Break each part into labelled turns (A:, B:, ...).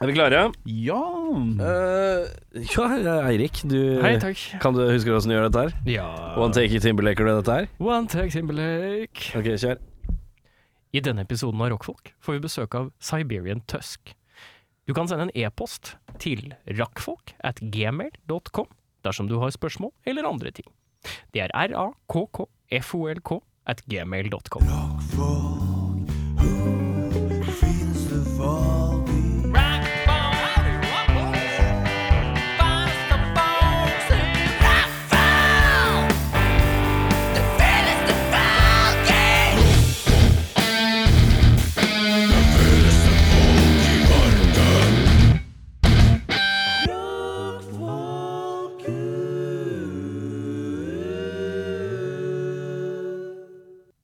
A: Er vi klare?
B: Ja
A: Eh, ja, Eirik, du
C: Hei, takk.
A: Kan du huske hvordan du gjør dette her?
C: Ja.
A: One take i Timberlaker, du dette her?
C: One take Timberlake.
A: Ok, kjør.
C: I denne episoden av Rockfolk får vi besøk av Siberian Tusk. Du kan sende en e-post til rakkfolk at gmail.com dersom du har spørsmål eller andre ting. Det er r-a-k-k-f-o-l-k at gmail.com.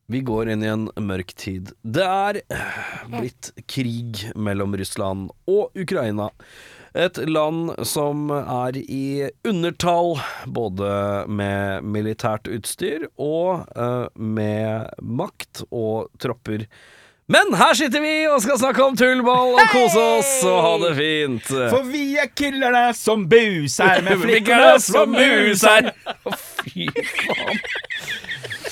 A: Vi går inn i en mørk tid. Det er eh, blitt krig mellom Russland og Ukraina. Et land som er i undertall både med militært utstyr og eh, med makt og tropper. Men her sitter vi og skal snakke om tullball og kose oss og ha det fint.
B: For vi er killerne som bus her med flikkerne
A: Flikkerne
B: som mus her
A: Å, Fy faen.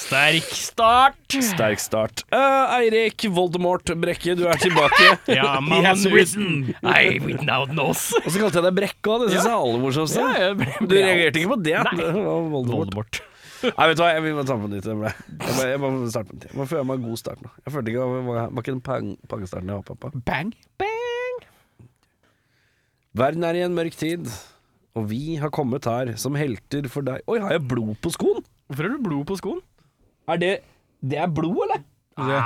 C: Sterk start!
A: Sterk start. Eh, Eirik Voldemort Brekke, du er tilbake.
C: Ja,
B: has
C: mannen
B: risen.
C: uten Nei, without nose.
A: Og så kalte jeg deg Brekke òg, det syns jeg er aller morsomst.
C: Ja, jeg ble-
A: Du reagerte ikke på det?
C: Nei.
A: Det var Voldemort.
C: Voldemort.
A: Nei, vet du hva, jeg vil bare ta på nytt. Jeg, ble. jeg, må- jeg må starte på nytt. Jeg må føle meg god start nå. Jeg følte ikke det var, var ikke den pang- pangestarten jeg håpa på.
B: Bang
A: Verden er i en mørk tid, og vi har kommet her som helter for deg Oi, har jeg blod på skoen?
C: Hvorfor har du blod på skoen?
A: Er det Det er blod, eller?
C: Nei,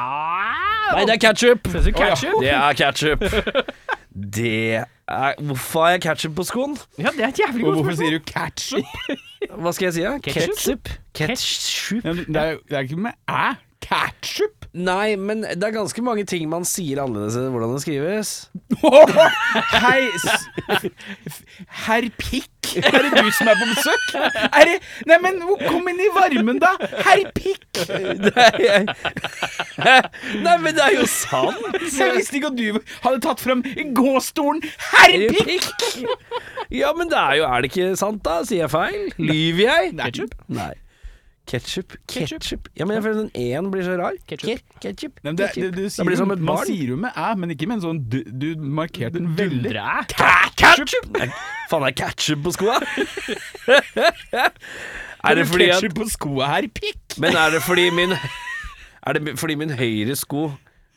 A: Nei, det er ketchup.
C: Ser ut som ketchup.
A: Det er ketchup. Det er Hvorfor har jeg ketchup på skoen?
C: Ja, det er et jævlig godt
B: Hvorfor
C: spørsmål.
B: sier du ketchup?
A: Hva skal jeg si? da?
C: Ketchup?
A: Ketchup?
B: Ja, Det er jo det er ikke med æ Ketchup
A: Nei, men det er ganske mange ting man sier annerledes enn hvordan det skrives.
B: Hei s- Herr Pikk Er det du som er på besøk? Er det Nei, men hvor- kom inn i varmen da Herr Pikk
A: Nei, men det er jo sant!
B: Jeg visste ikke at du hadde tatt frem gåstolen Herr Pikk
A: Ja, men det er jo Er det ikke sant, da? Sier jeg feil? Lyver jeg?
C: Ketchup?
A: Nei. Ketchup?
C: Ketchup.
A: Ketchup? Ja, men jeg føler den én blir så rar.
C: Ketchup.
A: Ke- Ketchup.
B: Nei, men det, det,
A: Ketchup.
B: du sier,
A: det blir som
B: jo-
A: et
B: Man
A: barn.
B: sier jo med æ, men ikke med en sånn Du, du markerte den veldig
C: Dundre æ.
A: Ketchup! Faen, det er ketchup på skoa! er det fordi at
B: Ketchup på skoa her, pikk!
A: Men er det fordi min Er det fordi min høyre sko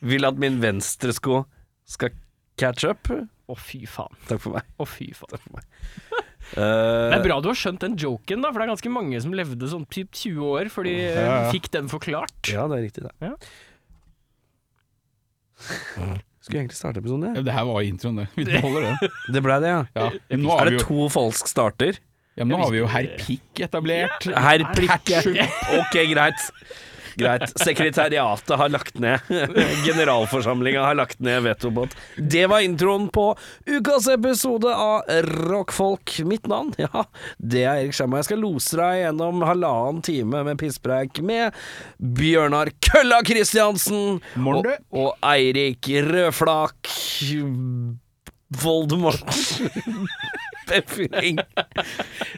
A: vil at min venstre sko skal catch up?
C: Å, fy faen.
A: Takk for meg.
C: Å, fy faen. Det
A: Eh,
C: er bra du har skjønt den joken, da, for det er ganske mange som levde sånn typ 20 år før de eh,
B: Ja, ja.
C: fikk den forklart.
A: ja, det er riktig, det.
C: Ja.
A: Skulle egentlig starte episoden, jeg.
B: Ja, det her var introen, det. Vi holder den.
A: Det ble det, ja.
B: Ja. men Nå,
A: Er
B: har vi
A: det
B: jo,
A: to falsk starter?
B: ja, men nå har vi jo herr Pikk etablert.
A: Herr Prikke. Ok, greit. Greit. Sekretariatet har lagt ned. Generalforsamlinga har lagt ned vetobåt. Det var introen på ukas episode av Rockfolk. Mitt navn, ja, det er Erik Skjerma. Jeg skal lose deg gjennom halvannen time med pisspreik med Bjørnar Kølla Kristiansen
B: Morn,
A: og,
B: du.
A: og Eirik Rødflak Voldemort Befring.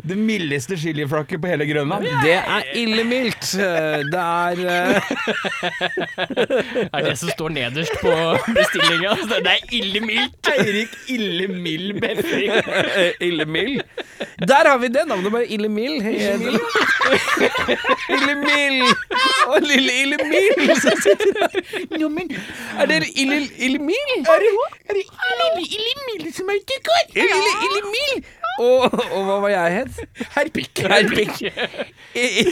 B: Det mildeste chiliflakket på hele Grønland.
A: Det er illemildt. Det er eh,
C: er det som står nederst på bestillinga. Så Det er ille mildt.
B: Eirik Illemild Befring.
A: Illemild. Der har vi det navnet, bare Illemild. Illemild. Og lille Illemild som sitter her.
B: Jo, men
A: Er dere Ille- Illemild?
B: er det, er det lille Illemild som er ute og går?
A: Lille Illemild. Og, og hva var jeg het?
B: Herr Pikk.
A: Herr Pikk. I- i-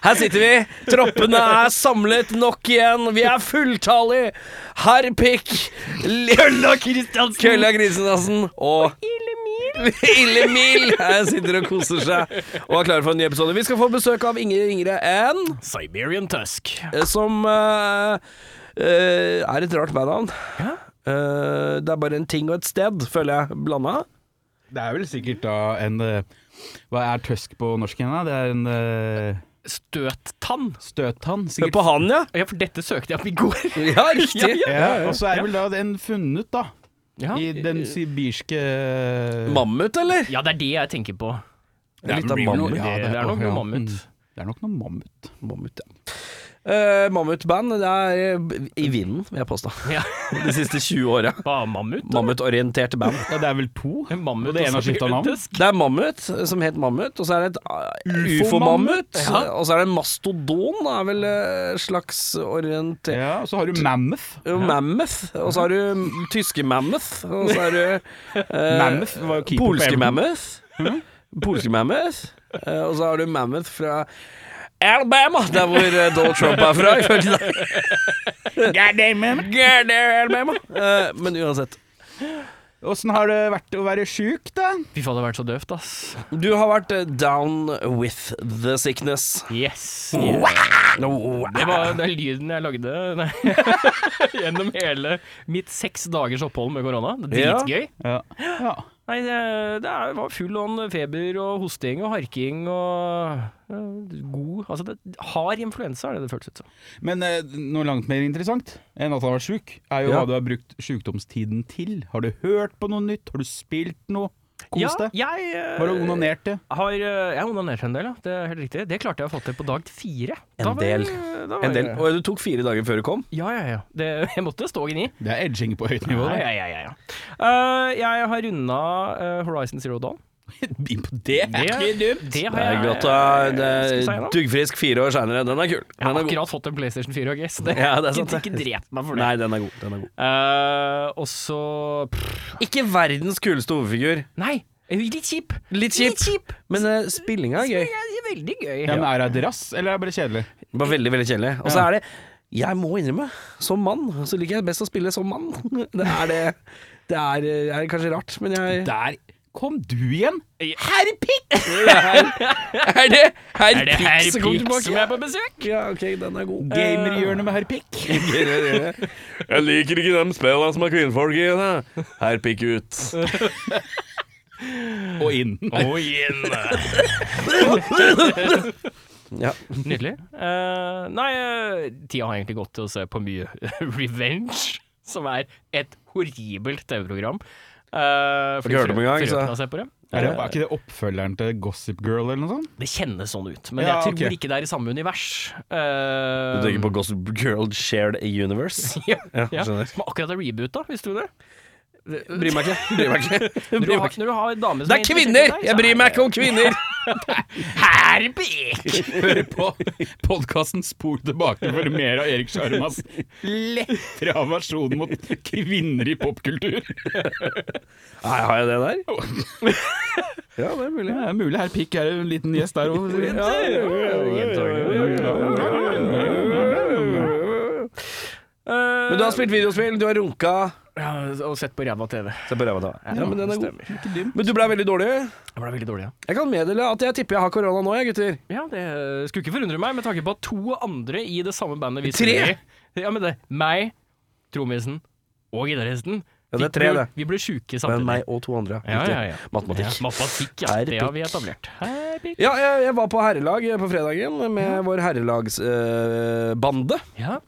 A: Her sitter vi. Troppene er samlet nok igjen. Vi er fulltallige. Herr Pikk. Kølla Kristiansen. Kølla Kristiansen og Illemil. Her sitter og koser seg og er klare for en ny episode. Vi skal få besøk av Ingrid Ingrid N,
C: Siberian Tusk.
A: som eh, eh, er et rart bandnavn. Eh, det er bare en ting og et sted, føler jeg, blanda.
B: Det er vel sikkert da en eh, Hva er tøsk på norsk igjen, da? Det er en eh,
C: Støttann.
B: støttann,
A: Hør
B: sikkert.
A: på han, ja.
C: Ja, for dette søkte jeg opp i går.
A: Ja, riktig.
B: Ja, og så er vel da den funnet, da.
C: Ja.
B: I den sibirske
A: Mammut, eller?
C: ja, det er det jeg tenker på. Mm.
B: Det er
A: Litt av
B: real-
A: mammut.
B: ja, Mm.
C: det, er nok noe mammut.
B: Det er nok noe mammut.
A: Mammut, ja. Eh, Mammutband det er eh, i vinden, vil jeg påstå.
C: Ja.
A: De siste 20 åra.
C: Hva, mammut?
A: Mammutorienterte band.
B: Ja, det er vel to?
C: En Mammut
B: Og det ene har
C: også
B: skiftet navn.
C: tøsk.
A: Det er mammut, eh, som het mammut, og så er det et uh,
B: Ufo-mammut,
A: ufo-mammut. Og så er det en mastodon, er vel eh, slags orientert
B: Ja, og så har du Mammoth.
A: Jo, Mammoth, og så har du tyske Mammoth, og så har du eh,
B: Mammoth var jo keeper på
A: polske
B: Everton.
A: Mammoth. Polske Mammoth, eh, og så har du Mammoth fra Alabama, der hvor eh, Donald Trump er fra, ifølge deg. God damn Alabama. Eh, men uansett.
B: Åssen har det vært å være sjuk, da?
C: Fy faen, det har vært så døvt, ass.
A: Du har vært eh, down with the sickness.
C: Yes.
A: Wow.
C: Det var den lyden jeg lagde nei, gjennom hele mitt seks dagers opphold med korona. Det er
A: Ja.
C: Dritgøy.
B: Ja. ja.
C: Nei, det, det er- var full on feber og hosting og harking og eh, god Altså, det, hard influensa er det det føles ut som.
B: Men eh, noe langt mer interessant enn at han har vært sjuk, er jo
A: Ja.
B: hva du har brukt sjukdomstiden til. Har du hørt på noe nytt? Har du spilt noe? Kos deg?
C: Ja, jeg eh,
B: Har du onanert det?
C: har, eh, jeg har onanert en del, ja. Det er helt riktig. Det klarte jeg å få til på dag fire.
A: En
C: Da var jeg-
A: del.
C: da var
A: En del.
C: jeg-
A: Og du tok fire dager før du kom.
C: Ja, ja, ja. Det, jeg måtte stå gni.
B: Det er edging på høyt nivå.
C: Ja,
B: det.
C: ja, ja, ja. Eh, jeg har runda eh, Horizon Zero Dawn.
B: Det er ikke dumt!
C: det
A: Det er
C: har jeg,
A: godt, da. Det
C: Skal vi si
A: er
C: noe?
A: duggfrisk fire år seinere. Den er kul.
C: jeg har
A: Den er god.
C: akkurat fått en PlayStation 4 og guess. Det,
A: Ja, det er sant,
C: ikke,
A: det.
C: ikke drep meg for
A: Nei,
C: det.
A: den er god. Den er god.
C: Eh, og så pff,
A: Ikke verdens kuleste hovedfigur.
C: Nei, eh, litt kjip.
A: Litt kjip.
C: Litt kjip.
A: Men uh, spillinga
C: Det
A: er gøy.
C: er veldig gøy.
B: Ja, men er det et rass, eller er det bare kjedelig?
A: Det var veldig, veldig kjedelig. Og så er det Jeg må innrømme, som mann så liker jeg best å spille som mann. Det er det Det er, eh, er kanskje rart, men jeg
B: Der kom du igjen!
C: Ja.
B: Herr Pikk!
A: Er det herr
C: Er det herr
A: Pix som kommer
C: Pix som
A: tilbake?
C: er på besøk?
A: Ja, ok, den er god. Eh.
B: Gamerhjørnet med herr Pikk.
A: Jeg liker ikke de spillene som har kvinnfolk i. Herr Pikk ut.
B: Eh. Og inn.
A: Ja.
C: Nydelig. Eh, nei, eh, tida har egentlig gått til å se på mye Revenge, som er et horribelt TV-program. Uh,
A: Ikke hørt om engang, så-
C: på det.
B: Er, det, er ikke det oppfølgeren til Gossip Girl eller noe sånt?
C: Det kjennes sånn ut, men
B: Ja,
C: jeg tror
B: ok.
C: ikke det er i samme univers.
A: Du tenker på Gossip Girl Shared Universe?
C: ja,
A: Um, Ja,
C: ja.
A: skjønner.
C: Som akkurat er reboota, visste du det?
A: Bryr meg ikke. Bryr meg ikke.
C: Når du
A: Bryr
C: har,
A: meg ikke.
C: når du har damer som
A: Det er kvinner! Jeg bryr meg ikke om kvinner!
C: Herbik!
B: Hør på podkasten Spol tilbake for mer av Erik Sjarmas lettere aversjon mot kvinner i popkultur.
A: Nei, har jeg det der? Ja, det er mulig.
B: Det er mulig herr Pikk er en liten gjest der òg.
A: Men du har spilt videospill, du har runka
C: Ja, og sett på ræva TV.
A: Se på ræva da. Ja, men den er god.
C: Stemmer.
A: Men du blei veldig dårlig.
C: Jeg ble veldig dårlig, ja.
A: Jeg kan meddele at jeg tipper jeg har korona nå, jeg, gutter.
C: Ja, Det skulle ikke forundre meg, med tanke på at to andre i det samme bandet vi
A: Tre?
C: spiller i Ja, men det meg, trommisen og gitaristen.
A: Ja, det er
C: Fikk-
A: tre, det.
C: Vi ble sjuke
A: Men
C: samtidig.
A: meg og to andre.
C: Ja, ja, ja.
A: Matematikk.
C: Ja, matematikk, ja.
A: Herpikk.
C: Det har vi etablert. Herpikk.
A: Ja, jeg, jeg var på herrelag på fredagen med vår herrelagsbande.
C: Ja.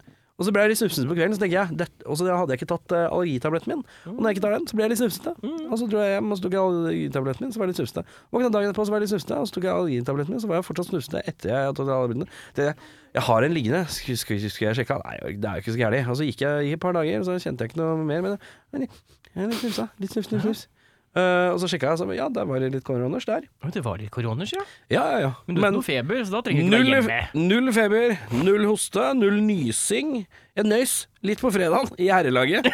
A: og så ble jeg litt snufsete på kvelden, så tenker jeg det- Og så hadde jeg ikke tatt eh, allergitabletten min. Og når jeg ikke tar den, så blir jeg litt snufsete. Og så dro jeg hjem og så tok jeg allergitabletten min, så var jeg litt snufsete. Våkna dagen etterpå, så var jeg litt snufsete, og så tok jeg allergitabletten min, så var jeg fortsatt snufsete etter jeg hadde tatt allergitabletten. Det, jeg har en liggende, skulle, skulle, skulle jeg sjekke Nei, det er jo ikke så gærent. Og så gikk jeg gikk et par dager, og så kjente jeg ikke noe mer med det. Men jeg, jeg er litt snufsa. Litt snufs, snufs, snufs. Eh, og så sjekka jeg, og så ja, der var det litt koroners der.
C: Oi, Det var litt koroners, ja.
A: Ja, ja, ja.
C: Men du har ikke noe feber, så da trenger du ikke
A: Null,
C: være hjemme.
A: null feber, null hoste, null nysing. Jeg nøys litt på fredagen i herrelaget.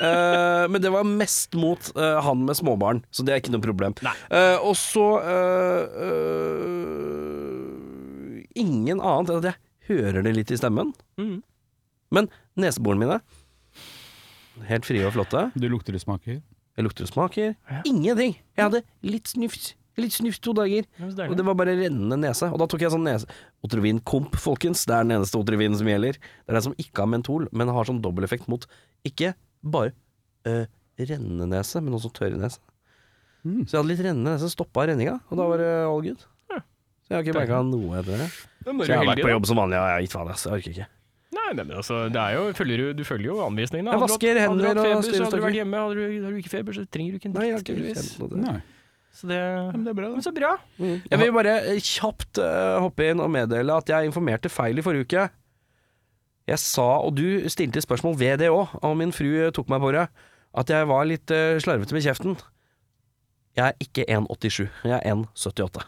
A: Eh, men det var mest mot eh, han med småbarn, så det er ikke noe problem.
C: Nei.
A: Eh, og så eh, eh, Ingen annet enn at jeg hører det litt i stemmen.
C: Mhm.
A: Men neseborene mine Helt frie og flotte.
B: Du lukter det smaker.
A: Jeg lukter og smaker. Ingenting. Jeg hadde litt snufs. Litt snufs to dager.
C: Ja, men så deilig.
A: Og det var bare rennende nese. Og da tok jeg sånn nese Otrivin Komp, folkens. Det er den eneste Otrivinen som gjelder. Det er den som ikke har mentol, men har sånn dobbeleffekt mot ikke bare øh, rennende nese, men også tørre nese.
B: Mm.
A: Så jeg hadde litt rennende nese, stoppa renninga, og da var det all good.
C: Ja.
A: Så jeg har ikke merka noe etter det.
C: Da må
A: Så
C: du
A: jeg har vært
C: være heldig,
A: på jobb som vanlig, og jeg har gitt faen, ass. Jeg orker ikke.
C: da. Nei, nei, men altså, det er jo, følger, jo- du følger jo anvisningene.
A: Jeg
C: Hadde du
A: vasker
C: hatt-
A: hender
C: Hadde du
A: og
C: hatt feber, så hadde du
A: styrer
C: vært hjemme. Hadde du, hadde du ikke feber, så trenger du ikke en
A: Nei, jeg har
C: dritt,
A: ikke
C: tydeligvis.
A: kjent noe til det.
B: Nei.
C: Så det
B: Ja, Men det er bra,
C: Men
B: da.
C: så bra.
A: Jeg vil bare eh, kjapt eh, hoppe inn og meddele at jeg informerte feil i forrige uke. Jeg sa, og du stilte spørsmål ved det òg, og min fru eh, tok meg på det, at jeg var litt eh, slarvete med kjeften. Jeg er ikke 1,87, jeg er 1,78.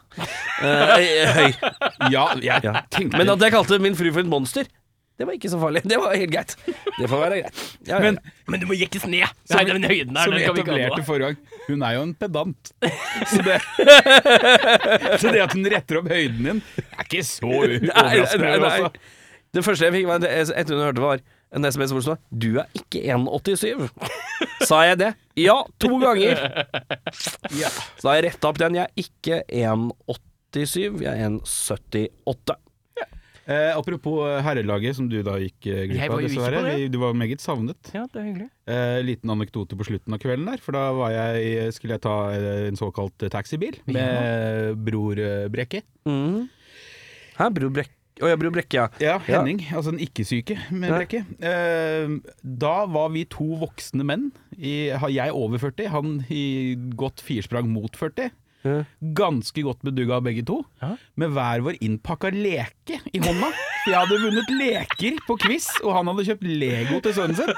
A: Eh, høy.
B: Ja, jeg
A: Ja.
B: tenkte
A: Men at jeg kalte min fru for et monster, det var ikke så farlig. Det var helt greit. Det får være greit. Ja, ja.
B: Men-
C: Men du må jekkes ned! Nei, den høyden der,
B: Som
C: den
B: vi
C: kan vi ikke ha
B: etablerte
C: nå.
B: forrige gang, hun er jo en pedant. Så det, så det at hun retter opp høyden din, er ikke så overraskende.
A: Nei, nei, nei.
B: altså.
A: Det første jeg fikk var etter hun hørte det var en SMS hvor det stod 'Du er ikke 1,87'. Sa jeg det? Ja, to ganger.
B: Ja.
A: Så har jeg retta opp den. Jeg er ikke 1,87, jeg er 1,78.
B: Eh, apropos eh, herrelaget, som du da gikk eh, glipp
C: Jeg
B: av,
C: var jo ikke på
B: dessverre.
C: det.
B: Vi- Du var meget savnet.
C: Ja, det er hyggelig.
B: Eh, liten anekdote på slutten av kvelden der, for da var jeg, skulle jeg ta eh, en såkalt eh, taxibil med eh, bror eh, Brekke.
A: Mm. Hæ, Bro Brekke? Å ja, Bro Brekke, ja.
B: Ja, Henning, altså den ikke-syke med
A: Ja.
B: Brekke. Eh, da var vi to voksne menn. I, har jeg over 40, han i godt firsprang mot 40.
A: Ja.
B: Ganske godt bedugga begge to,
C: Ja.
B: med hver vår innpakka leke i hånda. For Jeg hadde vunnet leker på quiz, og han hadde kjøpt Lego til sønnen sin.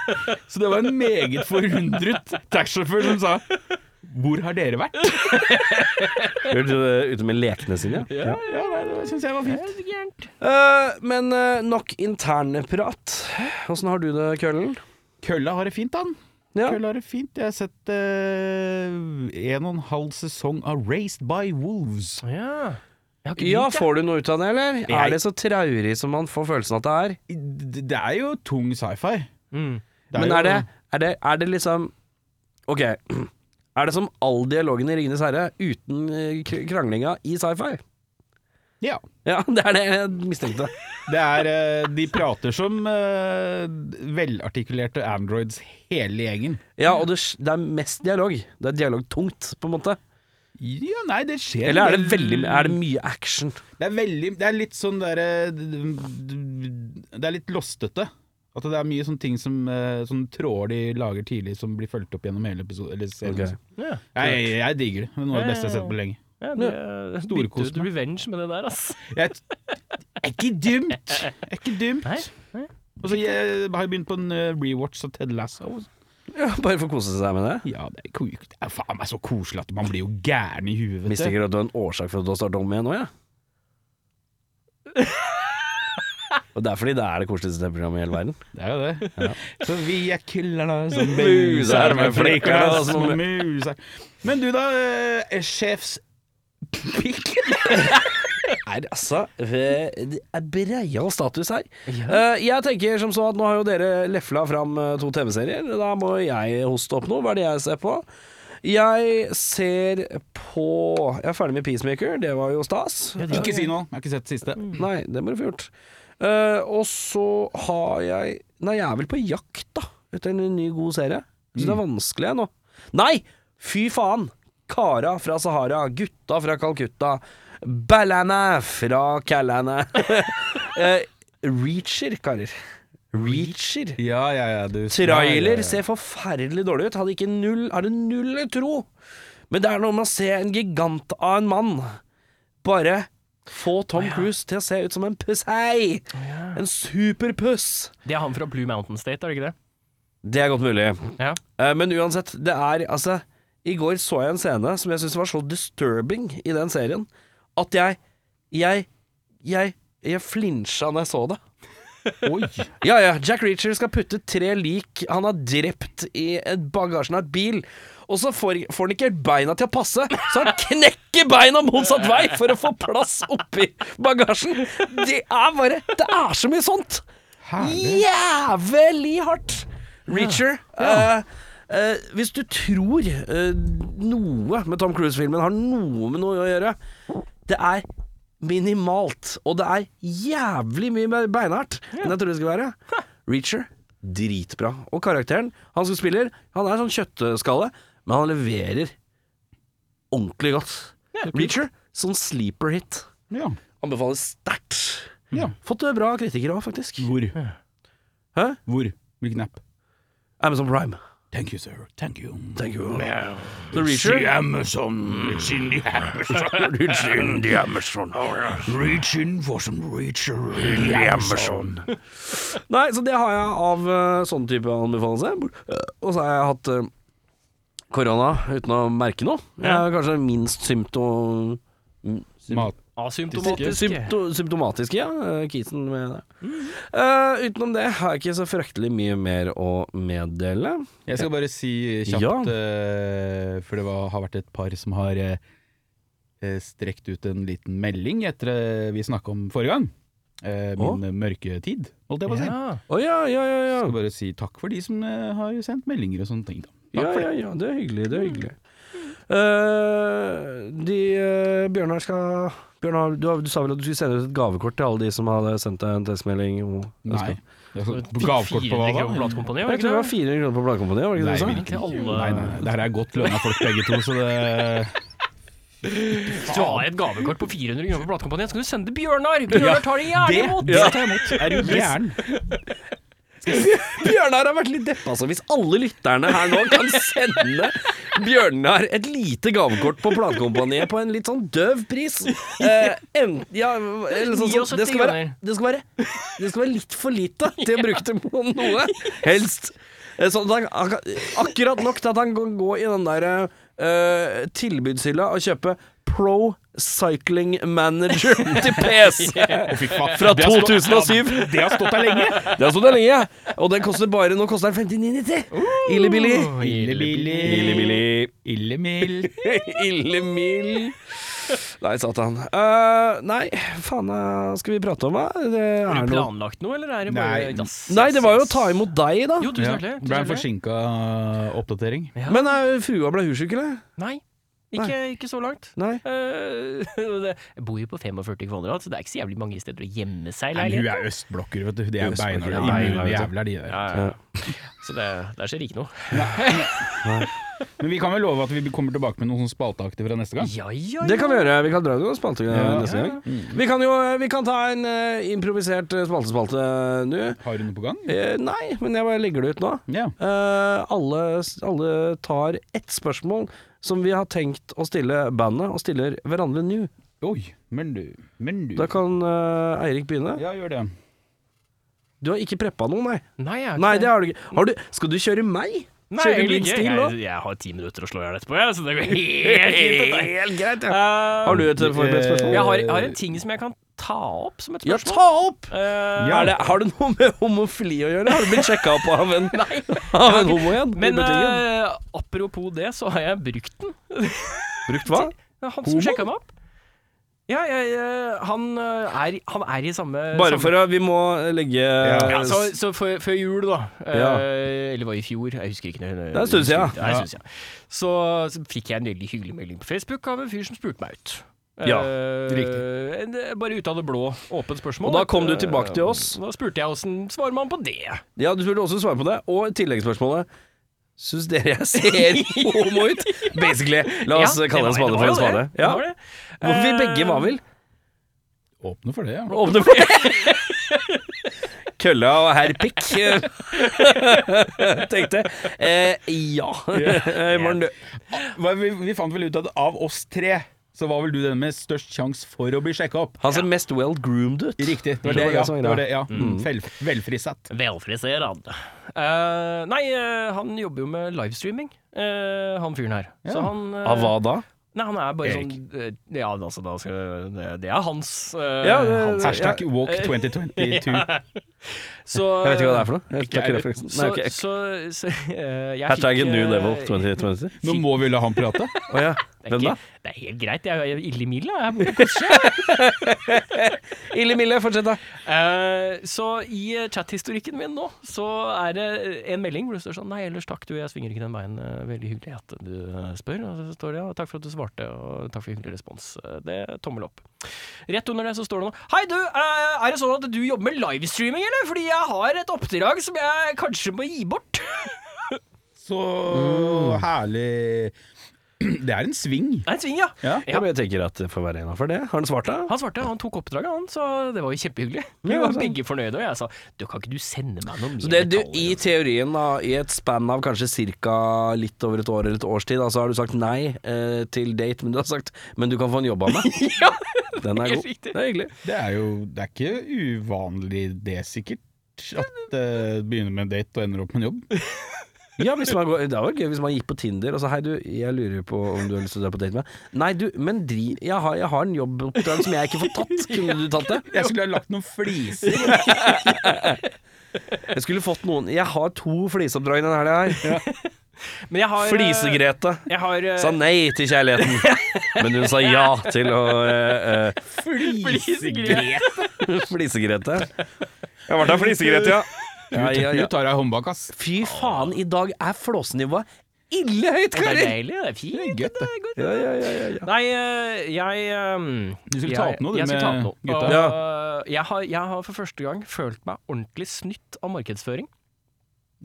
B: Så det var en meget forundret taxisjåfør som sa Hvor har dere vært?
A: Hørte du det ute med lekene sine? Ja.
B: Ja, nei, det syns jeg var fint.
A: Eh, men eh, nok internprat. Åssen har du det, Køllen?
B: Kølla har det fint, han.
A: Ja.
B: Kølla har det fint. Jeg har sett eh, en og en halv sesong av Raised by Wolves.
C: Ja. Jeg har ikke
A: ja,
C: begynt, jeg.
A: får du noe ut av det, eller?
B: Nei.
A: Er det så traurig som man får følelsen at det er?
B: Det det er jo tung sci-fi.
C: Mm.
B: Det
A: Men
B: jo-
A: er det, er, det, er det liksom Ok. Er det som all dialogen i 'Ringenes herre' uten eh, kr- kranglinga i sci-fi?
B: Ja.
A: Ja, det er det jeg mistenkte.
B: Det er, eh, de prater som eh, velartikulerte androids hele gjengen.
A: Ja, og det, s- det er mest dialog. Det er dialogtungt, på en måte.
B: Ja, nei, det skjer
A: Eller er det
B: en
A: veldig
B: del-
A: Er det mye action?
B: Det er veldig Det er litt sånn derre Det er litt lostete. At det er mye sånne ting som eh, Sånne tråder de lager tidlig, som blir fulgt opp gjennom hele episoden. Eller serien.
A: Ok.
C: Ja.
B: Jeg, jeg, jeg digger det. Det er noe av det beste jeg har sett på lenge.
C: Ja, det,
B: Storkos
C: bytte ut revenge med det der, ass.
B: Jeg, er ikke dumt! Er ikke dumt.
C: Nei, nei.
B: Og så jeg har jeg begynt på en eh, rewatch av Ted Lasso.
A: Ja, bare for å kose seg med det?
B: Ja, det er, ko- det er faen meg så koselig at man blir jo gæren i huet. vet du.
A: Mistenker at du har en årsak for at du har startet om igjen nå, ja? Og det er fordi det er det koseligste programmet i hele verden.
B: Det er jo det. Så vi er killerne som
A: Muser
B: muser
A: med
B: med
A: flikker
B: flikker
A: og
B: som
A: sånn.
B: muser. Men du da, eh, sjefs pikk?
A: er altså eh, Det er breial status her. Eh, jeg tenker som så at nå har jo dere lefla fram eh, to TV-serier. Da må jeg hoste opp noe. Hva er det jeg ser på? Jeg ser på Jeg er ferdig med Peacemaker, det var jo stas.
B: Ikke si noe, jeg har ikke sett det siste.
A: Nei, det må du få gjort. Eh, og så har jeg Nei, jeg er vel på jakt, da. Etter en ny, god serie. Jeg syns det er vanskelig jeg, nå. Nei! Fy faen! Kara fra Sahara, gutta fra Calcutta, Ballana fra Callana. Eh, Reacher, karer. Reacher.
B: Ja, ja, ja, du
A: Trailer ser forferdelig dårlig ut. Hadde ikke null, hadde null tro. Men det er noe med å se en gigant av en mann bare få Tom Cruise til å se ut som en pussei. En superpuss.
C: Det er han fra Blue Mountain State, er det ikke det?
A: Det er godt mulig.
C: Ja.
A: Eh, Men uansett, det er altså I går så jeg en scene som jeg syntes var så disturbing i den serien, at jeg Jeg Jeg, jeg flinsja når jeg så det.
B: Oi.
A: Ja, ja. Jack Reacher skal putte tre lik han har drept i et- bagasjen av et bil. Og så får, får han ikke beina til å passe, så han knekker beina motsatt vei for å få plass oppi bagasjen. Det er bare Det er så mye sånt!
B: Herlig.
A: Jævlig hardt! Reacher. eh, eh, hvis du tror eh, noe med Tom Cruise-filmen har noe med noe å gjøre Det er minimalt, og det er jævlig mye mer beinhardt enn jeg trodde det skulle være. Reacher dritbra. Og karakteren han som spiller, han er sånn kjøttskalle, men han leverer ordentlig godt. Reacher sånn sleeper hit.
B: Ja.
A: Anbefales sterkt. eh,
B: ja.
A: Fått bra kritikere òg, faktisk.
B: Hvor?
A: Hæ?
B: Hvor? Hvilken app?
A: Amazon Prime.
B: Thank you, sir. Thank you.
A: Thank you.
B: The
A: Reacher?
B: Amazon. It's in the Amazon. Oh,
A: It's in the Amazon.
B: Reach in for some reacher in the Amazon.
A: Nei, så det har jeg av eh, sånne type anbefalinger. Og så har jeg hatt eh, korona uten å merke noe. Jeg er kanskje minst symptom...
B: Mat.
C: Asymptomatisk.
A: Sympto symptomatiske, ja. Eh, Kisen med det. Eh, utenom det har jeg ikke så fryktelig mye mer å meddele.
B: Jeg skal bare si kjapt,
A: Ja.
B: eh, for det var, har vært et par som har eh, eh, strekt ut en liten melding etter eh, vi snakka om forrige gang. Eh,
A: Å?
B: min mørke tid, holdt jeg på å si.
C: Ja.
A: Å ja, ja, ja, ja.
B: Skal bare si takk for de som eh, har sendt meldinger og sånne ting. Da. Takk
A: Ja,
B: for
A: ja,
B: det. Mm.
A: ja. Det er hyggelig, det er hyggelig. Eh, de eh, Bjørnar skal Bjørnar, du, har- du sa vel at du skulle sende ut et gavekort til alle de som hadde sendt deg en tekstmelding? om-
B: Nei. Jeg skal-
C: Fikk
B: Gavekort på hva
C: 400
B: da?
C: kroner platekompani, var
A: Jeg
C: det
A: tror det
C: ikke
A: var 400 kroner på Bladkompaniet, var det ikke det du sa?
B: Nei,
C: Til alle-
B: nei, nei, nei. Det her er godt lønna folk begge to, så det
C: Hvis du har et gavekort på 400 kroner på platekompaniet, skal du sende til Bjørnar! Bjørnar tar det gjerne imot!
B: det tar jeg imot. Er du gæren?
A: Bjørnar har vært litt deppa, så hvis alle lytterne her nå kan sende Bjørnar et lite gavekort på platekompaniet på en litt sånn døv pris eh, en, ja, eller sånn, sånn, det, skal være, det, skal være, det skal være litt for lite til å bruke det på noe, helst. Eh, Sånn at han, ak- akkurat nok til at han kan gå i den der eh, tilbudshylla og kjøpe Pro Cycling Manager til PC.
B: Å, fy faen.
A: Fra
B: Det har stått-
A: 2007.
B: Ja, Det har stått der lenge.
A: Det har stått der lenge, og den koster bare Nå koster den
B: Uh.
A: 59,90. Illebillig.
B: Illebillig.
A: Illebillig.
B: Illemild.
A: Illemild. Nei, satan. Eh, nei, faen eh, skal vi prate om, da? Det
C: Har
A: er
C: du
A: noe
C: planlagt noe, eller er det bare
B: Nei.
C: dass?
A: Nei, det var jo å ta imot deg, da.
C: Jo, tusen hjertelig.
B: Ja,
C: tusen
B: Ble en
C: hjertelig.
B: forsinka oppdatering.
C: Ja.
A: Men eh, frua ble hussyk, eller?
C: Nei, ikke, ikke så langt.
A: Nei.
C: Eh, det- jeg bor jo på 45 kvadrat, så det er ikke så jævlig mange steder å gjemme seg i
B: Nei, men hun
C: leiligheten.
B: er østblokker, vet du. De er
A: Østblokker,
B: beinharde.
A: ja,
B: Immune
A: beinharde.
B: jævler, de der.
C: Ja, ja. Så det, der skjer ikke noe.
B: Men vi kan vel love at vi kommer tilbake med noen sånn spalteaktig fra neste gang?
C: Ja, ja, ja.
A: Det kan vi gjøre. Vi kan dra noen spalter eh,
B: Ja.
A: neste gang. Vi kan jo vi kan ta en eh, improvisert eh, spaltespalte nå.
B: Har du noe på gang?
A: Eh, nei, men jeg bare legger det ut nå.
B: Ja.
A: Eh, alle, alle tar ett spørsmål som vi har tenkt å stille bandet, og stiller hverandre nå.
B: Oi, men du, men du.
A: Da kan eh, Eirik begynne.
B: Ja, gjør det.
A: Du har ikke preppa noe, nei?
C: Nei, jeg er ikke
A: Nei, det har du ikke. Har du, skal du kjøre meg?
C: Nei,
A: Kjøre
C: egentlig
A: litt
C: ikke.
A: stil nå?
C: jeg, jeg har ti minutter å slå i hjel etterpå, jeg, så det går helt fint.
A: Helt greit, ja.
C: Uh,
A: Har du et forberedt spørsmål?
C: jeg, har, jeg har en ting som jeg kan ta opp som et
A: Ja,
C: spørsmål.
A: ta opp!
C: Eh,
B: Ja.
A: Er det, har det noe med homofili å gjøre? Har du blitt sjekka opp av en, av en homo igjen? i
C: Men
A: butikken?
C: eh, apropos det, så har jeg brukt den.
A: Brukt hva?
C: Det er Han
A: Homo?
C: som sjekka meg opp. Ja, jeg, eh, han, eh, er, han er i samme
A: Bare
C: samme-
A: for å Vi må eh, legge
C: ja, Så, så før, før jul, da. eh,
A: Ja.
C: Eller var i fjor, jeg husker ikke. Det
A: er en stund siden, ja.
C: Ja, en stund siden. Så, så fikk jeg en veldig hyggelig melding på Facebook av en fyr som spurte meg ut.
A: Ja,
C: Eh,
A: riktig.
C: en, bare ut av det blå, åpent
A: Og
C: spørsmål.
A: da kom du
C: Eh,
A: tilbake til oss.
C: Da spurte jeg åssen svarer man på det.
A: Ja, du burde også svare på det. Og tilleggsspørsmålet Syns dere jeg ser homo ut? Basically. La oss
C: Ja,
A: kalle en
C: var-
A: spade for en
C: var jo
A: spade.
C: det.
A: Ja.
C: Det Eh, var det.
A: Hvor vi begge var vel
B: Åpne for det, ja.
A: åpne for det. Kølla og herr pikk. Tenkte eh, ja. Eh, Maren, du-
B: Hva, vi, vi fant vel ut at av oss tre, så var vel du den med størst sjanse for å bli sjekka opp.
A: Han ser mest well groomed ut.
B: Riktig. Det
A: Det Mm.
B: var det,
A: var
B: ja.
A: det som var
B: Det var det, ja. Mm. Vel, velfrisett.
C: Velfriserad. Eh, nei, eh, han jobber jo med livestreaming, eh, han fyren her.
B: Ja.
C: Så han eh,
A: Av hva da?
C: Nei, han er bare
B: Erik.
C: sånn eh, Ja, altså, da skal det, det er hans, eh,
A: Ja, det-
C: hans
B: Hashtag walk 2022.
C: Så,
A: Jeg vet ikke hva det er for noe. Jeg tar ikke
B: jeg-
A: referansen.
C: Så,
A: Nei, ok.
C: så, så eh, jeg
A: Hashtaggen
C: fikk,
A: new
C: eh,
A: devil 2020.
B: Nå må vi la han prate.
A: Å ja.
C: det er
A: Hvem da?
C: ikke- Det er helt greit, jeg er ille i mila. Jeg bor på Korsø.
A: Ille Mille, fortsett, da.
C: Eh, Så i eh, chathistorikken min nå, så er det en melding hvor det står sånn Nei, ellers takk, du, jeg svinger ikke den veien. Eh, Veldig hyggelig at du eh, spør. Og så står det ja, takk for at du svarte, og takk for hyggelig respons. Eh, Det er tommel opp. Rett under det så står det noe Hei, du, eh, er det sånn at du jobber med livestreaming, eller? Fordi jeg har et oppdrag som jeg kanskje må gi bort.
A: Mm.
B: Så herlig. Det er en sving.
C: Nei, sving, ja.
B: Ja.
A: Ja, men jeg tenker at det får være innafor det. Har han svart, da?
C: Han svarte, han tok oppdraget, han, så det var jo kjempehyggelig. Vi
A: Ja,
C: var
A: sant.
C: begge fornøyde, og jeg sa du kan ikke du sende meg noe mer
A: Så det du,
C: detaljer?»
A: I teorien, da, i et spann av kanskje ca. litt over et år eller et års tid, da, så har du sagt nei eh, til date, men du har sagt 'men du kan få en jobb av meg'.
C: Ja,
A: Den er
C: helt
A: god.
C: riktig.
A: Det er hyggelig.
B: Det er jo det er ikke uvanlig det, sikkert. At det begynner med en date og ender opp med en jobb.
A: Ja, hvis man går, Det var gøy hvis man gikk på Tinder og sa 'hei, du, jeg lurer på om du har lyst til å dra på date med meg'. Nei, du, men dri, jeg har, jeg har en jobboppdrag som jeg ikke får tatt. Kunne du tatt det?
B: Jeg skulle ha lagt noen fliser.
A: Jeg skulle fått noen Jeg har to fliseoppdrag denne helga her.
C: Men jeg har eh,
A: Flisegrete.
C: Jeg har eh,
A: Sa nei til kjærligheten, men hun sa ja til å eh, eh,
B: Flisegrep!
A: Flisegrete. Jeg ble da flisegrete, ja. Ja, ja,
B: Du
A: ja.
B: tar deg håndbak, ass.
A: Fy faen, i dag er flåsenivået ille høyt,
C: Det er
A: karer!
C: deilig, det er fint.
B: Det er gøy, det.
C: går.
A: Ja, ja, ja, ja, ja.
C: Nei, eh, jeg eh,
B: Du skulle
C: jeg-
B: ta opp noe, du,
C: jeg skulle ta
B: med
C: opp noe.
B: gutta.
A: Ja.
C: Og jeg, har, jeg har for første gang følt meg ordentlig snytt av markedsføring.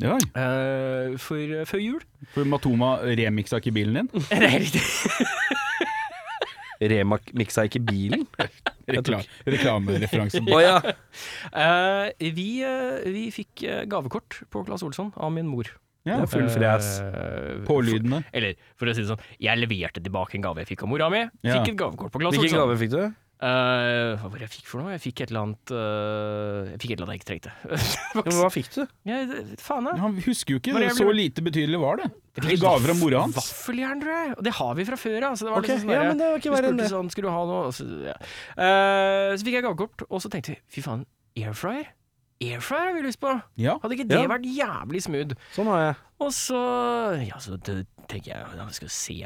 B: Ja,
C: eh, for eh, før jul.
B: for Matoma remiksa ikke bilen din.
C: Det er riktig.
A: Remak miksa ikke bilen?
B: Rekla Reklamereferanse.
A: Å ja.
C: Eh, vi, eh, vi fikk eh, gavekort på Claes Olsson av min mor.
A: Det
B: Ja,
A: er full fres.
C: Eh,
B: Pålydende.
C: for- Eller for å si det sånn, jeg leverte tilbake en gave jeg fikk av mora mi.
B: Ja.
C: Fikk et gavekort på Claes
A: Hvilken
C: Olsson.
A: gave fikk du?
C: Eh, hva var det jeg fikk for noe? Jeg fikk et eller annet eh, Jeg fikk et eller annet jeg ikke
A: Ja, men
C: trengte.
A: hva fikk du?
C: ja, det- faen, jeg.
B: Han husker jo ikke,
C: Når jeg
B: så
C: blir-
B: lite betydelig var det.
C: Jeg fikk
B: Det gav fra mora
C: vaff-
B: hans.
C: Vaffeljern, tror jeg. Og det har vi fra før, ja. Så det var
A: Ok,
C: liksom sånn
A: ja,
C: der-
A: men det var ikke
C: vi
A: verre enn
C: spurte
A: det.
C: sånn, skulle du ha noe? Og Så, ja. Eh, så fikk jeg gavekort, og så tenkte jeg fy faen, airfryer? Airfryer har vi lyst på!
B: Ja.
C: Hadde ikke det
A: Ja.
C: vært jævlig smooth?
A: Sånn har jeg.
C: Og så ja, så t- tenker jeg ja, vi skal se,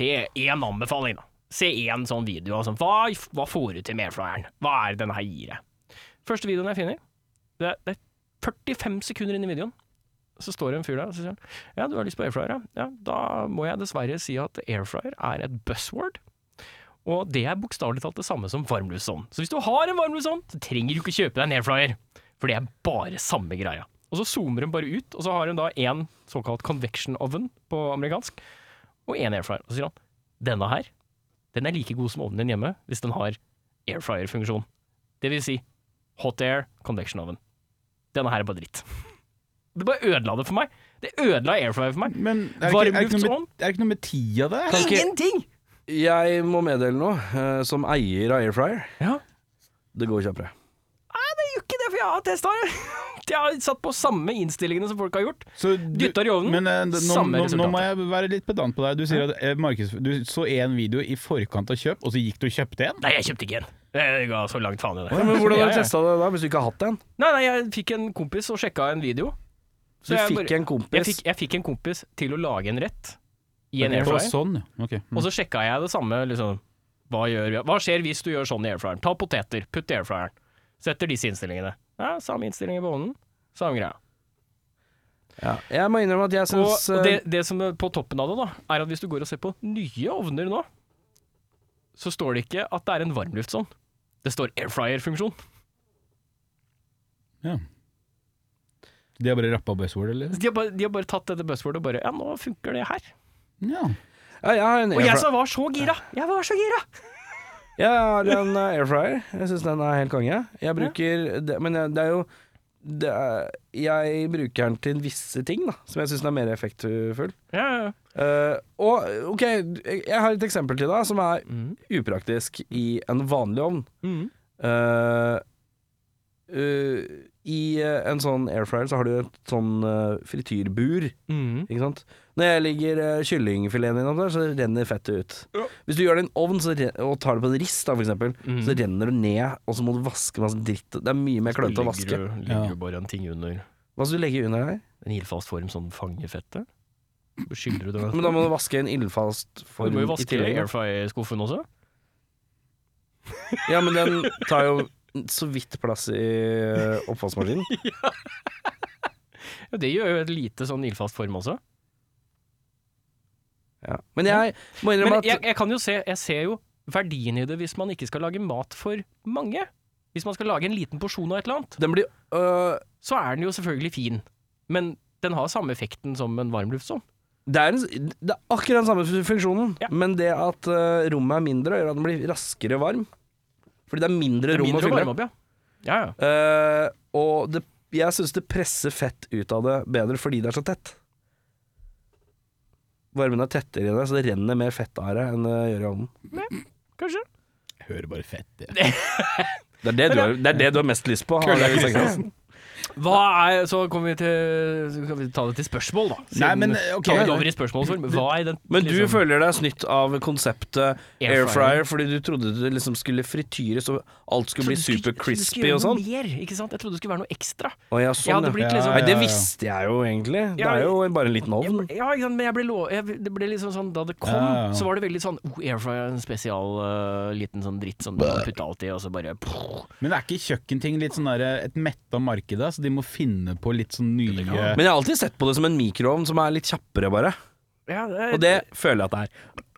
C: se én anbefaling, da. Se én sånn video. Altså, hva, hva får du til med airfryeren? Hva er det denne her gir deg? Første videoen jeg finner, det er, det er 45 sekunder inn i videoen. Så står det en fyr der og så sier han, ja, du har lyst på airfryer, ja. ja. Da må jeg dessverre si at airfryer er et buzzword. Og det er bokstavelig talt det samme som varmluftsovn. Så hvis du har en varmluftsovn, så trenger du ikke kjøpe deg en airfryer. For det er bare samme greia. Og så zoomer hun bare ut, og så har hun da én såkalt convection oven på amerikansk, og én airfryer. Og så sier han denne her, den er like god som ovnen din hjemme hvis den har airfryer-funksjon. Det vil si hot air, convection oven. Denne her er bare dritt. Det bare ødela det for meg. Det ødela airfryer for meg.
B: Men er det ikke, er det ikke, noe,
C: Varmluftsovn?
B: med, er det ikke noe med tida der?
A: Kan ikke-
C: Ingenting!
A: Jeg må meddele noe, eh, som eier av Airfryer.
C: Ja.
A: Det går kjappere.
C: gjør ikke det, for jeg har testa det. Jeg har satt på samme innstillingene som folk har gjort.
B: Så du-
C: Dytter i ovnen,
B: men, eh, d- nå,
C: samme
B: nå, nå
C: resultatet.
B: må jeg være litt pedant på deg. Du sier at eh, markeds, du så én video i forkant av kjøp, og så gikk du og kjøpte en?
C: Nei, jeg kjøpte ikke en. Jeg ga så langt faen i det.
A: Ja, men hvordan har
B: Ja,
A: du
B: ja.
A: testa det da, hvis du ikke har hatt en?
C: Nei, nei, jeg fikk en kompis og sjekka en video.
A: Du
C: jeg
A: fikk en
C: jeg,
A: kompis.
C: fikk, jeg fikk en kompis til å lage en rett i en
B: Det var
C: airfryer,
B: Sånn, ja. Ok. Mm.
C: og så sjekka jeg det samme. Liksom, hva, gjør, vi- hva skjer hvis du gjør sånn i airfryeren? Ta poteter, putt i airfryeren. Setter disse innstillingene. Ja, samme innstillinger på ovnen, samme greia.
A: Ja. Jeg må innrømme at jeg
C: Og,
A: syns eh,
C: og det, det som er på toppen av det, da, er at hvis du går og ser på nye ovner nå, så står det ikke at det er en varmluftsovn. Det står airfryer-funksjon.
B: Ja. De har bare rappa buzzword, eller?
C: Så De, har bare- de har bare tatt dette buzzwordet og bare Ja, nå funker det her.
B: Ja.
A: ja, jeg har en
C: Og jeg
A: airfryer.
C: som var så gira! Jeg var så gira!
A: Jeg har en eh, airfryer. Jeg syns den er helt konge. Jeg bruker det, Men jeg- det er jo det er, Jeg bruker den til visse ting, da, som jeg syns er mer effektfull.
C: Ja, ja, ja.
A: Eh, og OK, jeg har et eksempel til deg som er
C: Mm.
A: upraktisk i en vanlig ovn.
C: Mm.
A: Eh, eh, I eh, en sånn airfryer så har du et sånn eh, frityrbur.
C: Mm.
A: Ikke sant? Når jeg ligger uh, kyllingfileten innom der, så renner fettet ut.
B: Ja.
A: Hvis du gjør det i en ovn så ren- og tar det på en rist, da, for eksempel,
C: Mm.
A: så renner det ned, og så må du vaske masse dritt. Det er mye mer klønete å vaske.
C: Ligger,
B: Ja.
C: ligger jo bare en ting under
A: Hva skal du legge under her?
C: en ildfast form som fanger fettet. Så Skyller du den
A: Men da må du vaske en ildfast
C: Du
A: form
C: må jo
A: i
C: vaske
A: tillegg. da.
C: airfryer-skuffen også.
A: Ja, men den tar jo så vidt plass i eh, oppvaskmaskinen.
C: Ja, det gjør jo et lite sånn ildfast form også.
A: Ja. Men jeg må innrømme
C: Men
A: at
C: jeg, jeg kan jo se Jeg ser jo verdien i det hvis man ikke skal lage mat for mange. Hvis man skal lage en liten porsjon av et eller annet,
A: den blir øh,
C: så er den jo selvfølgelig fin. Men den har samme effekten som en varmluftsovn.
A: Det er, en, det er akkurat den samme fun- funksjonen,
C: Ja.
A: men det at eh, rommet er mindre, gjør at den blir raskere varm. Fordi det er mindre rom
C: Mindre
A: å
C: å
A: fylle.
C: varme opp, ja. Ja, ja.
A: Eh, og det, jeg syns det presser fett ut av det bedre fordi det er så tett. Varmen er tettere i det, så det renner mer fett av det enn det gjør i ovnen.
C: Kanskje.
B: Jeg hører bare fett, jeg.
A: Det er det, du har, det er det du har mest lyst på. Arne Sekkelsen.
C: Hva er, så kommer vi til så Skal vi ta det til spørsmål, da?
B: Nei, men, ok.
C: tar vi det over i spørsmålsform. Hva er den
A: Men du
C: liksom-
A: føler deg snytt av konseptet
C: Air
A: air
C: fryer.
A: fryer fordi du trodde du liksom skulle frityres og alt skulle bli
C: Jeg trodde
A: super
C: du skulle- jeg trodde du skulle
A: crispy og
C: gjøre
A: sånn.
C: noe Mer, ikke sant? Jeg trodde det skulle være noe ekstra.
A: Å ja,
C: Jeg
A: sånn
C: hadde
A: ja.
C: blitt liksom
B: Ja,
A: Nei, det visste jeg jo egentlig. Det
C: Ja,
A: er jo bare en liten
C: jeg,
A: ovn.
C: ble- ja, ikke sant, men jeg ble lo, jeg, det ble liksom sånn Da det kom,
B: Ja, ja, ja.
C: så var det veldig sånn oh, Air fryer er en spesial eh, liten sånn dritt som du kan putte alt i, og så bare
B: Men er ikke kjøkkenting litt sånn der, et metta marked, da, så de må finne på litt sånn nye
A: Men jeg har alltid sett på det som en mikroovn som er litt kjappere, bare.
C: ja,
A: Og det
C: Eh,
A: føler jeg at det er.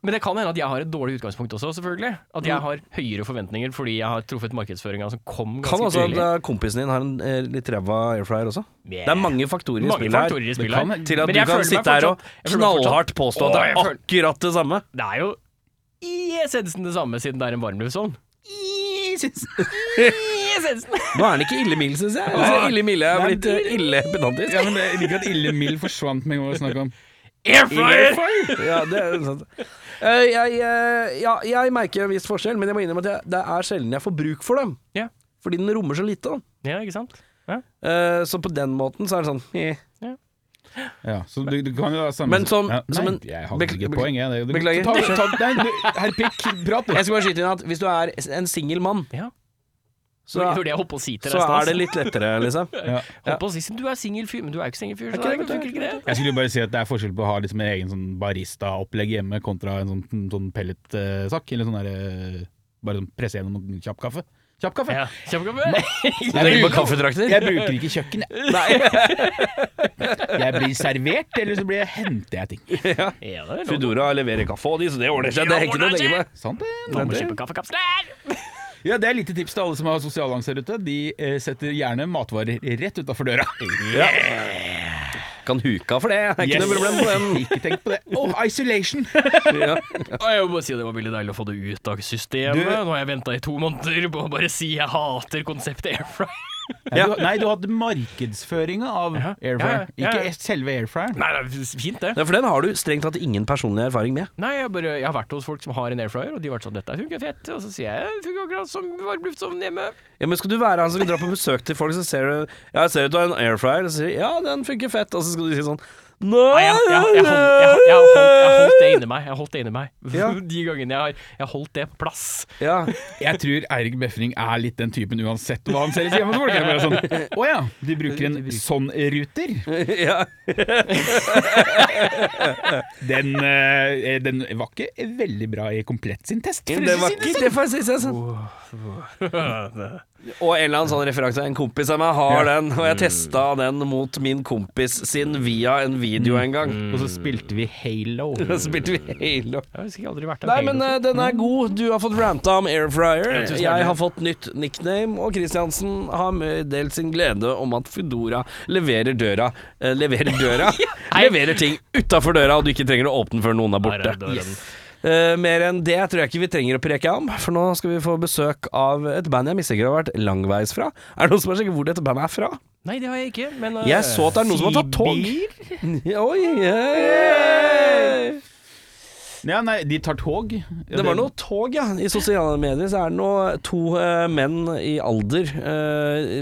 C: Men det kan hende at jeg har et dårlig utgangspunkt også, selvfølgelig.
A: Mm.
C: At jeg har høyere forventninger fordi jeg har truffet markedsføringa som kom ganske
A: Kan også
C: tidlig.
A: at eh, kompisen din har en eh, litt ræva air fryer også.
C: Yeah.
A: Det er mange faktorer i
C: Mange
A: spillet
C: faktorer
A: her
C: i spillet
B: kan-
C: her.
A: til at
C: Men
A: du
C: jeg føler
A: kan
C: meg
A: sitte her og
C: fortsatt- jeg føler meg
A: knallhardt påstå at
C: Å,
A: det
C: jeg
A: er
C: føler-
A: akkurat det samme.
C: fortsatt- Det er jo i essensen det samme, siden det er en varmluftsovn. I essensen!
A: Nå er den ikke ille mild, syns jeg. Altså, ille milde er blitt eh, ille pedantisk.
B: Ja, men det, Jeg liker at Ille Mild forsvant med en gang vi snakket om
C: Air fryer!
A: Ja, det er sant. Eh, jeg, eh, ja, jeg merker en viss forskjell, men jeg må innrømme at jeg, det er sjelden jeg får bruk for dem.
C: Ja.
A: Fordi den rommer så lite. da.
C: Ja, ikke sant? Ja.
A: Eh, så på den måten så er det sånn eh.
B: Ja, så du, du kan jo ha samme
A: Men som-
B: ja,
A: som en-
B: nei, Jeg hadde
A: bekl-
B: ikke et
A: bekl-
B: poeng, jeg. Det- du-
A: Beklager.
B: Ta, ta, nei, du, herr Pikk, prat, du.
A: Jeg skal bare skyte inn at hvis du er en singel mann,
C: ja.
A: så,
C: det var det jeg holdt på å si til
A: så
C: deg i
A: er
C: stad.
A: det litt lettere, liksom.
B: Ja.
C: Holdt på å si siden du er singel fyr, men du er jo ikke singel fyr, så
A: ikke
C: det
A: det, vet du,
C: funker ikke det.
B: Jeg skulle jo bare si at det er forskjell på å ha liksom en egen sånn barista-opplegg hjemme kontra en sånn, sånn pelletsak, eller sånn der eh, Bare sånn presse gjennom noen kjapp kaffe. Kjapp kaffe!
C: Ja, Kjempekaffe.
A: Jeg på kaffetrakter.
B: Jeg bruker ikke kjøkken, jeg. Jeg blir servert, eller så blir jeg, henter jeg ting.
C: Ja, det er lov.
A: Foodora leverer kaffe og de, så det ordner seg. Det er ikke noe å tenke på.
B: Sant det?
C: Man må kjøpe kaffekapsler!
B: Ja, Det er lite tips til alle som har sosiale angst her ute. De eh, setter gjerne matvarer rett utafor døra.
A: Kan huka for det, det er ikke noe problem på den.
B: Ikke tenk på det. Oh, isolation!
A: Ja.
C: Og Jeg må bare si Det var veldig deilig å få det ut av systemet.
B: Du-
C: Nå har jeg venta i to måneder på å bare si jeg hater konseptet air fryer.
B: Nei, du, nei, du hadde markedsføringa av
C: Ja.
B: air fryer,
C: Ja, ja, ja.
B: ikke selve air fryeren.
C: Nei, det er fint, det.
A: Ja, for den har du strengt tatt ingen personlig erfaring med.
C: Nei, jeg, bare, jeg har vært hos folk som har en air fryer, og de har vært sånn 'Dette funker fett', og så sier jeg «Det 'Funker akkurat som varmluftsovnen hjemme'.
A: Ja, men skal du være han som vil dra på besøk til folk, så ser du Ja, jeg ser at du har en air fryer, og så sier du, ja, den funker fett, og så skal du si sånn
C: Nei, jeg, jeg, jeg, hold, jeg, jeg, har holdt, jeg har holdt det inni meg. Jeg har holdt det inni meg.
A: Ja.
C: De gangene jeg har jeg har holdt det på plass.
A: Ja,
B: Jeg tror Eirik Befring er litt den typen uansett hva han selger hjemme hos folk. Jeg er bare sånn, Å ja, de bruker en sånn ruter?
A: ja.
B: Den, eh, den var ikke veldig bra i komplett sin test. for å
A: Det var
B: si
A: ikke
B: sånn.
A: det, får jeg si. sier jeg Sånn. Og en eller annen sånn referanse. En kompis av meg har den, og jeg testa den mot min kompis sin via en video en gang.
B: Og så spilte vi Halo.
A: Da spilte vi Halo.
C: Jeg har husker aldri vært
A: Nei,
C: en
A: men
C: Halo.
A: eh, den er god. Du har fått ranta om air fryer.
C: Ja, tusen hjertelig.
A: Jeg har fått nytt nickname, og Kristiansen har delt sin glede om at Foodora leverer døra eh, Leverer døra? leverer ting utafor døra, og du ikke trenger å åpne før noen er
C: Her
A: borte.
C: er døren.
A: Eh, mer enn det tror jeg ikke vi trenger å preke om, for nå skal vi få besøk av et band jeg mistenker har vært langveis fra. Er det noen som har sjekket hvor dette bandet er fra?
C: Nei, det har jeg ikke, men eh,
A: Jeg så at det er noen som har tatt tog. Oi, yeah.
B: Ja, nei, de tar tog. Ja,
A: Det var noe tog, ja. I sosiale medier så er det nå to eh, menn i alder, eh,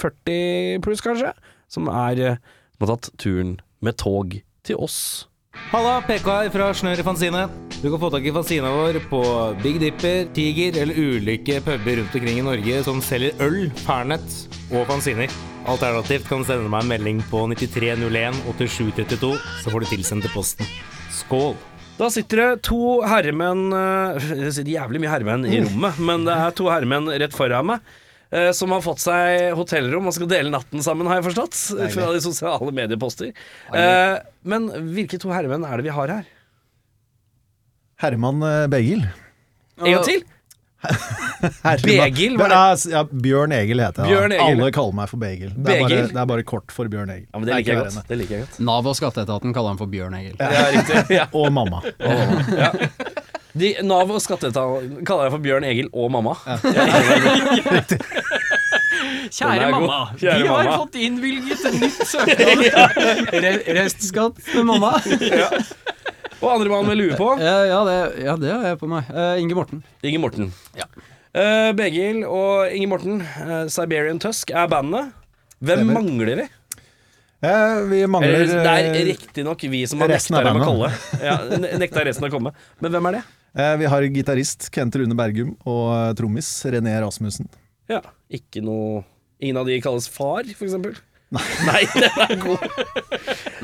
A: 40 pluss kanskje, som er eh, som har tatt turen med tog til oss.
D: Halla, PK her fra Snør i Fanzine. Du kan få tak i fanzina vår på Big Dipper, Tiger eller ulike puber rundt omkring i Norge som selger øl, Fernet og fanziner. Alternativt kan du sende meg en melding på 9301 8732, så får du tilsendt til posten. Skål!
A: Da sitter det to herremenn eh, Det sitter jævlig mye herremenn i rommet, men det er to herremenn rett foran meg. eh, Som har fått seg hotellrom og skal dele natten sammen, har jeg forstått. Ut fra de sosiale medieposter. Eh, Men hvilke to herremenn er det vi har her?
E: Herman eh, Begil.
A: En gang til!
E: Herlig,
A: Begil, hva er
E: det? er- Ja, Bjørn Egil heter jeg. da.
A: Bjørn Egil.
E: Alle kaller meg for Begil. Det er, bare,
A: Begil?
E: det er bare kort for Bjørn Egil.
A: Ja, men det liker jeg
E: Det er
A: godt. Det liker jeg godt.
F: Nav og skatteetaten kaller han for Bjørn Egil.
A: Ja, riktig. Ja.
E: Og mamma.
A: De, Nav og skatteetaten kaller jeg for Bjørn Egil og mamma. Den
C: Kjære
A: er god.
C: mamma,
A: Kjære
C: vi har
A: mamma.
C: fått innvilget en nytt søknad.
F: Restskatt med mamma.
A: Og andremann med lue på,
F: Ja, ja, det, ja, det har jeg på meg. Eh, Inge Morten.
A: Inge Morten. Eh, Begil og Inge Morten, eh, Siberian Tusk, er bandene. Hvem
E: Stemmer.
A: mangler vi?
E: Eh, vi mangler
A: Eller, det
E: eh,
A: er riktignok vi som har
E: resten
A: nekta
E: av
A: dem å komme.
E: bandet.
A: Ja, ne- nekta resten å komme. Men hvem er det?
E: eh, Vi har gitarist Kent Rune Bergum og eh, trommis René Rasmussen.
A: Ja, ikke noe Ingen av de kalles far, for eksempel? Nei, den er god.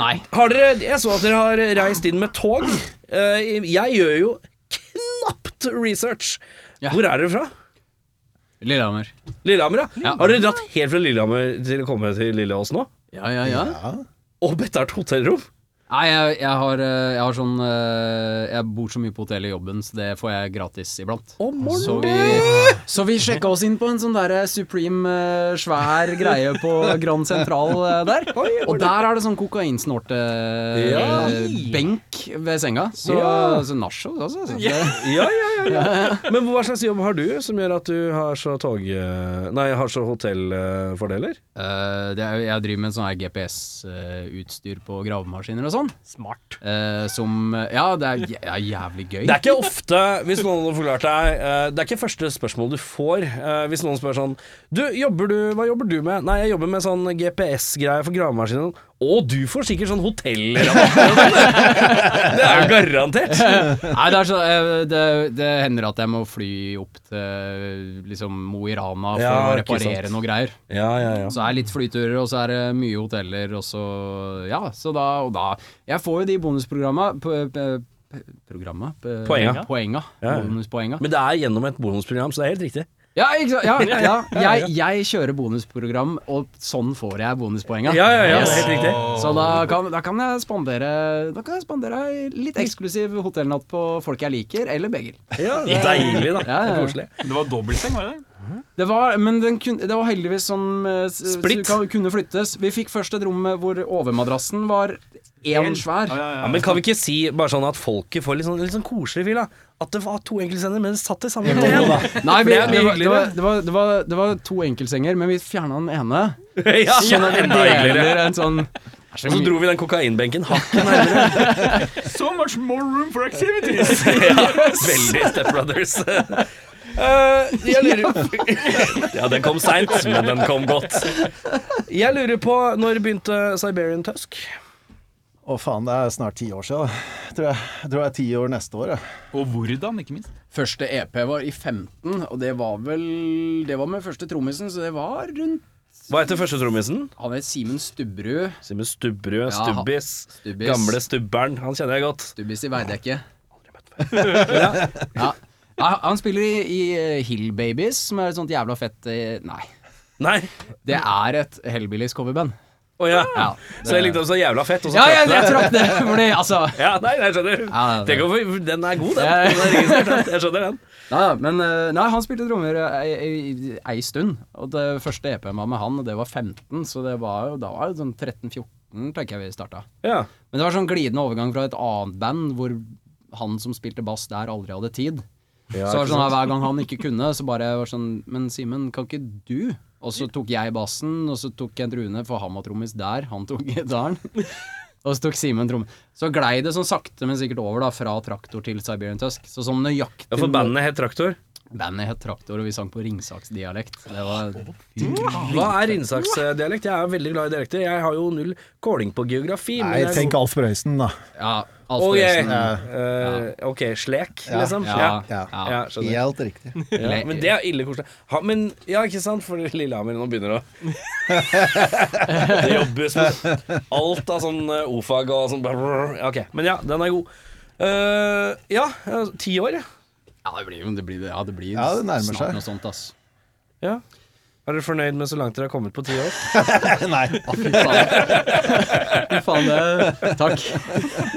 F: Nei.
A: Har dere, jeg så at dere har reist inn med tog. Eh, Jeg gjør jo knapt research.
F: Ja.
A: Hvor er dere fra?
F: Lillehammer.
A: Lillehammer, ja.
F: Ja.
A: Har dere dratt helt fra Lillehammer til å komme til Lilleås nå?
F: Ja, ja, ja.
A: Og Bettart hotellrom?
F: Nei, jeg, jeg, har, eh, jeg har sånn eh, Jeg bor så mye på hotell i jobben, så det får jeg gratis iblant.
A: Om
F: Så vi, så vi sjekka oss inn på en sånn der eh, Supreme eh, svær greie på Grand Sentral eh, der. Og der er det sånn
A: Ja.
F: kokainsnorte-benk ved senga. Så,
A: Ja.
F: så nach og altså. Så det,
A: Ja, ja, ja, ja. Men hva slags jobb har du som gjør at du har så tog... eh, Nei, har så hotellfordeler?
F: eh, det er, jeg driver med sånn her GPS-utstyr eh, på gravemaskiner og sånn.
C: Smart.
F: eh, som Ja, det er, jæ- er jævlig gøy.
A: Det er ikke ofte, hvis noen har forklart deg eh, Det er ikke første spørsmål du får eh, hvis noen spør sånn Du, jobber du, hva jobber du med? Nei, jeg jobber med sånn GPS-greie for gravemaskinen. Å, du får sikkert sånn hotellrabatt! Det er jo garantert!
F: Nei, det, er så, eh, det, det hender at jeg må fly opp til liksom Mo i Rana for
A: Ja,
F: å
A: ikke
F: reparere
A: sant.
F: noe greier.
A: Ja, ja, ja.
F: Så er det litt flyturer, og så er det mye hoteller, og så Ja, så da og da. Jeg får jo de bonusprogramma p- p- p- Programma? P-
A: Poenga.
F: Poenga.
A: Ja, ja.
F: Bonuspoenga.
A: Men det er gjennom et bonusprogram, så det er helt riktig.
F: Ja, ikke sant? Ja, ja. Jeg, jeg kjører bonusprogram, og sånn får jeg bonuspoenga.
A: Ja, ja, ja,
F: Yes.
A: det er helt riktig.
F: Så da kan, da kan jeg spandere Da kan jeg spandere ei litt eksklusiv hotellnatt på folk jeg liker, eller begge.
A: Ja, det er Deilig, da.
F: Ja, ja, ja.
A: Det er Koselig.
B: Det var dobbeltseng, var det det?
F: Det var, men den kun, det var heldigvis sånn eh, s-
A: Splitt.
F: så kan- kunne flyttes. Vi fikk først et rom eh, hvor overmadrassen var én svær.
A: Ja,
B: ja,
A: men kan vi ikke si bare sånn at folket får litt sånn, litt sånn koselig fil, da? At det var to enkeltsender, men det satt i samme hotell.
F: Nei,
A: Det er mye
F: vi, det, var, det,
A: hyggeligere.
F: var, det, var, det, var, det var to enkeltsenger, men vi fjerna den ene.
A: Ja,
F: Sånn at vi
A: enda hyggeligere.
F: deler en sånn
A: Og så dro vi den kokainbenken hakket nærmere.
B: So much more room for activities!
A: Veldig Step Brothers. Eh, jeg lurer Ja, den kom seint, men den kom godt. Jeg lurer på, når begynte Siberian Tusk?
E: Å faen, det er snart ti år siden, da. tror jeg. Jeg tror det er ti år neste år. Jeg.
B: Og hvordan, ikke minst.
F: Første EP var i 15, og det var vel Det var med første trommisen, så det var rundt
A: Hva heter første trommisen?
F: Han het Simen Stubberud.
A: Simen Stubberud.
F: Ja, han-
A: Stubbis.
F: Stubbis.
A: Gamle Stubbern. Han kjenner jeg godt.
F: Stubbis i Veidekke. ja. ja. Han spiller i, i eh, Hill Babies, som er et sånt jævla fett eh, Nei.
A: Nei.
F: Det er et Hellbillies coverband.
A: Å ja.
F: Ja,
A: Så jeg likte ham så jævla fett, og så
F: Ja, jeg,
A: trakk det.
F: jeg trakk det, fordi altså
A: Ja, nei, jeg skjønner.
F: Ja, det-
A: Tenk om vi- Den er god, den.
F: Ja, ja.
A: den er registrert, den. jeg skjønner den.
F: Nei, men eh, nei, han spilte trommer eh, ei, ei, ei stund. Og det første EP-en var med han, og det var 15, så det var jo da var det sånn 13-14, tenker jeg vi starta.
A: Ja.
F: Men det var sånn glidende overgang fra et annet band hvor han som spilte bass der, aldri hadde tid. så var det sånn at Hver gang han ikke kunne, så bare var sånn Men Simen, kan ikke du? Og så tok jeg bassen, og så tok Kent Rune, for han var trommis der, han tok gitaren. Og så tok Simen tromme. Så glei det sånn sakte, men sikkert over, da, fra Traktor til Siberian Tusk. Så sånn nøyaktig
A: Ja, for bandet het Traktor.
F: Bandet het Traktor, og vi sang på ringsaksdialekt. Det var
A: Hva er innsaksdialekt? Jeg er veldig glad i dialekter. Jeg har jo null kåling på geografi. men
E: Nei,
A: jeg er
E: tenk
A: god-
E: Alf Brøysen, da.
F: Ja, Alf
A: Ok,
F: Børresen.
A: eh, ok, slek, liksom.
F: Ja,
E: Ja.
F: ja.
A: Ja, skjønner.
E: Helt riktig.
A: Ja, men det er ille koselig. Ha, men ja, ikke sant, for Lillehammer nå begynner å Det jobbes med alt av sånn eh, o-fag og sånn. bare- Ok, men ja, den er god. Eh, ja, eh, ti år, ja.
F: Ja, det blir jo det blir, ja, det blir
E: Ja, det nærmer
F: snart
E: seg.
F: noe sånt, ass.
A: ja. Er dere fornøyd med så langt dere har kommet på ti år?
E: Nei.
F: Fy faen. Fy faen det. Takk.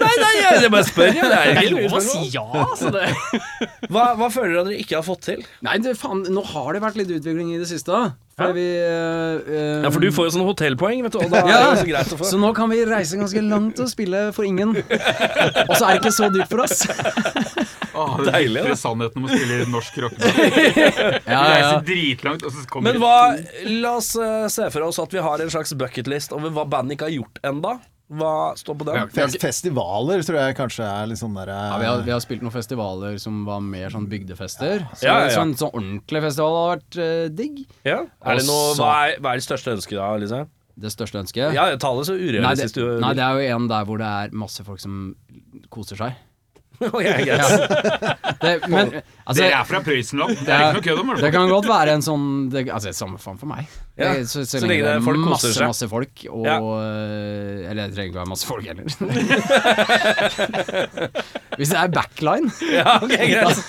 A: Nei, nei, jeg, jeg bare spør. Jeg. Det
C: Det
A: er
C: er
A: ikke
C: lov å
A: lurt
C: si
A: spørsmål.
C: ja, altså. Det.
A: Hva, hva føler dere dere ikke har fått til?
F: Nei, du, faen, nå har det vært litt utvikling i det siste. da.
C: Ja.
F: For vi eh, eh,
A: Ja, for du får jo sånne hotellpoeng, vet du, og da er det
F: Ja.
A: jo så greit å få.
F: Så nå kan vi reise ganske langt og spille for ingen. Og så er det ikke så dyrt for oss.
B: Åh, det
A: Deilig,
B: er
A: da.
B: bitre sannheten om å spille norsk rockeband.
F: Ja,
B: Reiser dritlangt, og så kommer
A: Men hva, la oss eh, se for oss at vi har en slags bucketlist over hva bandet ikke har gjort enda. Hva står på den?
E: Fest, festivaler tror jeg kanskje er litt sånn derre
F: vi, har, vi har spilt noen festivaler som var mer sånn bygdefester. Så,
A: Ja, ja, ja.
F: Sånn, sånn ordentlig festival hadde vært eh, digg.
A: Ja. Er det noe,
F: Altså-
A: hva, er, hva er det største ønsket da, Lise?
F: Det største ønsket.
A: Ja, ta det så
F: nei, det,
A: urealistisk du
F: nei, det er jo en der hvor det er masse folk som koser seg.
A: Ok, greit.
F: Det, men, altså,
B: Dere er fra Prøysenland. Det er
F: Ja.
B: ikke noe kødd om
F: Det
B: det.
F: kan godt være en sånn det, Altså, det er samme faen for meg.
A: Ja,
F: Det- Så, så,
A: så lenge
F: lenge det er
A: folk koser
F: masse,
A: seg.
F: masse folk, og
A: Ja.
F: eh, Eller det trenger ikke være masse folk heller. Hvis det er backline
A: Ja, ok, greit.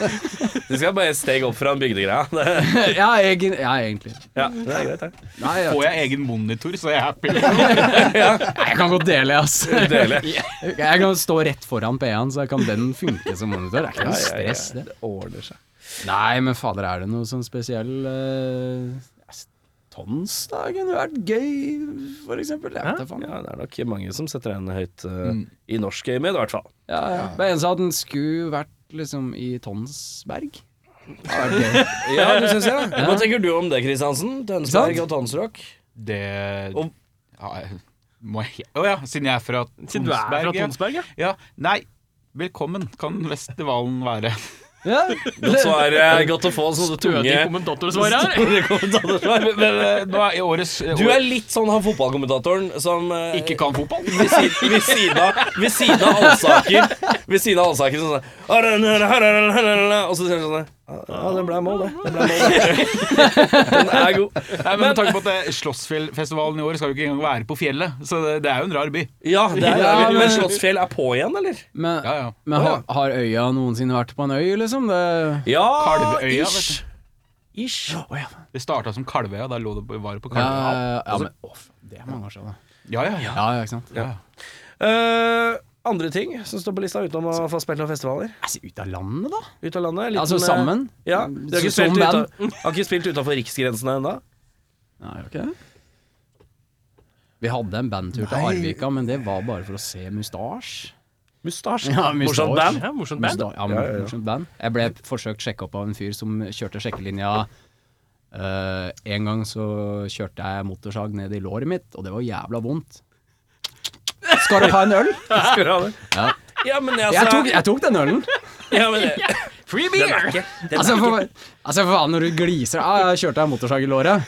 A: Du skal bare et steg opp fra en bygdegreia. Det-
F: ja, egen, ja, egentlig.
A: Ja, det er greit, det.
F: Nei, jeg,
B: Får jeg egen monitor, så er jeg happy.
F: nei, jeg kan godt dele, ass.
A: Deilig.
F: Jeg kan stå rett foran P1, så jeg kan den funke som monitor. Det er ikke noe stress, det.
A: ordner seg.
F: Nei, men fader, er det noe sånn spesiell uh, Tonsdagen hadde vært gøy, for eksempel. Jeg vet da faen.
A: Ja, det er nok mange som setter den høyt eh,
B: Mm.
A: i norsk game, i hvert fall.
F: Ja, ja. Det eneste er at den skulle vært liksom i Tonsberg. Det hadde vært gøy.
A: Ja, du synes jeg. Hva tenker du om det, Kristiansen? Tønsberg
F: Sant?
A: og Tonsrock?
B: Det
A: Om-
B: ja, jeg- må jeg- Å ja, siden jeg er fra
C: Siden du er fra
B: Tonsberg. ja.
C: Tonsberg, ja.
B: Ja, nei. Velkommen kan Vestevalen være.
F: Ja.
A: Godt svar. eh, Godt å få sånne
C: Døde
A: tunge
C: kommentatorsvar her.
A: kommentatorsvar.
B: Men eh, nå er i årets
A: Du er litt sånn han fotballkommentatoren som eh,
B: ikke kan fotball.
A: ved, si- ved siden av Ved siden av Alsaker. Ved siden av Alsaker sånn sånn Og så sier han sånn Ja, det ble mål, det. det, ble mål, det. Den er god.
B: Nei, men med tanke på at det er Slottsfjellfestivalen i år skal jo ikke engang være på fjellet, så det, det er jo en rar by.
A: Ja, det er,
F: Ja, men-
A: men Slottsfjell er på igjen, eller?
F: Men,
B: Ja, ja.
F: men har, har øya noensinne vært på en øy, liksom? Det,
A: Ja,
B: Kalvøya,
A: ish. Ish.
B: Det starta som Kalvøya, da lå det på- var det på
F: ja,
B: Kalvøya. Altså,
F: ja, men å, faen, Det er mange år siden, da.
B: Ja, ja, ja.
F: altså- Ja, ja, ikke sant?
A: Eh, andre ting som står på lista utenom å få spilt noen festivaler?
F: Altså, ut av landet, da?
A: Ut av landet? litt
F: Altså,
A: med-
F: sammen?
A: Ja, de har ikke
F: Så-
A: spilt,
F: som band?
A: uta, har ikke spilt utenfor riksgrensene ennå.
F: Nei, ok. Vi hadde en bandtur til Arvika, men det var bare for å se Mustasj.
A: Mustasje.
F: Ja,
A: Morsomt band.
C: Ja, morsomt band.
F: Musta- Ja, men, morsomt band. Jeg ble forsøkt sjekka opp av en fyr som kjørte sjekkelinja. Eh, en gang så kjørte jeg motorsag ned i låret mitt, og det var jævla vondt. Skal du ha en øl?
A: Skal du ha det?
F: Ja.
A: Ja, men altså
F: Jeg tok, jeg tok den ølen.
A: ja, men, det-
C: Free
A: Den er
C: beer!
A: ikke den
F: Altså,
A: er
F: for, altså, for faen, når du gliser ah, jeg kjørte jeg motorsag i låret?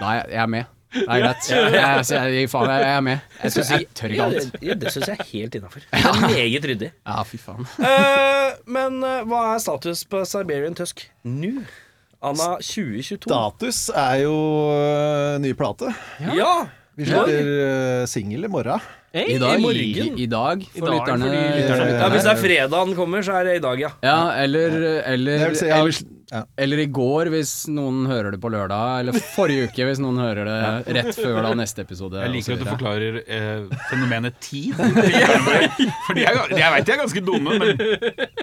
F: Nei, jeg er med. Det er greit. Jeg, altså, jeg, jeg, faen, jeg, jeg er med. Jeg,
A: ikke-
F: synes jeg tør ikke alt.
A: Ja, det syns jeg er helt innafor. Meget ryddig.
F: Ja, fy faen.
A: Eh, men eh, hva er status på Siberian Tusk nå? Anna 2022.
E: Status er jo øh, ny plate.
A: Ja!
E: Vi slipper øh, singel i morgen.
C: Hey,
F: I
A: i
F: dag, i,
A: morgen.
F: i dag for
C: I dag,
F: lytterne.
C: for de lytterne.
F: for
A: ja. Hvis det er fredagen kommer, så er det i dag, ja.
F: Ja, eller, eller,
E: Jeg vil si, jeg vil, ja.
F: Eller i går, hvis noen hører det på lørdag. Eller forrige uke, hvis noen hører det rett før da neste episode.
B: Jeg liker at
F: og så
B: du
F: videre.
B: forklarer eh, fenomenet tid. For de er, jeg veit de er ganske dumme, men det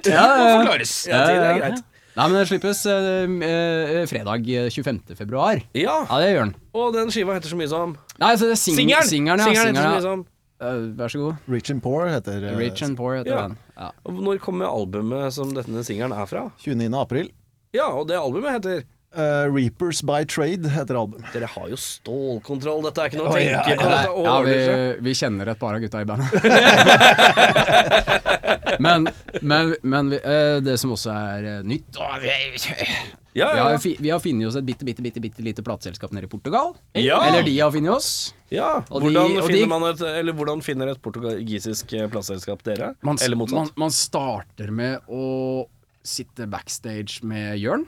F: Ja, ja, ja.
B: forklares.
A: ja det er
F: ja.
A: greit.
F: Nei, men det slippes eh, eh, fredag eh, 25. februar.
A: Ja,
F: Ja, det gjør den.
A: og den skiva heter så mye som
F: Nei, så det er sing
A: Singelen!
F: singeren. ja.
A: Singelen liksom. heter så
F: singeren,
A: mye
F: ja.
A: som
F: Eh, vær så god.
E: Rich and Poor heter øh,
F: Rich and poor heter
A: ja.
F: den. Ja.
A: Og Når kommer albumet som denne singelen er fra?
E: 29. april.
A: Ja, og det albumet heter
E: Eh, Reapers by Trade heter album.
A: Dere har jo stålkontroll, dette er ikke noe å
E: Oi,
A: tenke
E: ja,
A: på.
F: Nei,
A: Dette
F: ja,
A: ordner
F: vi,
A: seg.
F: vi kjenner et par av gutta i bandet. men men, men vi, eh, det som også er eh, nytt Å, vi-
A: Ja,
F: Vi
A: ja,
F: har,
A: ja.
F: fi- vi har funnet oss et bitte, bitte, bitte, bitte lite plateselskap nede i Portugal.
A: Ja.
F: Eller de har funnet oss.
A: ja.
F: og de-
A: Hvordan,
F: og de-
A: finner man et, eller hvordan finner et portugisisk eh, plateselskap dere?
F: Man, s-
A: eller motsatt?
F: man, man starter med å sitte backstage med Jørn.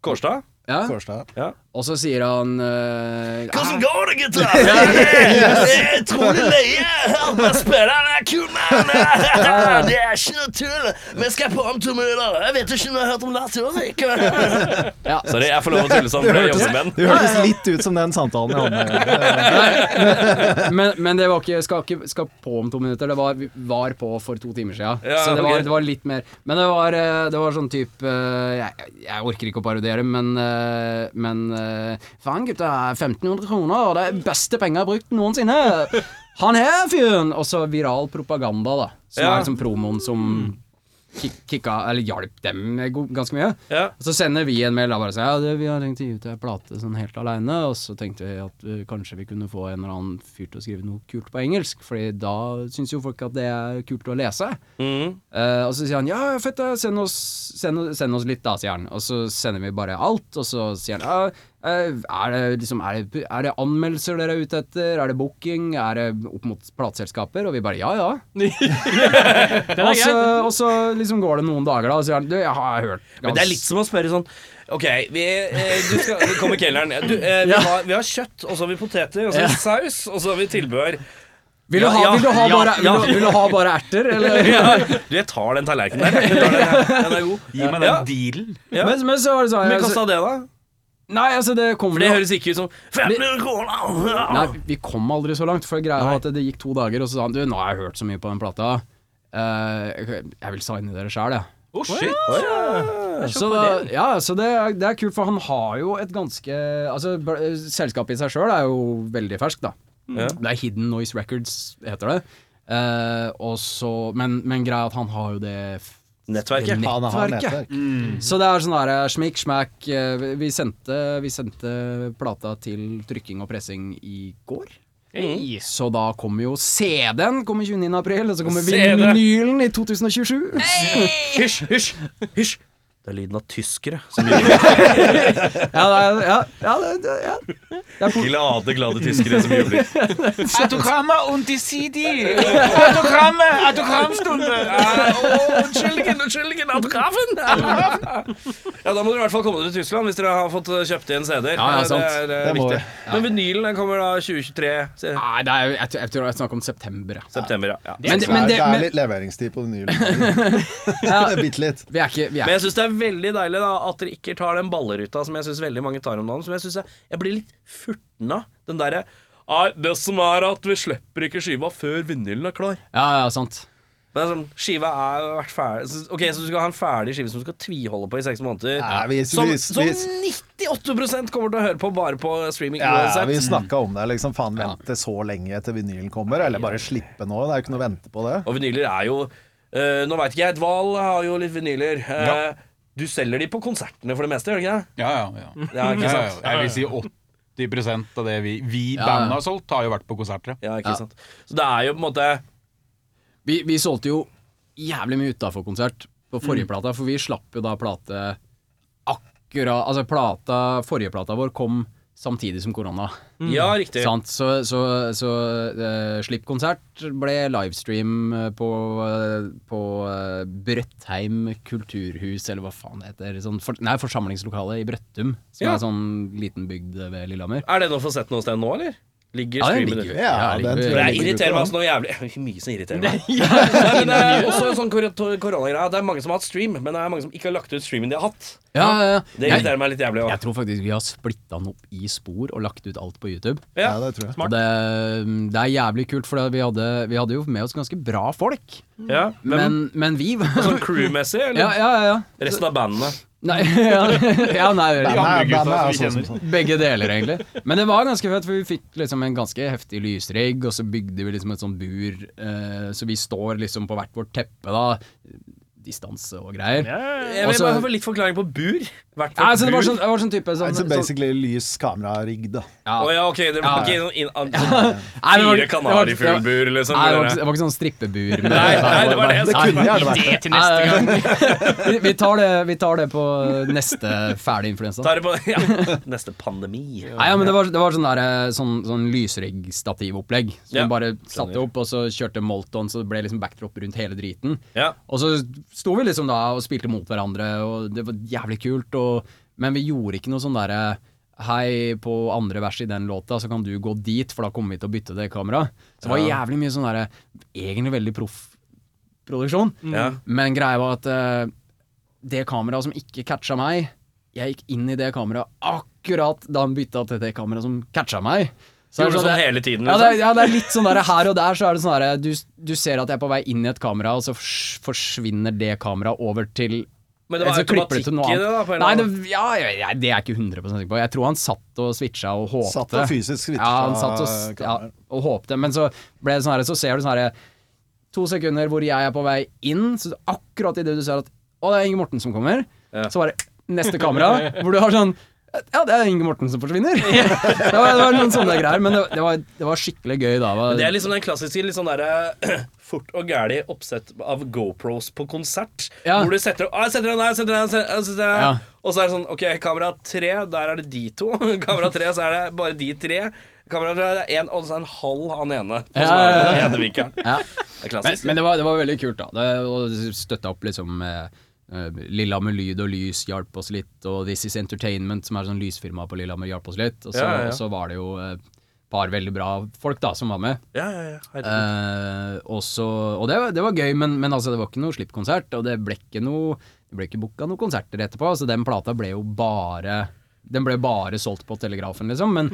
A: Kårstad?
F: Ja.
E: Kårstad.
A: Ja.
F: Og så sier han eh,
A: Hvordan går det, gutter? Det er utrolig løye. Hørt meg spille, det er kul, mann. Det er ikke noe tull. Vi skal på om to minutter. Jeg vet ikke om du har hørt om Lars Ulrik?
F: ja.
A: Sorry, jeg får lov å tulle sånn, for jeg jobber med
E: Det hørtes litt ut som den samtalen eh, jeg hadde med
F: men, men det var ikke skal, ikke skal på om to minutter. Det var, var på for to timer siden.
A: Ja,
F: så det var,
A: ok.
F: det var litt mer. Men det var, eh, det var sånn type eh, jeg, jeg orker ikke å parodiere, men, eh, men eh, Faen, gutta. 1500 kroner. og Det er beste penger jeg har brukt noensinne. Han her fyren! Og så viral propaganda, da. Som
A: Ja.
F: er liksom promoen som kick- kicka, eller hjalp dem go- ganske mye.
A: Ja.
F: Og Så sender vi en mail og bare sier ja, det, vi har tenkt å gi ut ei plate sånn helt aleine, og så tenkte vi at eh, kanskje vi kunne få en eller annen fyr til å skrive noe kult på engelsk, Fordi da syns jo folk at det er kult å lese.
A: Mm.
F: Eh, og så sier han ja, fett, da, send oss, send, oss- send oss litt da, sier han. Og så sender vi bare alt, og så sier han ja, eh, er det, liksom, er, det, er det anmeldelser dere er ute etter? Er det booking? Er det opp mot plateselskaper? Og vi bare ja, ja.
C: Den
F: Og
C: er
F: så,
C: grei.
F: og så liksom går det noen dager, da, og så sier han du, jeg har hørt
A: Men det er litt som å spørre sånn Ok, vi, eh, du skal, vi kommer i kelleren. Du, eh, vi, har, vi har kjøtt, og så har vi poteter, og så har vi saus, og så har vi tilbehør.
F: Vil du
A: Ja,
F: ha,
A: ja,
F: vil du ha,
A: ja,
F: bare,
A: ja.
F: Vil du, vil du ha bare erter, eller?
A: Ja, du, jeg tar den tallerkenen der. Jeg tar den, her. den er god.
B: Gi meg den
A: Ja.
B: dealen.
A: Ja.
F: Men, men så var det sånn
A: Men hva
F: altså,
A: sa det, da?
F: Nei, altså, det kom
A: For det
F: jo-
A: høres ikke ut som 500
F: Nei,
A: kroner!
F: vi kom aldri så langt, for greia var at det gikk to dager, og så sa han du, nå har jeg hørt så mye på den plata. eh, jeg vil signe dere sjæl, jeg.
B: Oh, shit.
F: Så, da- ja, så det, er- det er kult, for han har jo et ganske Altså, bl- selskapet i seg sjøl er jo veldig ferskt, da.
A: Mm.
F: Det er Hidden Noise Records, heter det. Eh, og så Men, men greia er at han har jo det f-
A: Nettverket.
F: det
E: Han har
F: nettverket.
E: nettverk.
F: Så det er sånn der smikk, smakk. eh, vi- Vi sendte, vi sendte plata til trykking og pressing i går.
C: Hei.
F: Så da kommer jo CD-en kommer 29. april, og så kommer
A: CD.
F: vinylen i 2027.
A: Hysj, hysj, hysj! Det er lyden av tyskere.
F: Ja, det er- ja, ja, det- det- ja.
A: Glade, glade tyskere som jubler.
B: Autogrammer und die CD. Autogrammer, autogramstunde.
A: Unnskyldningen, unnskyldningen, autografen! Ja, da må dere i hvert fall komme dere til Tyskland hvis dere har fått eh, kjøpt inn CD-er.
F: Ja, ja, sant.
A: Det er, eh,
E: Det må
A: viktig. Men vinylen den kommer da 2023. se-
F: Nei, det er, jo- jeg, tror- jeg tror det er snakk om september. ja.
A: September, ja. ja.
F: Men,
E: Det
F: men,
E: er,
F: det,
E: det er
F: men
E: litt leveringstid på den nye låten. Bitte litt.
F: vi er ikke vi er,
A: Men jeg syns det er veldig deilig da at dere ikke tar den balleruta som jeg syns veldig mange tar om dagen. Som jeg synes jeg, jeg blir litt furten av. Den derre Nei, det som er at vi slipper ikke skiva før vinylen er klar.
F: Ja, ja, sant.
A: Men sånn, skiva er jo vært ferdig så- Ok, Så du skal ha en ferdig skive som du skal tviholde på i seks måneder?
E: Nei, vi-
A: som,
E: vi-
A: som
E: vi-
A: 98 kommer til å høre på bare på streaming
E: Ja, ja,
A: uansett.
E: vi snakka om det. liksom Faen, vente så lenge til vinylen kommer, eller bare slippe nå. Det er jo ikke noe å vente på det.
A: Og vinyler er jo eh, Nå veit ikke jeg, Dval har jo litt vinyler. Eh, Du selger de på konsertene for det meste, gjør du ikke det?
B: Ja, ja, ja.
A: Ja, ikke
B: Ja,
A: sant?
B: ja, Jeg vil si 80 av det vi, vi
F: Ja, ja.
B: bandet har solgt, har jo vært på konserter. ja.
A: Ja, ikke sant? Så det er jo på en måte
F: Vi, vi solgte jo jævlig mye utafor konsert på forrige plata, for vi slapp jo da plate akkurat Altså, plata, forrige plata vår kom samtidig som korona.
A: Ja, riktig.
F: Mm. Sant? Så, så, så eh, slippkonsert ble livestream eh, på, eh, på eh, Brøttheim kulturhus, eller hva faen det heter. Sånn for, nei, forsamlingslokalet i Brøttum, som
A: Ja.
F: er sånn liten bygd ved Lillehammer.
A: Er det noe å få sett noe sted nå, eller? Ligger
F: Ja, den
A: streamen
F: ligger
A: ute?
F: jo.
E: Ja,
F: Ja,
E: den
F: det-
E: tror
A: For
E: jeg
A: jeg
E: ligger
A: irriterer meg
E: ute, da.
A: altså noe jævlig Det er Mye som irriterer meg. Nei, men det er også en sånn kor- koronagreie. Det er mange som har hatt stream, men det er mange som ikke har lagt ut streamen de har hatt.
F: Ja, ja, ja.
A: Det
F: Jeg,
A: irriterer meg litt jævlig
F: jeg
A: òg.
F: tror faktisk vi har splitta den opp i spor og lagt ut alt på YouTube.
E: Ja, det tror jeg.
F: Og Det, det er jævlig kult, for det- vi hadde, vi hadde jo med oss ganske bra folk.
A: Ja, men
F: Men, men vi var
A: sånn crew-messig, eller?
F: Ja, ja, ja.
A: Resten av bandene.
F: Nei, ja, ja, nei
E: Bandet er-
B: andre gutta
E: bandet er
B: som vi
E: sånn som sånn.
F: begge deler, egentlig. Men det var ganske fett, for vi fikk liksom en ganske heftig lysrigg, og så bygde vi liksom et sånt bur, eh, så vi står liksom på hvert vårt teppe, da. Distanse og greier.
A: Jeg vil
F: Også-
A: bare få litt forklaring på bur. Hvert
F: Ja, så det var
A: bur.
F: sånn, det var sånn type sånn,
E: Altså
F: sånn,
E: basically lys kamerarigg, da.
A: Å ja, ok, dere var
F: Ja.
A: ikke noen inn... an- sånn
F: Nei, det var-
A: Fire
F: det var- det var-
A: kanarifuglbur, liksom.
F: Nei, det var,
A: dere.
F: ikke- det var ikke sånn strippebur. med-
A: Nei, nei, det var det altså. jeg
E: Det
A: sa.
E: kunne gjerne vært det.
C: Idé til neste gang.
F: vi, vi, tar det, vi tar det på neste ferdig influensa.
A: Ta det på ja. Neste pandemi.
F: Nei, ja, men det var, det var sånn, der, eh, sånn, sånn lysriggstativopplegg. Som
A: Ja.
F: du bare satte opp, og så kjørte Molton, så det ble liksom backdrop rundt hele driten.
A: Ja.
F: Og så sto vi liksom da og spilte mot hverandre, og det var jævlig kult, og, men vi gjorde ikke noe sånn derre Hei, på andre vers i den låta, så kan du gå dit, for da kommer vi til å bytte det kameraet. Så det var jævlig mye sånn derre Egentlig veldig proff produksjon.
A: Ja.
F: Men greia var at eh, det kameraet som ikke catcha meg Jeg gikk inn i det kameraet akkurat da han bytta til det kameraet som catcha meg. Så
A: Gjorde du
F: det er sånn
A: sånn
F: det-
A: hele tiden?
F: ja, det er,
A: Liksom?
F: ja, det er litt sånn der her og der, så er det sånn der du, du ser at jeg er på vei inn i et kamera, og så fors- forsvinner det kameraet over til
A: Men det var
F: så klipper
A: automatikk
F: til noe
A: i det,
F: annet.
A: da? På en
F: Nei,
A: eller
F: det,
A: annen.
F: ja, jeg, jeg, det er jeg ikke 100 sikker på. Jeg tror han satt og switcha og håpte.
E: Satt og fysisk switcha
F: Ja, han satt og, s- ja,
E: kameraer.
F: og håpte. Men så ble det sånn her, så ser du sånn her To sekunder hvor jeg er på vei inn, så akkurat idet du ser at Å, det er Inge Morten som kommer. Så bare neste kamera, hvor du har sånn ja, det er Inge Morten som forsvinner. Det var, det var noen sånne greier, men det, det, var, det var skikkelig gøy da. Det var-
A: Det er liksom den klassiske litt sånn derre fort og gæli oppsett av GoPros på konsert.
F: Ja.
A: Hvor du setter opp «Ah, Jeg setter den der, jeg setter den der, jeg setter- jeg setter den der.
F: Ja.
A: Og så er det sånn OK, kamera tre, der er det de to. Kamera tre, så er det bare de tre. Kamera tre, det er én, og så er det en halv av den ene.
F: Ja,
A: Som er
F: ja,
A: den
F: ja.
A: ene vinkelen.
F: Ja.
A: Det er
F: Men,
A: klassisk.
F: men det, var, det var veldig kult, da. Det, og støtta opp liksom eh, eh, Lillehammer Lyd og Lys hjalp oss litt, og This Is Entertainment, som er sånn lysfirma på Lillehammer, hjalp oss litt. Og så,
A: Ja, ja, ja.
F: og så var det jo eh, et par veldig bra folk da som var med.
A: ja, ja, ja. herregud.
F: Eh, og så, og det, var- det var gøy, men, men altså, det var ikke noe slippkonsert, og det ble ikke noe Det ble ikke booka noen konserter etterpå, så den plata ble jo bare den ble bare solgt på Telegrafen, liksom. Men,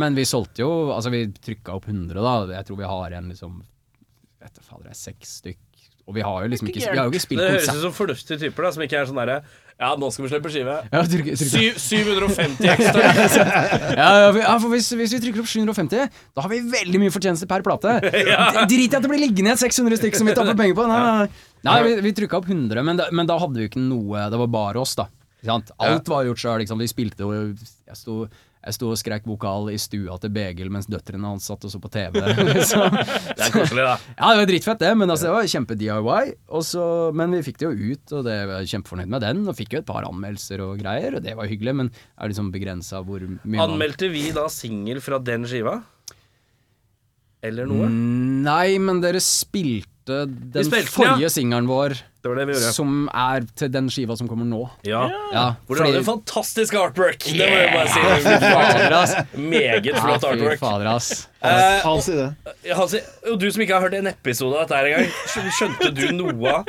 F: men vi solgte jo Altså, vi trykka opp 100, da. Jeg tror vi har igjen liksom Jeg vet da fader, det er seks stykk. Og vi har jo liksom ikke, vi har jo ikke spilt
A: Det høres ut
F: konsert.
A: som fornuftige typer da som ikke er sånn derre Ja, nå skal vi slippe skive.
F: Ja, tryk, tryk,
A: Syv- 750 ekstra.
F: ja, ja, for- ja, for hvis, hvis vi trykker opp 750, da har vi veldig mye fortjeneste per plate. D- Drit i at det blir liggende igjen 600 stykk som vi tapper penger på. Nei, nei, nei. nei vi, vi trykka opp 100, men da, men da hadde vi jo ikke noe Det var bare oss, da. Ikke sant? Alt var gjort sjøl. Liksom. Vi spilte jo Jeg sto jeg sto og skrek vokal i stua til Begil mens døtrene hans satt og så på TV. Så,
A: Det er koselig, da.
F: ja, det var dritfett, det, men altså, det var kjempe-DIY. og så- Men vi fikk det jo ut, og det var jeg kjempefornøyd med den. Og fikk jo et par anmeldelser og greier, og det var hyggelig, men er liksom begrensa hvor mye man-
A: Anmeldte vi da singel fra den skiva? Eller noe?
F: Nei, men dere spilte den
A: spilte den, ja.
F: forrige singelen vår,
A: Det var det vi gjorde.
F: som er til den skiva som kommer nå.
A: Ja.
F: Ja,
A: Hvor dere hadde en fantastisk artwork! Det må jeg bare
F: fader, ass.
A: si. Meget
F: Ja,
A: flott
F: fy
A: artwork.
F: fader, ass.
A: Eh,
E: Han sier det.
A: Hansi, og du som ikke har hørt en episode av dette her engang, skjø- skjønte du noe av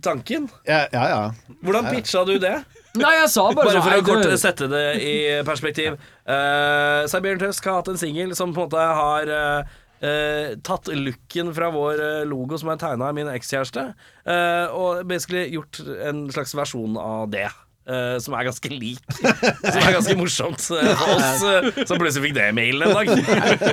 A: tanken?
E: Ja, ja. ja.
A: Hvordan pitcha du det?
F: Nei, jeg sa bare,
A: Bare
F: sånn,
A: for
F: hei,
A: å kort
F: du-
A: sette det i perspektiv. Uh, Siberian Tusk har hatt en singel som på en måte har eh, eh, tatt looken fra vår eh, logo som er tegna av min ekskjæreste, eh, og basically gjort en slags versjon av det. eh, som er ganske lik. Som er ganske morsomt eh, for oss eh, som plutselig fikk det i mailen en dag.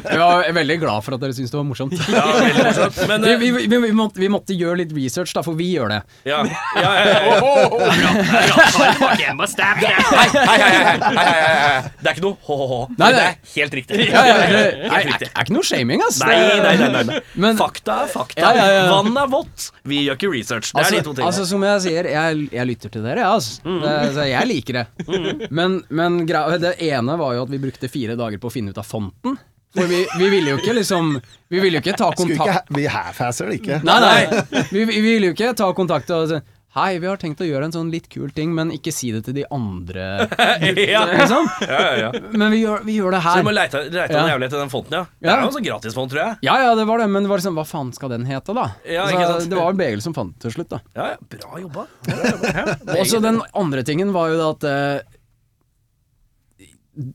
F: Vi var veldig glad for at dere syntes det var morsomt.
A: Ja, veldig morsomt. Men,
F: Vi,
A: eh,
F: vi, vi, vi, måtte, vi måtte gjøre litt research, da, for vi gjør det.
A: ja, ja, ja, ja, ja.
C: Nei,
A: Hei, hei, hei, hei, hei, hei, hei. Det er ikke noe hå-hå-hå.
F: Nei,
A: men Det
F: nei.
A: er helt riktig.
F: Ja, ja, det er,
A: Helt
F: er,
A: riktig.
F: er ikke noe shaming, ass.
A: Nei, nei, nei, nei, nei.
F: Men-
A: fakta er fakta.
F: Ja, ja, ja.
A: Vann er vått. Vi gjør ikke research. Det er
F: altså,
A: de to tingene. Mm.
F: Altså, som jeg sier, jeg, jeg lytter til dere, jeg, altså. Det- så jeg liker det. Men, men grei- det ene var jo at vi brukte fire dager på å finne ut av fonten. For vi, vi ville jo ikke liksom Vi ville jo ikke ta
E: Skulle ikke,
F: kontakt
E: ha- vi half-asser det ikke.
F: Nei, nei. Vi, vi ville jo ikke ta kontakt og si Hei, vi har tenkt å gjøre en sånn litt kul ting, men ikke si det til de andre,
A: ja.
F: liksom.
A: Ja, ja, ja.
F: Men vi gjør, vi gjør det
A: Så
F: her.
A: du må leite, leite
F: Ja.
A: en jævlig etter den fonten, ja. Det
F: Ja.
A: er jo en sånn gratisfont, tror jeg.
F: Ja ja, det var det, men det var liksom Hva faen skal den hete, da?
A: Ja,
F: Så
A: ikke sant?
F: Det var jo Begel som fant det til slutt, da.
A: Ja, ja. Bra jobba. Bra jobba. Ja.
F: Og så den andre tingen var jo da at eh,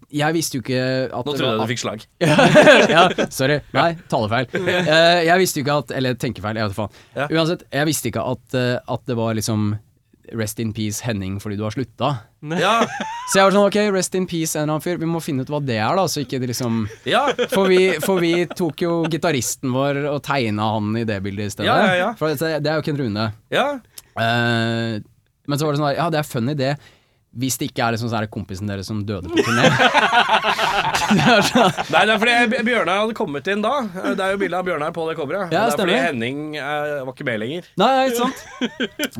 F: Jeg visste jo ikke at
A: Nå
F: det
A: trodde
F: var-
A: jeg du fikk slag.
F: ja, sorry. Nei, talefeil. Eh, jeg visste jo ikke at Eller tenkefeil, jeg vet faen.
A: Ja.
F: Uansett, jeg visste ikke at, eh, at det var liksom Rest in peace, Henning, fordi du har slutta.
A: Ja,
F: Så jeg var sånn, ok, rest in peace, en eller annen fyr. Vi må finne ut hva det er, da, så ikke det liksom
A: ja.
F: for vi, for vi tok jo gitaristen vår og tegna han i det bildet i stedet.
A: Ja, ja, ja.
F: For det, det er jo Ken Rune.
A: ja.
F: Eh, men så var det sånn her, ja det er funny det, hvis det ikke er liksom sånn her kompisen deres som døde på turné. Det er sånn-
A: Nei, det er fordi B- Bjørnar hadde kommet inn da. Det er jo bilde av Bjørnar på det coveret.
F: Ja,
A: det er fordi
F: stemmer.
A: Henning eh, var ikke med lenger.
F: Nei, nei, ikke sant?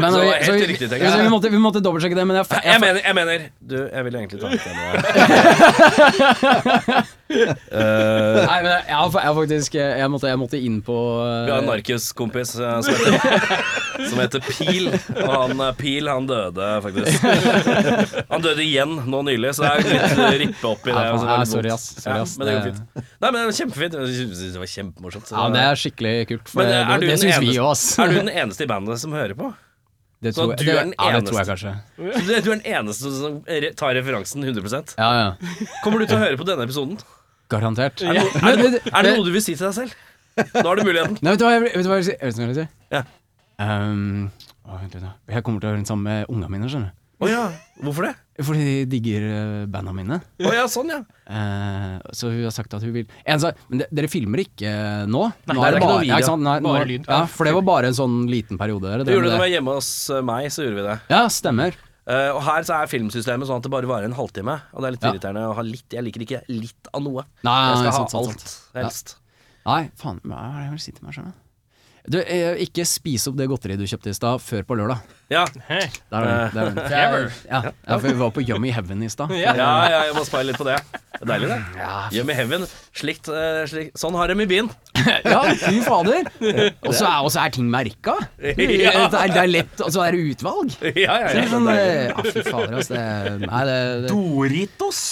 F: Men,
A: Så
F: vi,
A: helt
F: vi,
A: riktig, tenker jeg.
F: ja, så vi måtte, vi måtte dobbeltsjekke det, men jeg, fa-
A: Jeg
F: jeg,
A: mener, jeg mener Du, jeg vil egentlig ta ut den.
F: fa- nei, men jeg, jeg, har fa- jeg, har faktisk, eh, jeg, måtte, jeg måtte inn på eh,
A: Vi har en narkiskompis eh, som heter, som heter Pil. Og han eh, Pil, han døde faktisk. Han døde igjen nå nylig, så det er litt eh, rippe opp i det.
F: Nei,
A: og så er det
F: nei,
A: litt
F: sorry,
A: vondt.
F: ass. Sorry,
A: Ja,
F: ass.
A: men det går
F: Det-
A: fint. Nei, men det var kjempefint. Jeg synes det var kjempemorsomt. så
F: Ja, men det er skikkelig kult, for
A: Men eh,
F: det,
A: er du
F: det,
A: den
F: syns vi
A: eneste-
F: òg, ass.
A: er du den eneste i bandet som hører på?
F: Det
A: Så
F: tror
A: du
F: jeg, det,
A: er den
F: ja, det tror jeg
A: eneste?
F: kanskje.
A: Så Du er den eneste som re- tar referansen 100
F: Ja, ja.
A: Kommer du til å høre på denne episoden?
F: Garantert.
A: Er det, noe- er det, noe- er det noe du vil si til deg selv? Nå har du muligheten.
F: Nei, vet du hva jeg vet du hva jeg vet du hva jeg vil si?
A: Ja.
F: Ehm, å, vent litt, da. Jeg kommer til å være den samme med unga mine, skjønner du.
A: Å ja, hvorfor det?
F: Fordi de digger eh, banda mine.
A: Å ja, sånn ja.
F: Eh, så hun har sagt at hun vil en sa, Men de- dere filmer ikke eh, nå?
C: Nei,
F: nå
C: det er ikke noe video.
F: ja, ikke sant? Nei,
C: Bare
F: nå,
C: lyd.
F: Ja, for det var bare en sånn liten periode. Dere,
A: Vi
F: drev
A: gjorde det når vi
F: med det.
A: var hjemme hos eh, meg, så gjorde vi det.
F: Ja, stemmer.
A: Eh, og her så er filmsystemet sånn at det bare varer en halvtime. Og det er litt
F: Ja.
A: irriterende å ha litt. Jeg liker ikke litt av noe.
F: Nei,
A: Jeg skal ha
F: sant, sant, sant.
A: alt, helst.
F: Nei, faen, hva er det jeg vil si til meg sjøl? Du, eh, ikke spis opp det godteriet du kjøpte i stad, før på lørdag.
A: Ja.
C: Hei.
F: Der er den. Der er den.
C: Ever.
F: Ja, ja, for vi var på Yummy Heaven i stad.
A: Ja, ja, jeg må speile litt på det. Det er Deilig, det. Gjør med heaven. Slikt, eh, slik, sånn har de i byen.
F: Ja, fy fader! Og så er, og så er ting merka. Det
A: Ja.
F: er, det er lett, og så er det utvalg.
A: Ja, ja,
F: Så
A: ja.
F: det er sånn, eh, ja, fy fader, altså. Det, nei, det, det.
B: Doritos?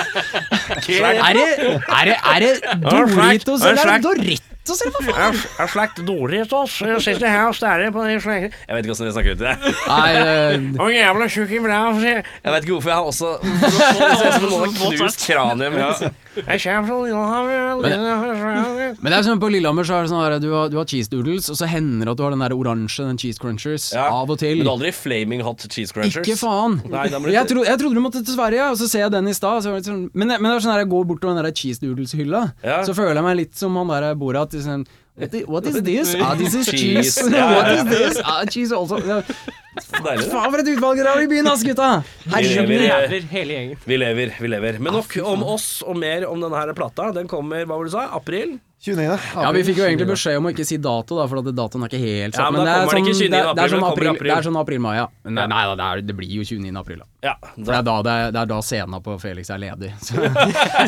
F: Er det, er det, er det Doritos eller er det Doritos, eller hva faen?
A: En slags Doritos sitter her og stærer på den slengen Jeg vet ikke åssen dere snakker ut i det.
F: Nei,
A: Å, jævla tjukk i blæ, sier jeg. Jeg vet ikke hvorfor jeg har også Det ser ut som noen har sånn knust kraniet mitt. Jeg kommer fra Lillehammer.
F: Men det er sånn på Lillehammer så er det sånn her, du har, du har cheese doodles, og så hender det at du har den der oransje, den cheese crunchers,
A: Ja.
F: av og til.
A: Men du har aldri Flaming Hot Cheese Crunchers?
F: Ikke faen!
A: Nei, da må du-
F: jeg, tro, jeg trodde du måtte til Sverige, og så ser jeg den i stad. så var det Sånn, men, men det er sånn her, jeg går bort til den der cheese doodles-hylla,
A: Ja.
F: så føler jeg meg litt som han der Borat. i Sånn, what, i- what is this? Ah, this is cheese.
A: Cheese. Ja,
F: What
A: ja, ja.
F: is this? Ah, cheese also. Ja,
A: Deilig, det.
F: Faen for et utvalg dere har i byen, ass, gutta!
A: Vi
F: Herregud.
A: lever,
C: Jævler, hele gjengen.
A: vi lever, vi lever. Men nok om oss og mer om denne her plata. Den kommer, hva var det du sa, april?
E: 29.
F: Ja, Vi fikk jo egentlig beskjed om å ikke si dato, da, for at datoen er ikke helt
A: Ja,
F: satt.
A: men da
F: det er
A: kommer det ikke 29.
F: det er- det er
A: april, men det
F: sånn
A: kommer i
F: april-
A: april.
F: det er sånn april-mai, ja. Men nei, nei da, det, er, det blir jo 29. april, da.
A: Ja.
F: For det
A: Da.
F: er da, det er, det er da scena på Felix er ledig. Så,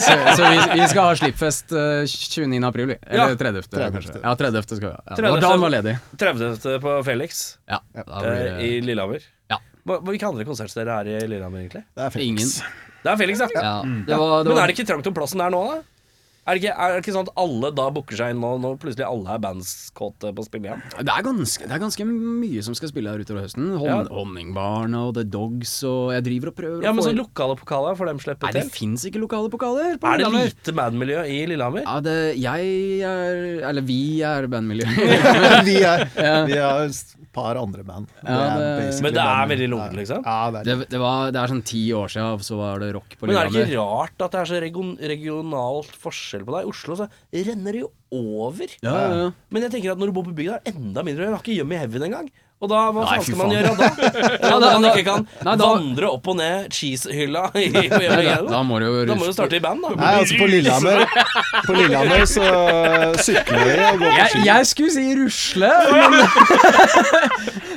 F: så, så vi, vi skal ha slippfest eh, 29. april, vi.
A: Ja.
F: Eller 30. kanskje. Ja, 30. skal vi ha. Ja, det var
A: 30.
F: da han var ledig.
A: 30. på Felix
F: Ja, da blir
A: eh, i
F: det
A: Lillehammer.
F: Ja.
A: Hva, hvilke andre konserter er det her i Lillehammer, egentlig?
E: Det er fint.
F: ingen.
A: Det er Felix, ja.
F: Ja. Det var, det
A: Men er
F: var,
A: det ikke trangt om plassen der nå, da? Er det, ikke, er det ikke sånn at alle da booker seg inn nå, når plutselig alle er bandskåte på å spille igjen?
F: det, er ganske, det er ganske mye som skal spille her utover høsten. Hon,
A: Ja.
F: Honningbarn og The Dogs og Jeg driver og prøver
A: Ja,
F: å
A: men
F: få
A: sånn
F: i-
A: lokale pokaler, for dem slipper
F: Nei, det
A: til.
F: fins ikke lokale pokaler på
A: Er det
F: Lillehammer.
A: lite bandmiljø i Lillehammer?
F: Ja, det, jeg er Eller vi er bandmiljø.
E: vi, er, vi har et par andre band.
F: Ja, det-
E: basically
A: Men det er
E: band.
A: veldig lungent, liksom?
E: Ja, det er
F: det, det, var, det er sånn ti år siden, så var det rock på
A: Men er det
F: Lillehammer.
A: ikke rart at det er så region, regionalt forskjell på det? I Oslo så renner det jo over.
F: Ja, ja, ja.
A: Men jeg tenker at når du bor på bygda, er det enda mindre. Du har ikke Yummy Heaven engang. Og da, hva
F: Nei,
A: faen skal
F: fy
A: man
F: faen.
A: gjøre da?
F: Ja,
A: Når
F: da-
A: man
F: da-
A: ikke kan
F: Nei, da-
A: vandre opp og ned cheesehylla i på Yummy
F: Ja,
A: Heaven.
F: da må du jo
A: Da må du starte i band, da.
E: Nei, altså på Lillehammer På Lillehammer så eh, sykler vi og går på
F: Jeg,
E: ski.
F: jeg skulle si rusle,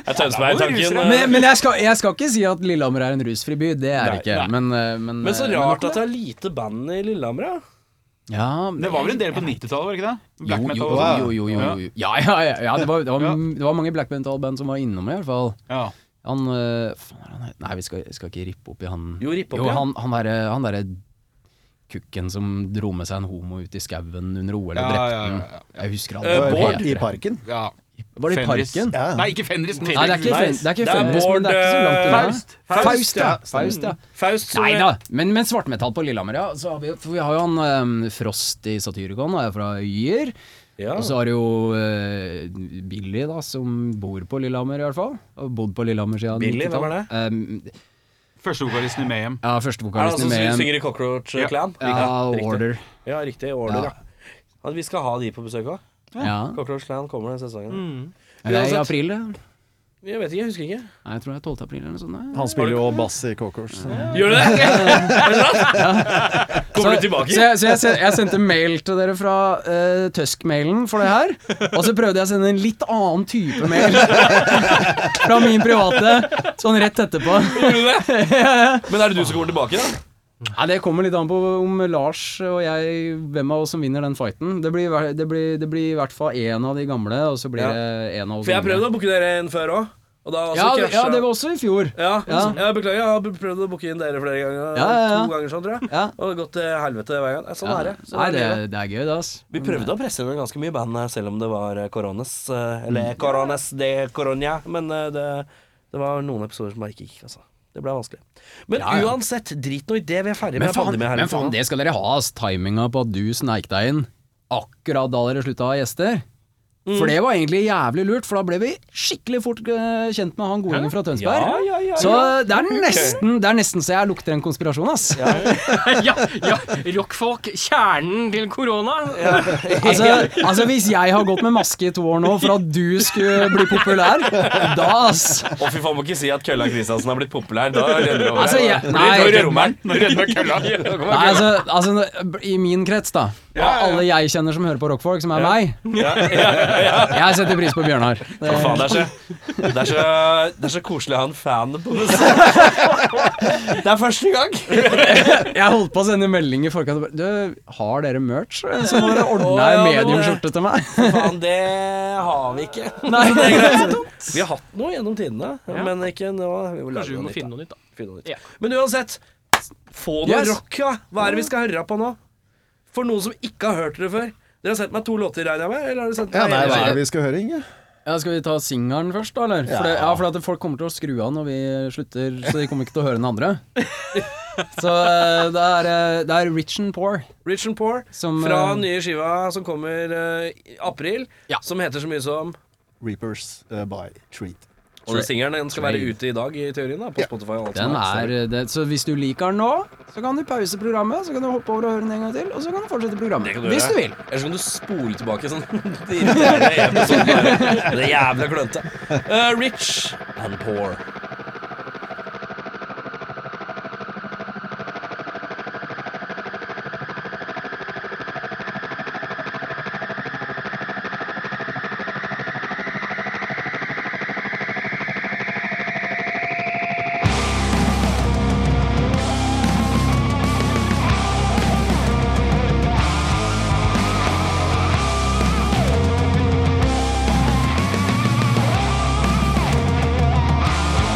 A: Jeg tønser meg i tanken. eh.
F: men, men jeg, skal, jeg skal ikke si at Lillehammer er en rusfri by. Det er det ikke. Men, eh, men,
A: Men så
F: eh,
A: rart at det er lite band i Lillehammer, ja.
F: ja,
B: Det var vel en del på 90-tallet, var det ikke det?
F: jo,
B: Black
F: jo,
B: metal. og sånn.
F: jo, jo, jo, jo. Ja, ja, ja, ja det, var, det, var, det var mange black metal-band som var innom, i hvert fall.
B: Ja.
F: Han eh, faen, er han het? Nei, vi skal, skal ikke rippe opp i han
A: Jo, ripp opp,
F: Jo,
A: ja.
F: han, han derre han derre kukken som dro med seg en homo ut i skauen under OL og
B: Ja,
F: drepte
B: ja, ja,
F: den.
B: ja,
F: Jeg husker
A: Eh,
F: aldri hva
A: Bård
F: han
E: I
F: heter.
E: parken.
B: ja.
F: Var det i
B: Fenris.
F: parken?
E: Ja, ja.
B: Nei, ikke Fenris.
F: Nei, det er ikke, Fen- det er ikke Fenris, men det er ikke så langt unna.
A: Faust.
F: Faust, ja. Faust, ja.
A: Faust. som-
F: Nei da, men, men svartmetall på Lillehammer, ja. Så har vi, for vi har jo han ehm, Frost i Satyricon, han er fra Øyer.
A: Ja.
F: Og så har du jo eh, Billy, da, som bor på Lillehammer, i hvert fall. Og bodd på Lillehammer siden
A: Billy, hvem er det?
F: det?
B: Førstevokalisten i Mayhem.
F: ja,
A: Er det han
F: førstevokalisten
A: som
F: i Mayhem.
A: synger i Cockroach
B: Ja.
A: Clan?
F: Ja,
A: riktig.
F: Order.
A: Ja, riktig. Order,
F: Ja.
A: ja. Ja, Vi skal ha de på besøk òg.
F: Ja.
A: Cockroach Clan kommer den sesongen.
F: Er det i
A: Uansett.
F: april, det?
A: Jeg vet ikke, jeg husker ikke.
F: Nei, jeg tror det er 12. april eller noe sånt. nei.
E: Han spiller jo bass i Cockroach. så-
A: Gjør du det? Er det sant? Kommer du tilbake?
F: Så, jeg, så jeg, sen- jeg sendte mail til dere fra eh, Tøsk-mailen for det her, og så prøvde jeg å sende en litt annen type mail fra min private, sånn rett etterpå.
A: Gjorde du det? Men er det du som kommer tilbake, da?
F: Nei, Det kommer litt an på om Lars og jeg Hvem av oss som vinner den fighten. Det blir, hver- det blir, det blir i hvert fall én av de gamle, og så blir
A: Ja.
F: det én av oss
A: For jeg altså
F: yngre.
A: prøvde å booke dere inn før òg. Og da
F: Ja,
A: også
F: det- ja,
A: krasja-
F: det var også i fjor.
A: ja,
F: Ja.
A: jeg beklager, jeg har prøvd å booke inn dere flere ganger.
F: Ja, ja, ja.
A: To ganger sånn, tror jeg.
F: Ja.
A: Og det har gått til helvete hver gang. Nei, Sånn
F: Ja.
A: er det. Sånn
F: Nei,
A: er
F: det,
A: livet.
F: det er gøy, det, ass.
A: Vi prøvde å presse inn ganske mye band her, selv om det var eh, koronas. eh, Eller
F: Mm.
A: koronas de coronia. Men eh, det, det var noen episoder som bare ikke gikk, altså. Det ble vanskelig. Men
F: Ja, ja.
A: uansett, drit nå i det. Vi er ferdig
F: Men
A: med
F: faen,
A: pandemien her. liksom.
F: men faen, det skal dere ha, ass. Timinga på at du sneik deg inn akkurat da dere slutta å ha gjester.
A: Mm.
F: For det var egentlig jævlig lurt, for da ble vi skikkelig fort eh, kjent med han godingen fra Tønsberg.
A: Ja, ja, ja,
F: Så eh, det er, nesten, det er nesten så jeg lukter en konspirasjon, ass.
C: ja, ja, rockfolk, kjernen til korona.
F: Altså, altså, hvis jeg har gått med maske i to år nå for at du skulle bli populær, da, ass.
A: Å, fy faen, må ikke si at Kølla Kristiansen har blitt populær. Da renner det over.
F: Altså, jeg,
B: Nå
F: nei,
B: redder man, nå redder kølla.
F: nei altså, altså, i min krets, da. Av alle jeg kjenner som hører på rockfolk, som er meg. Jeg setter pris på Bjørnar.
A: Å,
F: Det,
A: faen, det, er så, det, er så, det er så koselig å ha en fan på besøk. Det er første gang.
F: Jeg holdt på å sende melding i forkant. og bare, Du, har dere merch? eh, Så må dere
A: Å,
F: ordne
A: ja,
F: ei
A: det må
F: mediumskjorte til meg.
A: Faen, det har vi ikke.
F: Nei, det er greit.
A: Vi har hatt noe gjennom tidene,
C: Ja.
A: men ikke nå. Vi må lage
C: Kanskje vi
A: noe nytt,
C: må
A: da.
C: finne noe nytt, da.
A: Finne noe nytt.
C: Ja.
A: Men uansett, få noe
F: Yes.
A: rock, da. Hva er det vi skal høre på nå? For noen som ikke har hørt det før. Dere har sendt meg to låter, regner jeg med? Eller har dere sendt
E: Ja,
A: meg
E: nei,
A: en?
E: hva er det vi skal høre, Inge?
F: Ja, skal vi ta singelen først, da? Eller? For det, ja, for at folk kommer til å skru av når vi slutter, så de kommer ikke til å høre den andre. Så eh, det er, eh, det er Rich and Poor.
A: Rich and Poor
F: Som,
A: fra
F: eh,
A: nye skiva som kommer eh, i april,
F: Ja.
A: som heter så mye som
E: Reapers eh, by Treat.
A: Og singelen den skal være ute i dag, i teorien, da, på Spotify. og alt
F: Den
A: sånt.
F: er, eh, det, så hvis du liker den nå, så kan du pause programmet, så kan du hoppe over og høre den en gang til, og så kan du fortsette programmet.
A: kan du
F: Hvis
A: gjøre.
F: du vil.
A: Ellers kan du spole tilbake sånn. De irriterende episodene her. det er jævla klønete. Eh, rich and poor.
G: Thank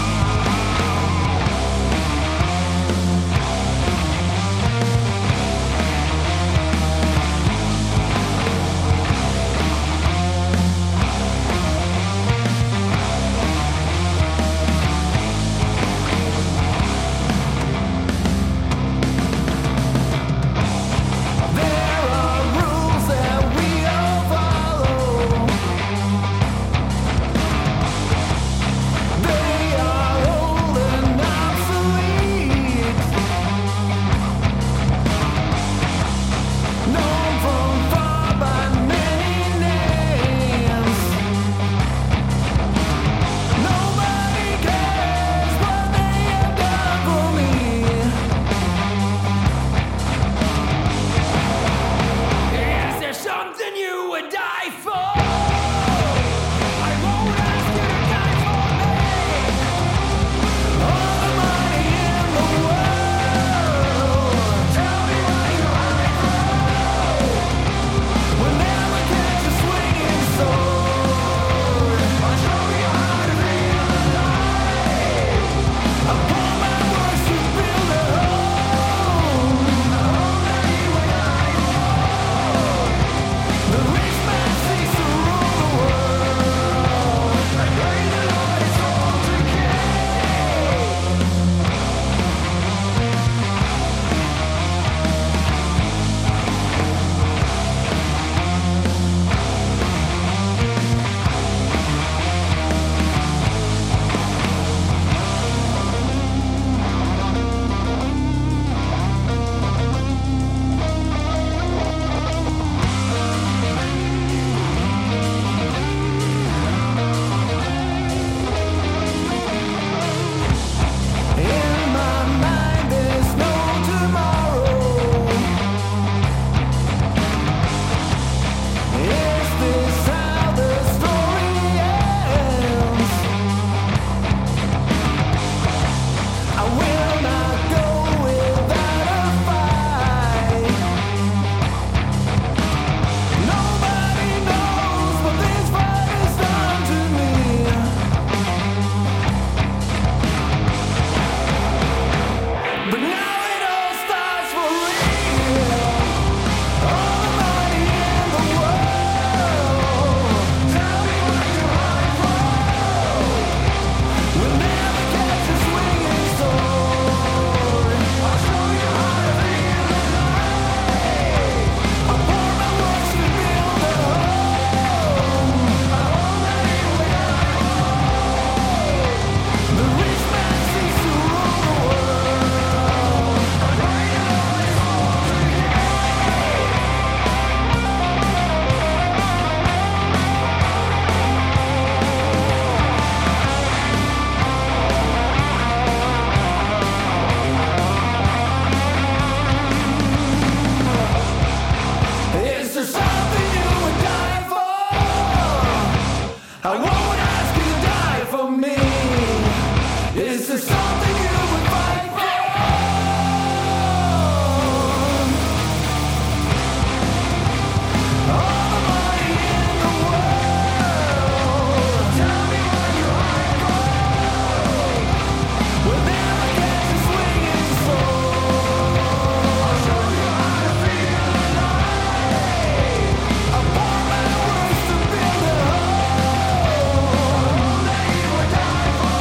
G: is something you would fight for. All the money in the world. Tell me where your heart goes. We'll never get to swing it I'll show you how to feel alive. I bought my words to build a home that you would die for.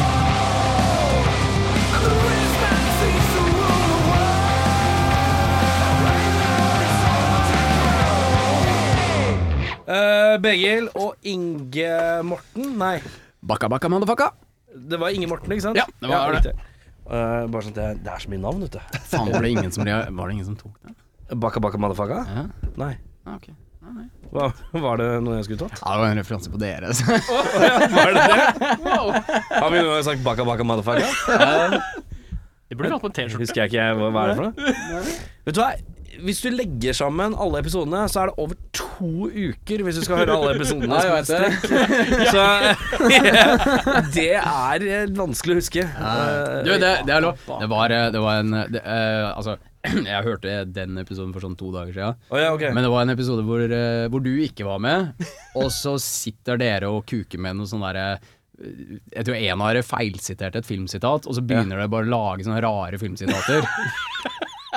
G: The rich man seems to rule the world. Right now it's all turmoil.
A: Uh, Begil og Inge Morten Nei,
F: Bakka, bakka, motherfucka!
A: det var Inge Morten, ikke sant?
F: Ja, det var det.
A: riktig. Eh, bare sånn at jeg, Det er så mye navn, vet du.
F: Faen, var det ingen som, rea- var det ingen som tok den?
A: Baka baka motherfucka?
F: Ja.
A: Nei.
F: Ah, ok. Ah, nei.
A: Hva, var det noe jeg skulle tatt?
F: Ja, det var en referanse på dere. så.
A: Var det det? Har vi noen gang sagt baka baka motherfucka?
C: Det burde vi hatt på en T-skjorte.
A: Husker jeg ikke jeg, hva hva er det for noe? Vet du hva? Hvis du legger sammen alle episodene, så er det over to uker hvis du skal høre alle episodene.
F: Ja, jeg
A: som
F: vet
A: et strekk. Så det er eh, vanskelig å huske. Eh,
F: Du, det, det er lov. Det var, eh, det var en det, eh, Altså, jeg hørte den episoden for sånn to dager siden.
A: å ja, ok.
F: Men det var en episode hvor, eh, hvor du ikke var med, og så sitter dere og kuker med noe sånn derre jeg tror en av dere feilsiterte et filmsitat, og så begynner dere bare å lage sånne rare filmsitater.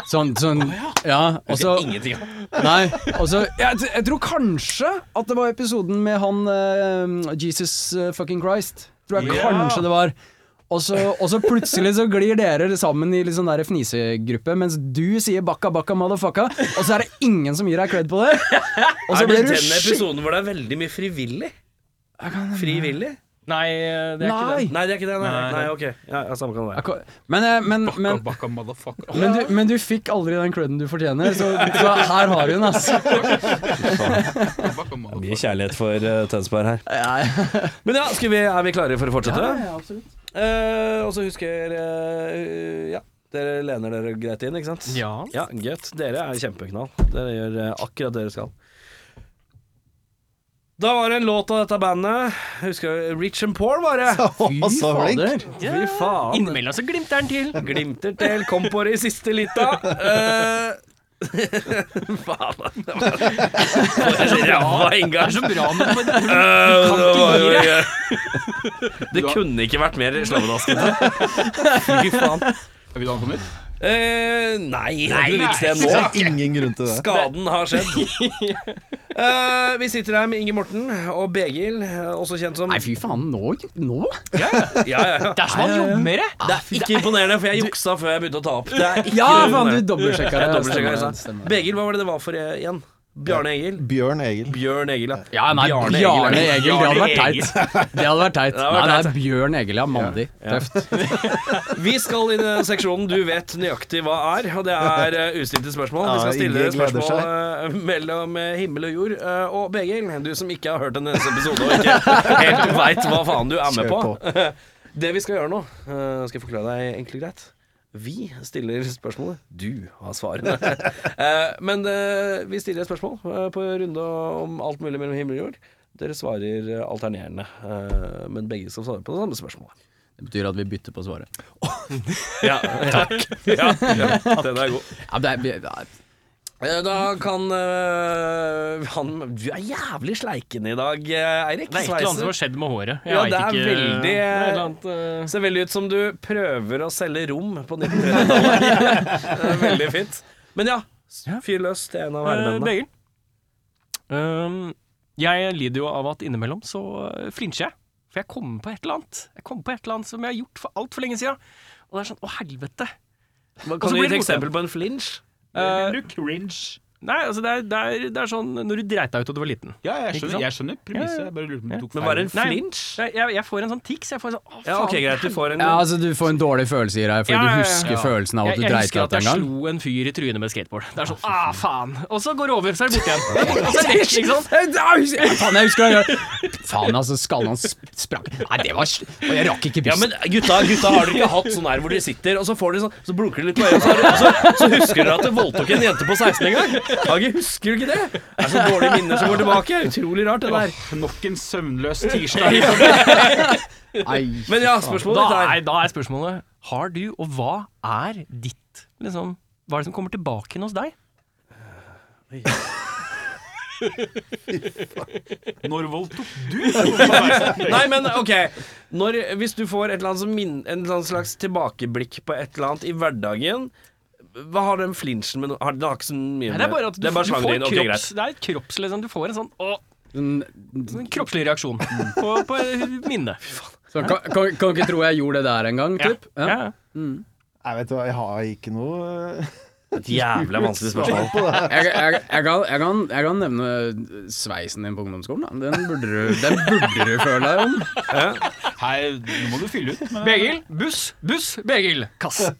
F: Sånn, sånn Ja. Og så
A: Ingenting.
F: Nei, altså jeg, t- jeg tror kanskje at det var episoden med han eh, Jesus eh, fucking Christ. Tror jeg kanskje det var. Og så, og så plutselig så glir dere sammen i litt sånn der fnisegruppe, mens du sier 'bakka bakka motherfucka', og så er det ingen som gir deg cred på det. Og så
A: Er det
F: blir du
A: den
F: skikkelig
A: episoden hvor det er veldig mye frivillig? Frivillig?
C: Nei, eh, det er ikke det.
F: Nei!
A: Nei, det er ikke det. Nei, nei,
B: Nei.
A: ok. Ja, ja, samme kan det være.
F: Men, eh, men,
B: Men,
F: men, men, du, men du fikk aldri den creden du fortjener, så, så her har du den, altså.
A: Mye kjærlighet for eh, Tønsberg her. Men ja, skal vi, er vi klare for å fortsette? Ja, absolutt. og så husker eh, Ja, dere lener dere greit inn, ikke sant?
C: Ja.
A: Ja, Gøtt. Dere er kjempeknall. Dere gjør eh, akkurat det dere skal. Da var det en låt av dette bandet. Husker du Rich and Poor, var det?
E: Å, så flink!
A: Fy faen.
C: Innimellom så glimter den til.
A: Glimter til. Kom på det i siste lita. Eh, Faen, da. det var For en ræva inngang.
C: Det er så bra når
A: Eh,
C: man Kan
A: det
C: ikke
A: var
C: gi
A: jo
C: deg.
A: ikke- Det kunne ikke vært mer slavedaskete. Fy faen.
B: Skal vi ta den på nytt?
A: Eh, nei, det er ikke noe vits det
E: Det
A: nå.
E: er ingen grunn til det.
A: Skaden har skjedd. Eh, vi sitter her med Inger Morten og Begil, eh, også kjent som
F: Nei, fy faen, nå? nå?
A: ja, ja, ja.
C: Det er sånn man jobber med det.
A: Det er ikke imponerende, for jeg juksa før jeg begynte å ta opp. Det er ikke
F: Ja, faen,
A: imponerende.
F: du dobbeltsjekka det.
A: Jeg dobbeltsjekka, jeg
F: Stemmer,
A: sa.
F: stemmer.
A: Begil, hva var det det var for eh, igjen? Bjarne Egil?
E: Bjørn Egil.
A: Bjørn Egil, ja.
F: Ja, nei,
A: Bjarne
F: Bjarne,
A: Egil er-
F: Egil, det hadde
A: Bjarne
F: vært teit. Det hadde vært teit.
A: hadde vært
F: Nei, nei, Bjørn Egil, ja. Mandig. Tøft.
A: Vi skal i den seksjonen du vet nøyaktig hva er, og det er eh, ustilte spørsmål. Vi
E: Ja,
A: skal stille
E: Inge
A: dere
E: gleder
A: spørsmål eh, mellom eh, himmel og jord. Eh, Og Begil, du som ikke har hørt denne episoden og ikke helt veit hva faen du er med
E: Kjør
A: på. Det vi skal gjøre nå, eh, skal jeg forklare deg enkelt og greit. Vi stiller spørsmålet, du har svarene. Eh, Men eh, vi stiller et spørsmål eh, på runde om alt mulig mellom himmel og jord. Dere svarer eh, alternerende, eh, men begge skal svare på det samme spørsmålet.
F: Det betyr at vi bytter på svaret.
A: Ja, takk. Ja, den er god.
F: Ja, det er, vi-
A: Eh, Da kan eh, han Du er jævlig sleiken i dag, eh, Eirik.
C: Det er et eller annet som
A: Sveiser.
C: har skjedd med håret. Jeg
A: Ja,
C: vet
A: det er
C: ikke,
A: veldig-
C: Det er et eller annet, eh,
A: Ser veldig ut som du prøver å selge rom på 1930-tallet. Det er veldig fint. Men ja, s-
C: Ja.
A: fyr løs til en av
C: Eh,
A: herremennene.
C: Begil. Ehm, jeg lider jo av at innimellom så eh, flinsjer jeg. For jeg kommer på et eller annet Jeg kommer på et eller annet som jeg har gjort for altfor lenge siden. Og det er sånn Å, helvete. Og
A: Kan
C: så
A: du gi
C: blir
A: et
C: det borte.
A: eksempel på en flinch?
C: Eh,
B: du cringe?
C: nei, altså det er, det, er, det er sånn når du dreit deg ut da du var liten.
B: Ja,
C: Ikke
B: jeg skjønner,
C: sant?
B: jeg skjønner premisset. Jeg bare lurer på om du tok
A: Men var det en
C: Nei.
A: flinch?
C: Nei, Jeg, jeg får en sånn tics. Jeg får en sånn Å, faen.
A: Ja, ok, greit. Du får en
F: ja, altså, du får en dårlig følelse i deg
C: Ja, ja,
F: fordi du
C: ja.
F: husker følelsen av at
C: Jeg,
F: du
C: jeg
F: dreit
C: husker
F: deg ut
C: at jeg
F: en gang.
C: slo en fyr i trynet med skateboard. Det er sånn ah, faen. Og så går det over, så er det borte igjen. Og så er det vekk, ikke sant?
F: Faen, jeg husker det. Faen, altså, skallen hans sp- sprakk. Nei, det var sl- Og jeg rakk ikke
A: Ja,
F: bussen.
A: men gutta, gutta har dere ikke hatt sånn her hvor dere sitter, og så får dere sånn Så blunker det litt på øyet, og så, har dere- så, så husker dere at dere voldtok en jente på 16 en gang? Hage, husker du ikke det? Det er så dårlige minner som går tilbake. Utrolig rart, det der.
B: Nok en søvnløs tirsdag.
F: Nei.
A: Men ja, spørsmålet
C: Da
A: ditt er
C: er, da er spørsmålet Har du, og hva er ditt liksom, Hva er det som kommer tilbake igjen hos deg?
B: Når voldtok du?
A: Nei, men ok. Når, hvis du får et eller annet som min, en eller annen slags tilbakeblikk på et eller annet i hverdagen Hva har den flinsjen med noe har- Det har ikke så mye
C: Nei,
A: med
C: det er bare at du,
A: det er bare
C: du får
A: slangen din. Ok,
C: kropps,
A: greit.
C: Det er et kropps, liksom. Du får en sånn å, sånn
F: Men-
C: en kroppslig reaksjon på, på minnet.
F: Så kan, kan, kan ikke tro jeg gjorde det der engang, typ.
C: Ja.
F: Ja.
E: Jeg vet du hva, jeg har ikke noe
A: Et jævla vanskelig spørsmål.
F: Jeg, jeg, jeg, kan, jeg, kan, jeg kan nevne sveisen din på ungdomsskolen. Da. Den burde du, den burde du føle deg om.
B: Her, nå må du fylle ut. Men
C: Begil, buss, buss, Begil, kast.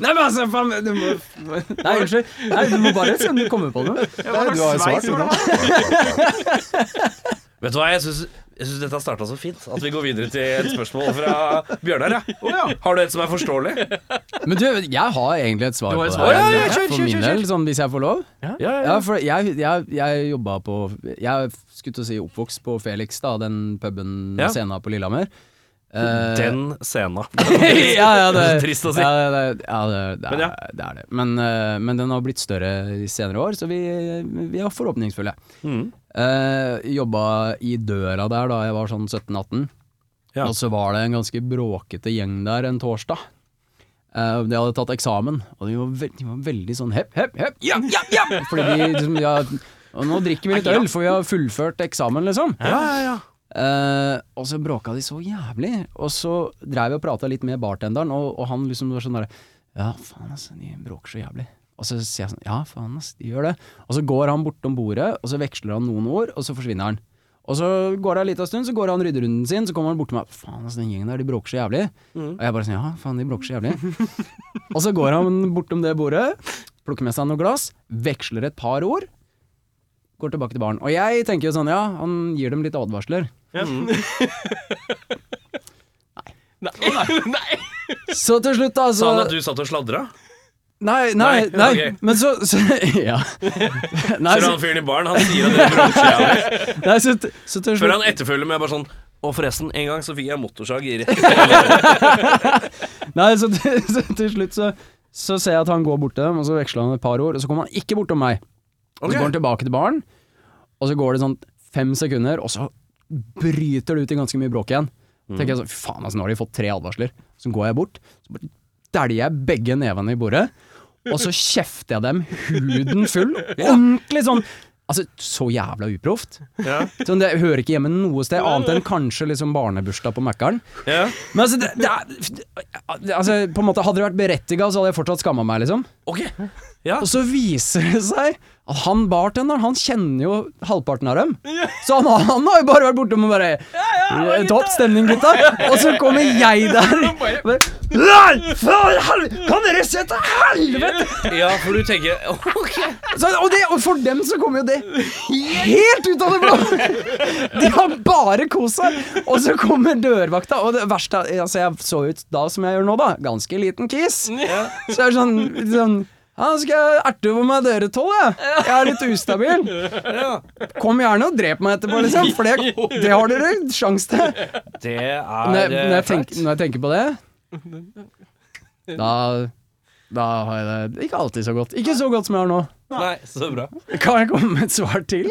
F: Nei, men altså, faen du må, Nei, unnskyld. Nei, du må bare se om du kommer på noe.
E: Nei, du har jo svart, du nå.
A: Vet du hva, jeg syns jeg synes dette har starta så fint. At vi går videre til et spørsmål fra Bjørnar. Ja. Har du et som er forståelig?
F: Men du, jeg har egentlig et svar
C: Du
F: på
C: har et
F: det.
C: svar,
F: her.
A: ja, ja, kjør,
F: for
A: kjør,
F: min
A: kjør,
F: del, sånn, hvis jeg får lov.
A: Ja,
F: Ja, for jeg, jeg, jeg jobba på Jeg skulle til å si oppvokst på Felix, da, den puben
A: Ja.
F: og scena på Lillehammer. Eh,
A: Den scena.
F: ja, ja, det,
A: Det er så trist å si.
F: Ja, det, det, ja, det, det,
A: Men ja.
F: er, det er det. Men, eh, men den har blitt større i senere år, så vi, vi er forhåpningsfulle.
A: Mm.
F: Eh, jobba i døra der da jeg var sånn 17-18.
A: Ja.
F: Og så var det en ganske bråkete gjeng der en torsdag. Eh, de hadde tatt eksamen, og de var, veld, de var veldig sånn hepp, hepp, hepp. Ja, ja, ja! Fordi de, liksom, de har, og nå drikker vi litt øl, for vi har fullført eksamen, liksom. Eh, og så bråka de så jævlig. Og så dreiv vi og prata litt med bartenderen, og, og han liksom var sånn derre Ja, faen, altså, de bråker så jævlig. Og så sier jeg sånn Ja, faen, ass, de gjør det. Og så går han bortom bordet, og så veksler han noen ord, og så forsvinner han. Og så går det en liten stund, så går han rydderunden sin, så kommer han bort til meg. Faen, altså, den gjengen der, de bråker så jævlig. Og jeg bare sånn Ja, faen, de bråker så jævlig. og så går han bortom det bordet, plukker med seg noe glass, veksler et par ord. Går tilbake til baren. Og jeg tenker jo sånn, ja, han gir dem litt advarsler.
C: Nei. Nei.
F: Så til slutt, da, så
A: Sa han at du satt og sladra?
F: Nei, nei,
A: Nei,
F: nei.
A: ok.
F: Men så, så Ja. Nei,
A: Ser du
F: så,
A: han fyren i baren? Han sier at det er bronse.
F: nei, så, så til
A: Før
F: slutt
A: han etterfølger med bare sånn Og forresten, en gang så fikk jeg motorsag i rett
F: Nei, så til, så til slutt så, så ser jeg at han går bort til dem, og så veksler han et par ord, og så kommer han ikke bortom meg. Og
A: Ok.
F: så går han tilbake til baren, og så går det sånn fem sekunder, og så bryter det ut i ganske mye bråk igjen. Tenker jeg sånn, fy faen altså, nå har de fått tre advarsler. Så går jeg bort, så bare dæljer jeg begge nevene i bordet, og så kjefter jeg dem huden full, ordentlig sånn, altså så jævla uproft. Sånn, det hører ikke hjemme noe sted, annet enn kanskje liksom barnebursdag på Mækkern.
A: Ja.
F: Men altså, det, det er, det- altså på en måte, Hadde det vært berettiga, så hadde jeg fortsatt skamma meg. liksom
A: Ok.
F: Og så viser det seg at han bartenderen han kjenner jo halvparten av dem. Så han, har- han har jo bare vært bortom og bare eh, Topp stemning, gutta. Og så kommer jeg der. Bare, Nei, for helvete! Kan dere se til helvete?!
A: Ja, for du tenker Ok.
F: Så, og, det, og for dem så kommer jo det helt ut av det blå! De har bare kost seg. Og så kommer dørvakta, og det verste er- altså Jeg så ut da som jeg gjør nå, da. Ganske liten kiss. Så jeg er sånn, sånn ja, skal jeg erte over meg dere tolv, jeg. Jeg er litt ustabil. Kom gjerne og drep meg etterpå, liksom, for det, det har dere sjanse til.
A: Det er
F: Når jeg, når, jeg
A: flaut.
F: tenker, når jeg tenker på det, da, da har jeg det ikke alltid så godt. Ikke så godt som jeg har nå.
A: Nei, så bra.
F: Kan jeg komme med et svar til?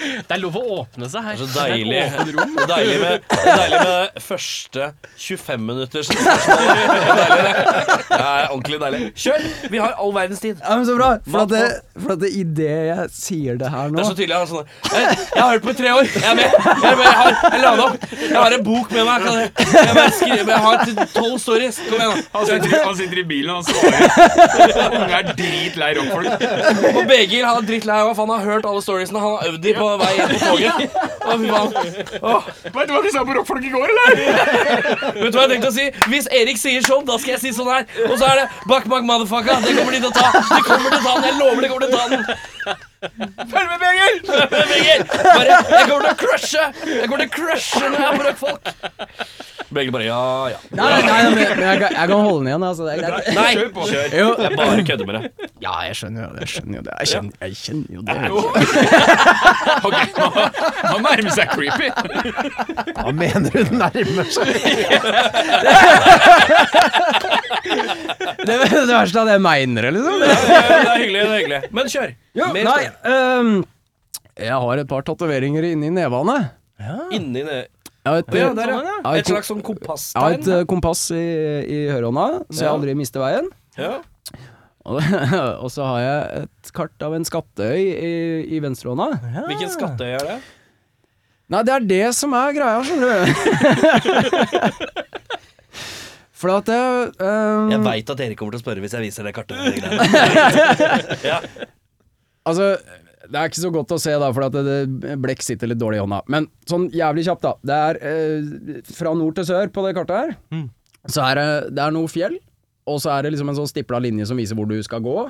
C: Det er lov å åpne seg her.
A: Så deilig. Det er deilig med, det er deilig med det første 25 minutters spørsmål. Det er deilig, det. Det er ordentlig deilig. Kjør! Vi har all verdens tid.
F: Ja, men Så bra. For at, det, for at det, i det jeg sier det her
A: Det
F: nå
A: er så tydelig. Han er sånn jeg, jeg har hørt på i tre år. Jeg er med. Jeg, er med. jeg, har, jeg la det opp. Jeg har en bok med meg. Kan jeg, jeg, bare skriver- jeg har tolv stories. Kom igjen, da.
B: Han sitter, i- han sitter i bilen, han svarer. Unge er dritlei rockfolk.
A: Og Begil han er drittlei av for han har hørt alle storiesene. Han har øvd de på vei hjem på toget. Å, fy faen.
B: Vet du hva de sa på rockfolk i går, eller?
A: Vet du hva jeg tenkte å si? Hvis Erik sier sånn, da skal jeg si sånn her. Og så er det Bak, bak, motherfucka. Det kommer de til å ta. De kommer til å ta den. Jeg lover de kommer til å ta den. Følg med, Begil! Følg med, Begil. Bare, jeg kommer til å crushe. Jeg kommer til å crushe når jeg er på rockfolk. Begge bare ja, ja.
F: Nei, nei, nei, men jeg, men jeg, kan- jeg kan holde den igjen, altså. Det er greit.
A: Nei, kjør!
F: Jo.
A: Jeg bare kødder med det.
F: Ja, jeg skjønner jo det. Jeg skjønner jo det. Jeg kjenner, jeg kjenner jo det.
B: Ok, nå, nå nærmer det seg creepy.
E: Hva mener du nærmer seg?
F: Det, det verste er at jeg mener det, liksom.
A: Ja, ja, ja, Det er hyggelig, det er hyggelig. Men kjør!
F: Jo,
A: Mer
F: nei, ehm, jeg har et par tatoveringer inni nevene.
A: stoff. Inni det
F: Jeg har et, eh,
A: ja, der, ja.
F: jeg har
A: Et slags sånn
F: Jeg har et
A: kompasstegn.
F: eh, kompass i, i høyrehånda, så jeg
A: Ja.
F: aldri mister veien.
A: Ja.
F: Og, og så har jeg et kart av en skatteøy i, i venstrehånda.
A: Hvilken skatteøy er det?
F: Nei, det er det som er greia, skjønner du. For at jeg ehm,
A: Jeg veit at dere kommer til å spørre hvis jeg viser det kartet.
F: Altså, det er ikke så godt å se da, for at det, det, blekk sitter litt dårlig i hånda. Men sånn jævlig kjapt, da. Det er eh, fra nord til sør på det kartet her. Så er det, det er noe fjell, og så er det liksom en sånn stipla linje som viser hvor du skal gå.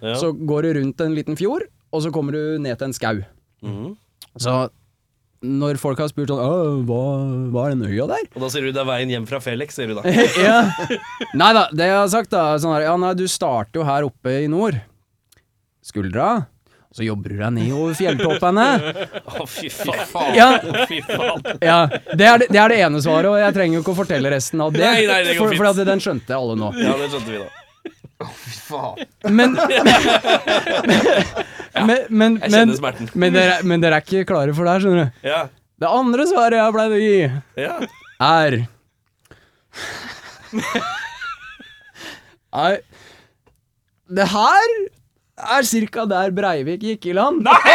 A: Ja.
F: Så går du rundt en liten fjord, og så kommer du ned til en skau.
A: Mhm.
F: Så når folk har spurt sånn «Åh, hva, hva er den øya der?
A: Og da sier du det er veien hjem fra Felix, sier du da.
F: ja. Nei da, det jeg har sagt da er sånn her, Ja, nei, du starter jo her oppe i nord. Skuldra. Så jobber du deg ned over fjelltoppene.
A: Å, fy faen.
F: Ja,
A: Fy faen.
F: ja. Det, er det, det er det ene svaret, og jeg trenger jo ikke å fortelle resten av det.
A: Nei, nei, det går
F: for
A: fint.
F: for at den skjønte alle nå.
A: Ja, det skjønte vi da.
F: Men Men, men,
A: Jeg
F: men,
A: kjenner smerten.
F: men, dere, men dere er ikke klare for det her, skjønner du.
A: Ja.
F: Det andre svaret jeg pleide å gi
A: ja.
F: er Nei Det her er cirka der Breivik gikk i land.
A: Nei,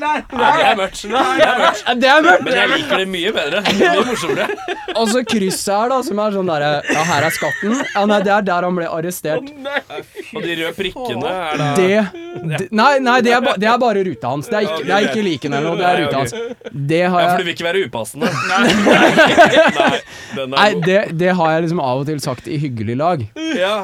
A: det er mørkt. Det er mørkt.
F: Det er mørkt!
A: Men jeg liker det mye bedre. Det blir morsommere.
F: Og så krysset her, da, som er sånn derre Ja, her er skatten. Ja, nei, det er der han ble arrestert.
A: Og de røde prikkene er da
F: Det, det Nei, nei, det er, ba, det er bare ruta hans. Det er ikke, det er ikke liken eller noe, det er ruta hans. Det
A: Ja,
F: har
A: for du
F: jeg
A: vil ikke være upassende. Nei, den
F: Nei,
A: er god.
F: det, det har jeg liksom av og til sagt i hyggelig lag.
A: Ja.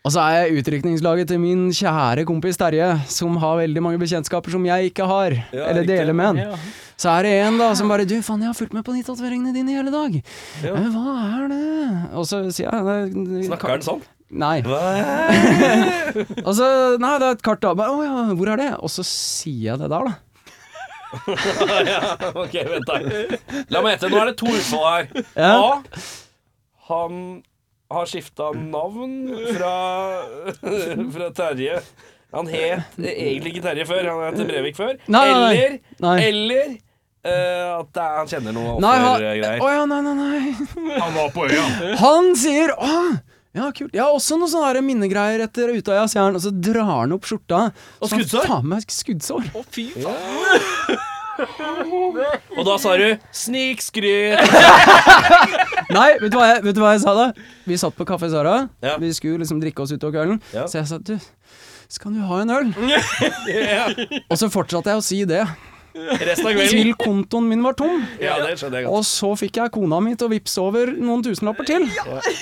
F: Og så er jeg utrykningslaget til min kjære kompis Terje, som har veldig mange bekjentskaper som jeg ikke har,
A: Ja,
F: eller
A: riktig.
F: deler med han. Så er det en da som bare 'du, faen, jeg har fulgt med på de tatoveringene dine i hele dag'. «Eh, Hva er det? Og så sier jeg «Nei,
A: Snakker han sånn?
F: Nei. Og så Nei, det er et kart, da. Bare, Å ja, hvor er det? Og så sier jeg det der, da.
A: Ok, vent da. La meg gjette. Nå er det to utfall her.
F: Ja.
A: A. Han har skifta navn fra, fra Terje. Han het egentlig ikke Terje før, han het Brevik før.
F: Nei, nei, nei.
A: Eller
F: Nei.
A: Eller eh, at det er, han kjenner noe
F: Nei, han,
A: offergreier.
F: å ja, nei, nei, nei.
B: Han var på øya.
F: Han sier 'Å, ja, kult'. Jeg har også noen sånne her minnegreier etter Utøya, sier han. Og så drar han opp skjorta.
A: Og
F: Så han
A: skuddsår?
F: Faen meg skuddsår.
A: Å, fy faen. Og da sa du 'snikskryt'.
F: Nei, vet du, hva jeg, vet du hva jeg sa da? Vi satt på Kaffe Sara.
A: Ja.
F: Vi skulle liksom drikke oss utover kvelden.
A: Ja.
F: Så jeg sa du, skal du ha en øl? Og så fortsatte jeg å si det.
A: Resten av
F: Til
A: kvelden.
F: kontoen min var tom.
A: Ja, det skjønner jeg godt.
F: Og så fikk jeg kona mi til å vippse over noen tusenlapper til.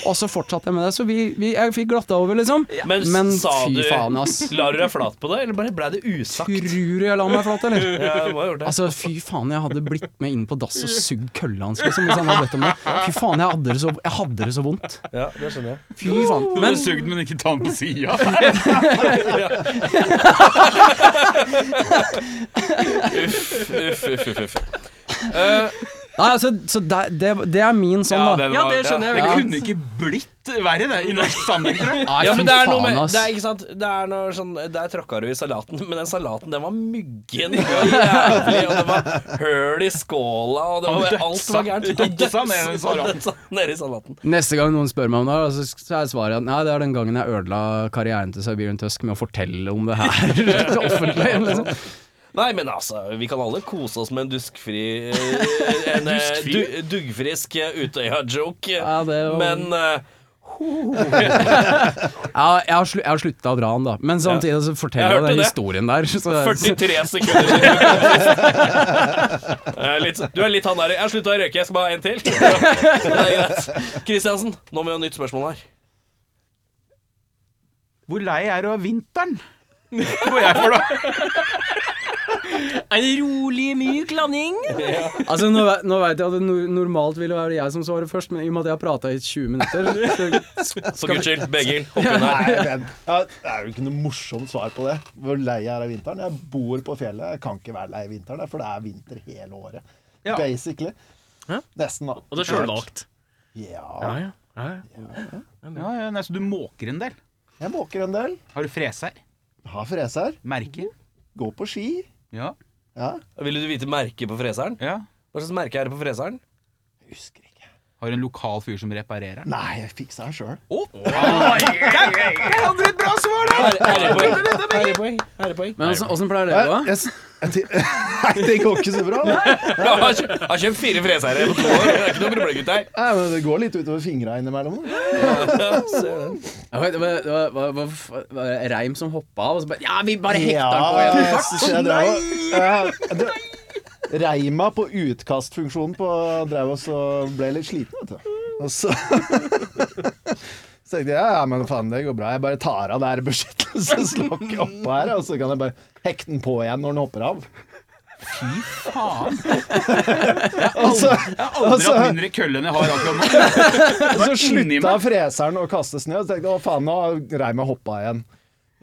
F: Og så fortsatte jeg med det. Så vi, vi, jeg fikk glatta over, liksom.
A: Men,
F: Men
A: sa
F: fy
A: du
F: faen, ass.
A: La du deg flat på det, eller bare ble det usagt?
F: Tror du jeg la meg flat, eller?
A: Ja, du må ha gjort det.
F: Altså, fy faen, jeg hadde blitt med inn på dass og sugd kølla hans, liksom. Hvis han hadde bedt om det. Fy faen, jeg hadde det så, jeg hadde det så vondt.
A: Ja, det skjønner jeg.
F: Fy faen.
B: Men sugd, men ikke ta den på sida.
A: Uff, uff, uff, uff.
F: Nei, altså, så det, det, det er min sånn, da.
B: den
C: Ja,
B: var-
C: det skjønner jeg
B: Det
C: veldig godt.
B: kunne ikke blitt verre, det, i norsk sammenheng. tror jeg.
F: Nei,
A: Ja,
F: fy
A: men det er noe
F: faen,
A: med
F: ass.
A: det er, ikke sant? Det er noe sånn Der tråkka du i salaten, men den salaten, den var myggen. Det var jævlig, og det var høl i skåla, og det var, alt var gærent.
B: Han dødsa ned i salaten.
A: Dødsa Nede i salaten.
F: Neste gang noen spør meg om det, her, så så er svaret at nei, det er den gangen jeg ødela karrieren til Siberian Tusk med å fortelle om det her til offentlig. Liksom.
A: Nei, men altså, vi kan alle kose oss med en duskfri eh, En eh, du, duggfrisk eh, Utøya-joke,
F: Ja, det var-
A: men eh,
F: Ja, jeg har, slu, jeg har slutta å dra han, da. Men samtidig så
A: Jeg
F: forteller jeg
A: hørte
F: den
A: det.
F: historien der. Så, så,
A: 43 sekunder siden. Jeg er litt, Du er litt han der Jeg har slutta å røyke, jeg skal bare ha en til. Det er greit. Kristiansen, nå må vi ha nytt spørsmål her.
B: Hvor lei er du av vinteren? Hvor jeg for da?
C: En rolig, myk landing.
F: Altså, nå, ve- nå vet jeg at det nor- normalt ville være jeg som svarer først, men i og med at jeg har prata i 20 minutter så,
C: For guds skyld, Begil. Hopp inn her.
E: Nei, men, ja, det er jo ikke noe morsomt svar på det. Hvor lei jeg er av vinteren. Jeg bor på fjellet, jeg kan ikke være lei vinteren, for det er vinter hele året. Basically.
C: Ja.
E: Nesten, da.
C: Og det er sjølvalgt.
E: Ja.
C: ja. ja, ja.
B: Ja, ja, nei, så du måker en del.
E: Jeg måker en del.
B: Har du freser?
E: Har freser.
B: Merker?
E: Går på ski.
B: Ja.
E: Ja.
A: Ville du vite merket på freseren?
B: ja.
A: Hva slags merke er det på freseren?
E: Jeg husker ikke.
B: Har en lokal fyr som reparerer den.
E: Nei, jeg fiksa den sjøl.
B: Det hadde vært bra svar, da!
A: Ærepoeng. Ærepoeng.
F: Men åssen- åssen pleier det å gå?
E: Nei, det går ikke så bra. Nei.
A: Jeg har kjøpt- jeg har kjøpt fire fresere på to år. Det er ikke noe problem, gutter.
E: Nei, men det går litt utover fingra innimellom.
F: Jeg vet, Det var, det var, var, var, var, var det reim som hoppa av, og så bare Ja, vi bare hekta
E: Ja,
F: den på igjen!
E: så skjer det også. Ja, det- Reima på utkastfunksjonen på drev oss og ble litt sliten, vet du. Og så Så tenkte jeg ja, men faen, det går bra. Jeg bare tar av det her beskyttelseslokket oppå her, og så kan jeg bare hekte den på igjen når den hopper av.
B: Faen.
E: Og så,
B: Jeg har aldri
E: Altså-
B: hatt mindre kølle enn jeg har akkurat nå.
E: så
B: inni
E: slutta
B: meg.
E: freseren å kaste snø, og så tenkte jeg å faen, nå har Reima hoppa igjen.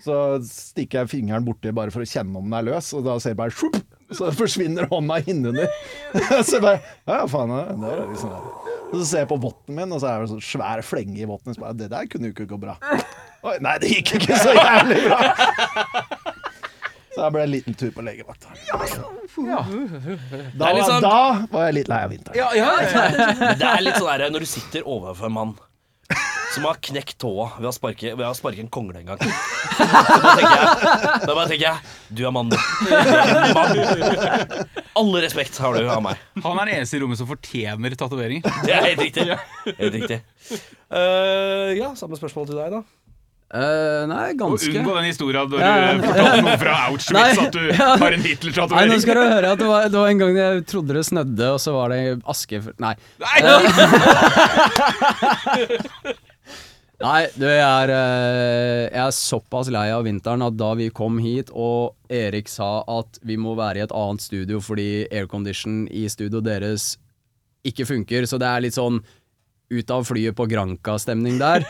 E: Så stikker jeg fingeren borti bare for å kjenne om den er løs, og da ser jeg bare shup, Så forsvinner hånda innunder. så jeg bare Ja, faen. ja, Det er liksom det. Og så ser jeg på votten min, og så er det sånn svær flenge i votten. Så bare Det der kunne jo ikke gå bra. Oi, nei, det gikk ikke så jævlig bra. Så det ble en liten tur på legevakta. Da,
A: Det er litt
E: var-
A: sånn-
E: da var jeg litt lei av vinteren.
A: Men Det er litt sånn der når du sitter overfor en mann som har knekt tåa ved å sparke, ved å sparke en kongle en gang. Da bare tenker jeg, da bare tenker jeg du er mann, du. Du er mann. Alle respekt har du av meg.
B: Han er den eneste i rommet som fortjener tatoveringer.
A: Det er helt riktig. Helt riktig. Eh, ja, samme spørsmål til deg, da.
F: Eh, nei,
B: Og
F: ganske.
B: unngå den historien da du
F: Ja, ja.
B: fortalte noen fra Auschwitz
F: Nei.
B: at du har en
F: Nei, nå skal
B: Hitler-tatovering.
F: du høre at det var, det var en gang jeg trodde det snødde, og så var det aske for- Nei.
B: Nei,
F: Nei, du, jeg er, eh, jeg er såpass lei av vinteren at da vi kom hit og Erik sa at vi må være i et annet studio fordi aircondition i studioet deres ikke funker, så det er litt sånn ut av flyet på Granca-stemning der,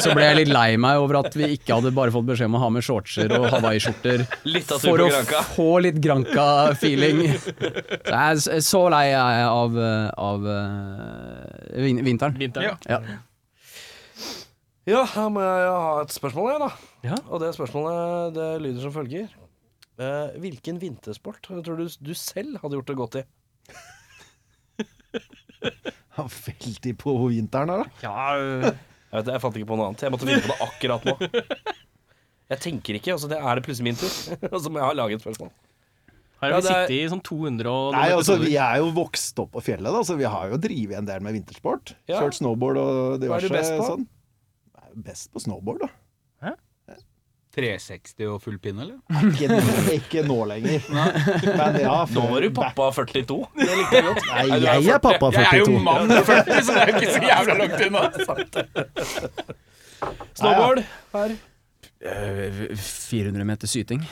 F: så ble jeg litt lei meg over at vi ikke hadde bare fått beskjed om å ha med shortser og hawaiiskjorter
A: Litt av tur
F: for
A: på
F: å
A: Granca.
F: få litt Granca-feeling. Så jeg er s- så lei jeg er av, eh, av eh, vin vinteren.
C: Vinteren.
F: Ja.
A: Ja, her må jeg ha et spørsmål, jeg, da.
C: Ja.
A: Og det spørsmålet det lyder som følger. Eh, hvilken vintersport tror du du selv hadde gjort det godt i?
E: Han veldig på vinteren her, da.
A: Jeg, vet, det, jeg fant ikke på noe annet. Jeg måtte finne på det akkurat nå. Jeg tenker ikke, altså det er det plutselig min tur. Og så må jeg ha laget et spørsmål. Ja,
C: Her har vi
A: det er-
C: sittet i sånn 200 og
E: Nei, altså Vi er jo vokst opp på fjellet, da, så vi har jo drevet en del med vintersport.
A: Ja.
E: Kjørt snowboard og
A: Hva er
E: diverse
A: du best på?
E: sånn. Jeg er jo Best på snowboard, da.
B: 360 og full pinne, eller?
E: Ikke, ikke nå lenger. Men ja,
A: Nå var du pappa 42. Det likte jeg godt.
E: Nei,
A: du
E: jeg er pappa
B: Jeg er jo
E: 42.
B: mann og 40, så det er jo ikke så jævla langt unna.
A: Snowboard.
F: 400 Eh, meter syting.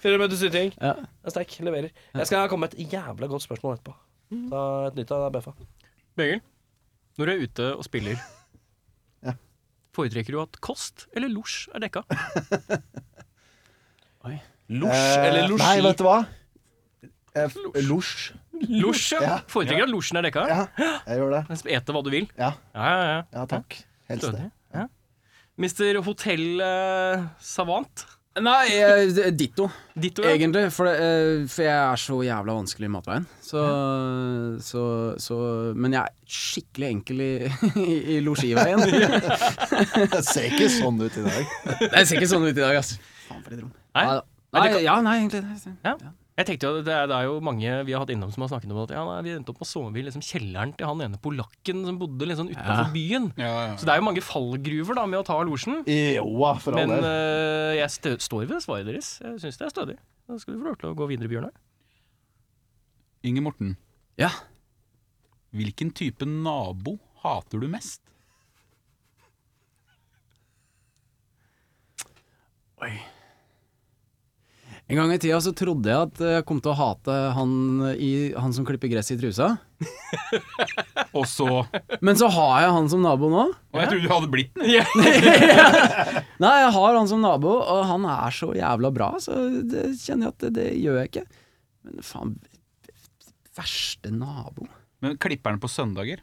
A: Fire meter syting.
F: Ja.
A: Jeg er sterk. Leverer. Jeg skal komme med et jævla godt spørsmål etterpå. Ta et nytt av Beffa.
C: Begil, når du er ute og spiller,
E: Ja.
C: foretrekker du at kost eller losj er dekka?
A: Losj eller
E: Eh, Nei,
A: losji?
E: vet du hva? Eh, Losj.
C: Losj, ja.
E: Ja.
C: Foretrekker at losjen er dekka?
E: Ja, jeg gjør det.
C: Ete hva du vil.
E: Ja.
C: ja, ja. ja.
E: Ja, takk. Helst det.
C: Stødig. Ja. Mister Hotell eh, Savant.
F: Nei, eh, ditto,
C: Ditto, ja.
F: egentlig. For, det, eh, for jeg er så jævla vanskelig i matveien. Så, så, så Men jeg er skikkelig enkel i, i, i losjiveien.
E: Det ser ikke sånn ut i dag.
F: Det ser ikke sånn ut i dag, ass. Faen, for et rom.
C: Nei.
F: Ja, da.
C: Men
F: Nei,
C: det kan-
F: ja, nei, egentlig.
C: Ja. Jeg tenkte jo, det er, det er jo mange vi har hatt innom som har snakket om at ja, nei, vi endte opp med å sove i liksom kjelleren til han ene polakken som bodde litt sånn utenfor byen.
B: Ja, ja.
C: Så det er jo mange fallgruver da med å ta losjen.
E: Joa, for all
C: Men
E: del.
C: eh, jeg stø står ved svaret deres. Jeg syns det er stødig. Da skal du få lov til å gå videre, Bjørnar.
B: Inge Morten,
F: Ja.
B: hvilken type nabo hater du mest?
F: En gang i tida så trodde jeg at jeg kom til å hate han, i, han som klipper gress i trusa.
B: Og så Og
F: Men så har jeg han som nabo nå.
B: jeg trodde du hadde blitt den.
F: Nei, jeg har han som nabo, og han er så jævla bra, så det kjenner jeg at det, det gjør jeg ikke. Men faen, verste nabo.
B: Men klipperen på søndager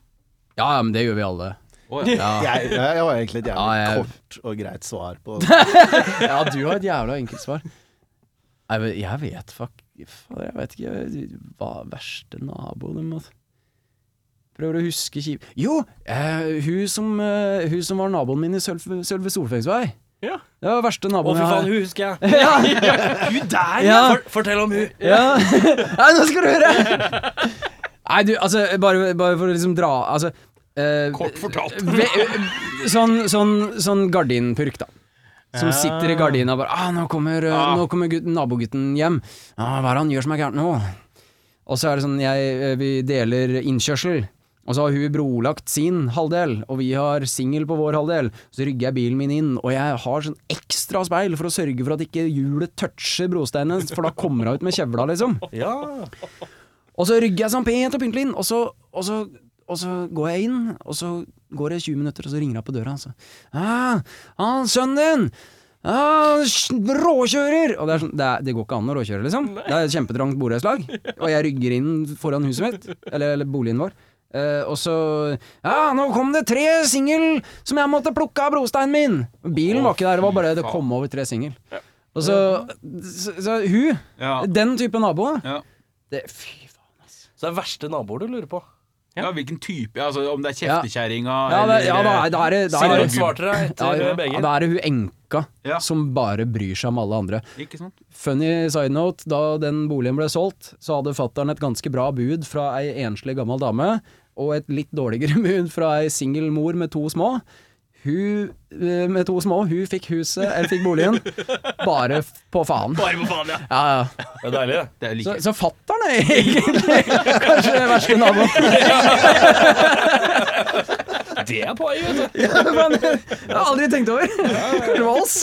F: Ja, ja, men det gjør vi alle.
B: Å, ja.
F: Ja,
E: Jeg, jeg har egentlig et jævlig
F: Ja, jeg-
E: kort og greit svar på
F: ja du har et jævla enkelt svar. Nei, men jeg vet fuck fader, Jeg vet ikke hva verste nabo de måtte Prøver å huske kjip... Jo! Eh, hun, som, eh, hun som var naboen min i Sølve, Sølve Solfengs vei.
C: Ja.
F: Det var verste naboen
C: hun husker jeg.
F: jeg har. Ja,
C: Hun der,
F: ja.
C: fortell om hun.
F: Ja. Nei, nå skal du høre! Nei, du, altså, bare, bare for å liksom dra Altså eh,
B: Kort fortalt.
F: ve, sånn, sånn, sånn gardinpurk, da. Som sitter i gardina og bare ah, 'Nå kommer, eh,
B: Ah.
F: nå kommer gutten, nabogutten hjem.' Ah, 'Hva er det han gjør som er gærent nå?' Og så er det sånn jeg, eh, Vi deler innkjørsel. Og så har hun brolagt sin halvdel, og vi har singel på vår halvdel. Så rygger jeg bilen min inn, og jeg har sånn ekstra speil for å sørge for at ikke hjulet toucher brosteinen, for da kommer hun ut med kjevla, liksom. Og så rygger jeg sånn pent og pyntelig inn, og så, og, så, og så går jeg inn, og så går det 20 minutter, og så ringer jeg på døra, og så ah, han, 'Sønnen din! Ah, sj- råkjører!' Og det, er sånn, det, er, det går ikke an å råkjøre, liksom. Det er et kjempetrangt borettslag, og jeg rygger inn foran huset mitt, eller, eller boligen vår. Eh, og så Ja, nå kom det tre singel som jeg måtte plukke av brosteinen min! Bilen var ikke der, det var bare det kom over tre singel. Og så, så, så hun,
B: Ja.
F: den type nabo,
B: Ja.
F: det, fy faen.
A: Så det er verste naboer du lurer på.
B: ja, hvilken type? Altså, om det er
F: Ja.
B: kjeftekjerringa
F: Ja, det, ja, da er,
B: eller
F: da er det, da
B: Sier
F: er
B: du
F: det,
B: et svar til
A: deg
F: ja, ja, ja, da er det hun enka
B: Ja.
F: som bare bryr seg om alle andre.
B: Ikke sant?
F: Funny side note, da den boligen ble solgt, så hadde fattern et ganske bra bud fra ei enslig gammel dame, og et litt dårligere bud fra ei singel mor med to små. Hun eh, med to små, hun fikk huset, eller fikk boligen, bare f- på faen.
C: Bare på faen, ja.
F: Ja, ja.
A: Det er deilig, det.
B: Det er jo
F: Så,
B: like.
F: så fattern er egentlig kanskje den verste naboen.
C: Det er poenget, vet du.
F: Ja, men Jeg har aldri tenkt over. Kanskje det var oss.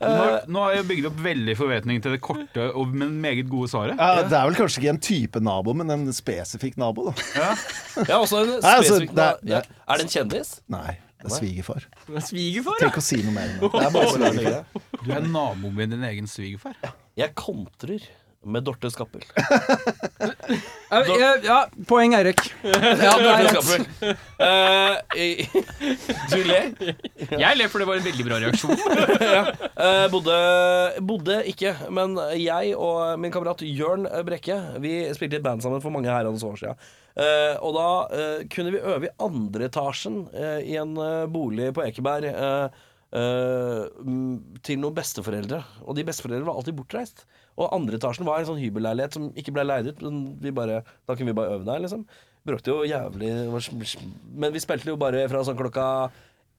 B: nå,
F: eh,
B: nå har jeg bygd opp veldig forventning til det korte, og, men meget gode svaret.
E: ja, Det er vel kanskje ikke en type nabo, men en spesifikk nabo, da.
A: Jeg har også en
E: Nei, altså,
A: spesifikk
E: det er-
A: Ja. Er det en kjendis?
E: Nei, det er svigerfar.
C: Svigerfar,
E: Tenk å si noe mer om det. Det er bare svigerfar.
B: Du er naboen min, din egen svigerfar.
A: Jeg kontrer med Dorte Skappel.
F: Ja, ja, ja, poeng Eirik. Ja, det er
A: Dorte
F: rett.
A: Skappel. Eh, i- du ler.
C: Jeg ler, for det var en veldig bra reaksjon.
A: Eh, bodde, bodde ikke, men jeg og min kamerat Jørn Brekke Vi spilte i et band sammen for mange herrens år siden. Eh, og da eh, kunne vi øve i andre etasjen eh, i en eh, bolig på Ekeberg eh, eh, m- til noen besteforeldre. Og de besteforeldrene var alltid bortreist. Og andre etasjen var en sånn hybelleilighet som ikke ble leid ut. Men vi bare, da kunne vi bare øve der, liksom. Brukte jo jævlig Men vi spilte jo bare fra sånn klokka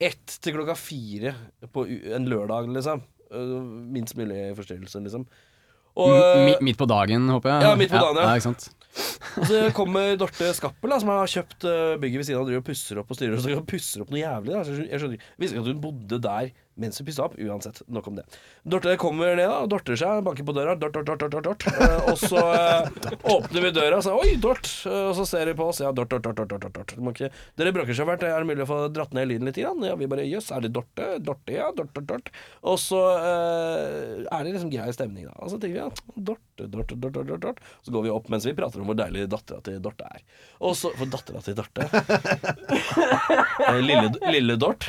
A: ett til klokka fire på u- en lørdag, liksom. Øh, Minst mulig forstyrrelse, liksom. Og
F: M- mi-
A: øh,
F: midt på dagen, håper jeg.
A: Ja, midt på dagen, ja.
F: ikke sant?
A: så kommer Dorte Skappel, da, som har kjøpt øh, bygget ved siden av, driver og pusser opp og styrer og så pusser opp noe jævlig. Da. Så Jeg skjønner- jeg skjønner ikke jeg Visste ikke at hun bodde der mens hun pussa opp. Uansett, nok om det. Dorte kommer ned, da, og dorter seg, banker på døra, dort, dort, dort, dort, dort, dort. Eh, og så eh, åpner vi døra og sier 'oi, dort', Eh, og så ser de på oss, ja, dort, dort, dort, dort, dort, dort, dort. Du må ikke, dere bråker så fælt, er det mulig å få dratt ned lyden litt? Grann? Ja, vi bare jøss, er det Dorte? Dorte, ja, dort, dort, dort. Og så eh, er det liksom grei stemning, da. Og så tenker vi ja, Dorte, Dorte, Dorte, Dorte, Dorte. Så går vi opp mens vi prater om hvor deilig dattera til Dorte er. Og så For dattera til Dorte Eh, Lille, lille Dort.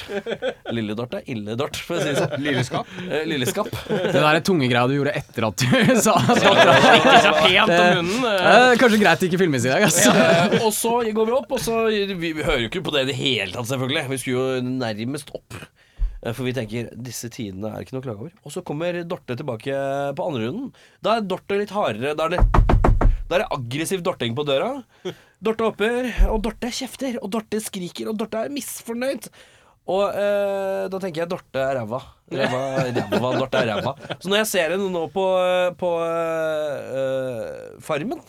A: Lille Dort er ille Dort, for å si det sånn.
B: Lilleskap.
A: Eh, Lilleskapp.
F: Det der er tungegreia du gjorde etter at du sa at
C: Slikker seg pent om munnen. eh.
F: Eh, Kanskje greit det ikke filmes i dag, altså. ass.
A: Eh, og så går vi opp, og så vi, vi hører jo ikke på det i det hele tatt, selvfølgelig. Vi skulle jo nærmest opp. Eh, For vi tenker disse tidene er ikke noe å klage over. Og så kommer Dorte tilbake på andre runden. Da er Dorte litt hardere. Da er det, da er det aggressiv dorting på døra. Dorte hopper, og Dorte kjefter, og Dorte skriker, og Dorte er misfornøyd. Og eh, da tenker jeg Dorte er ræva. Ræva, ræva, Dorte er ræva. Så når jeg ser henne nå på, på eh, Farmen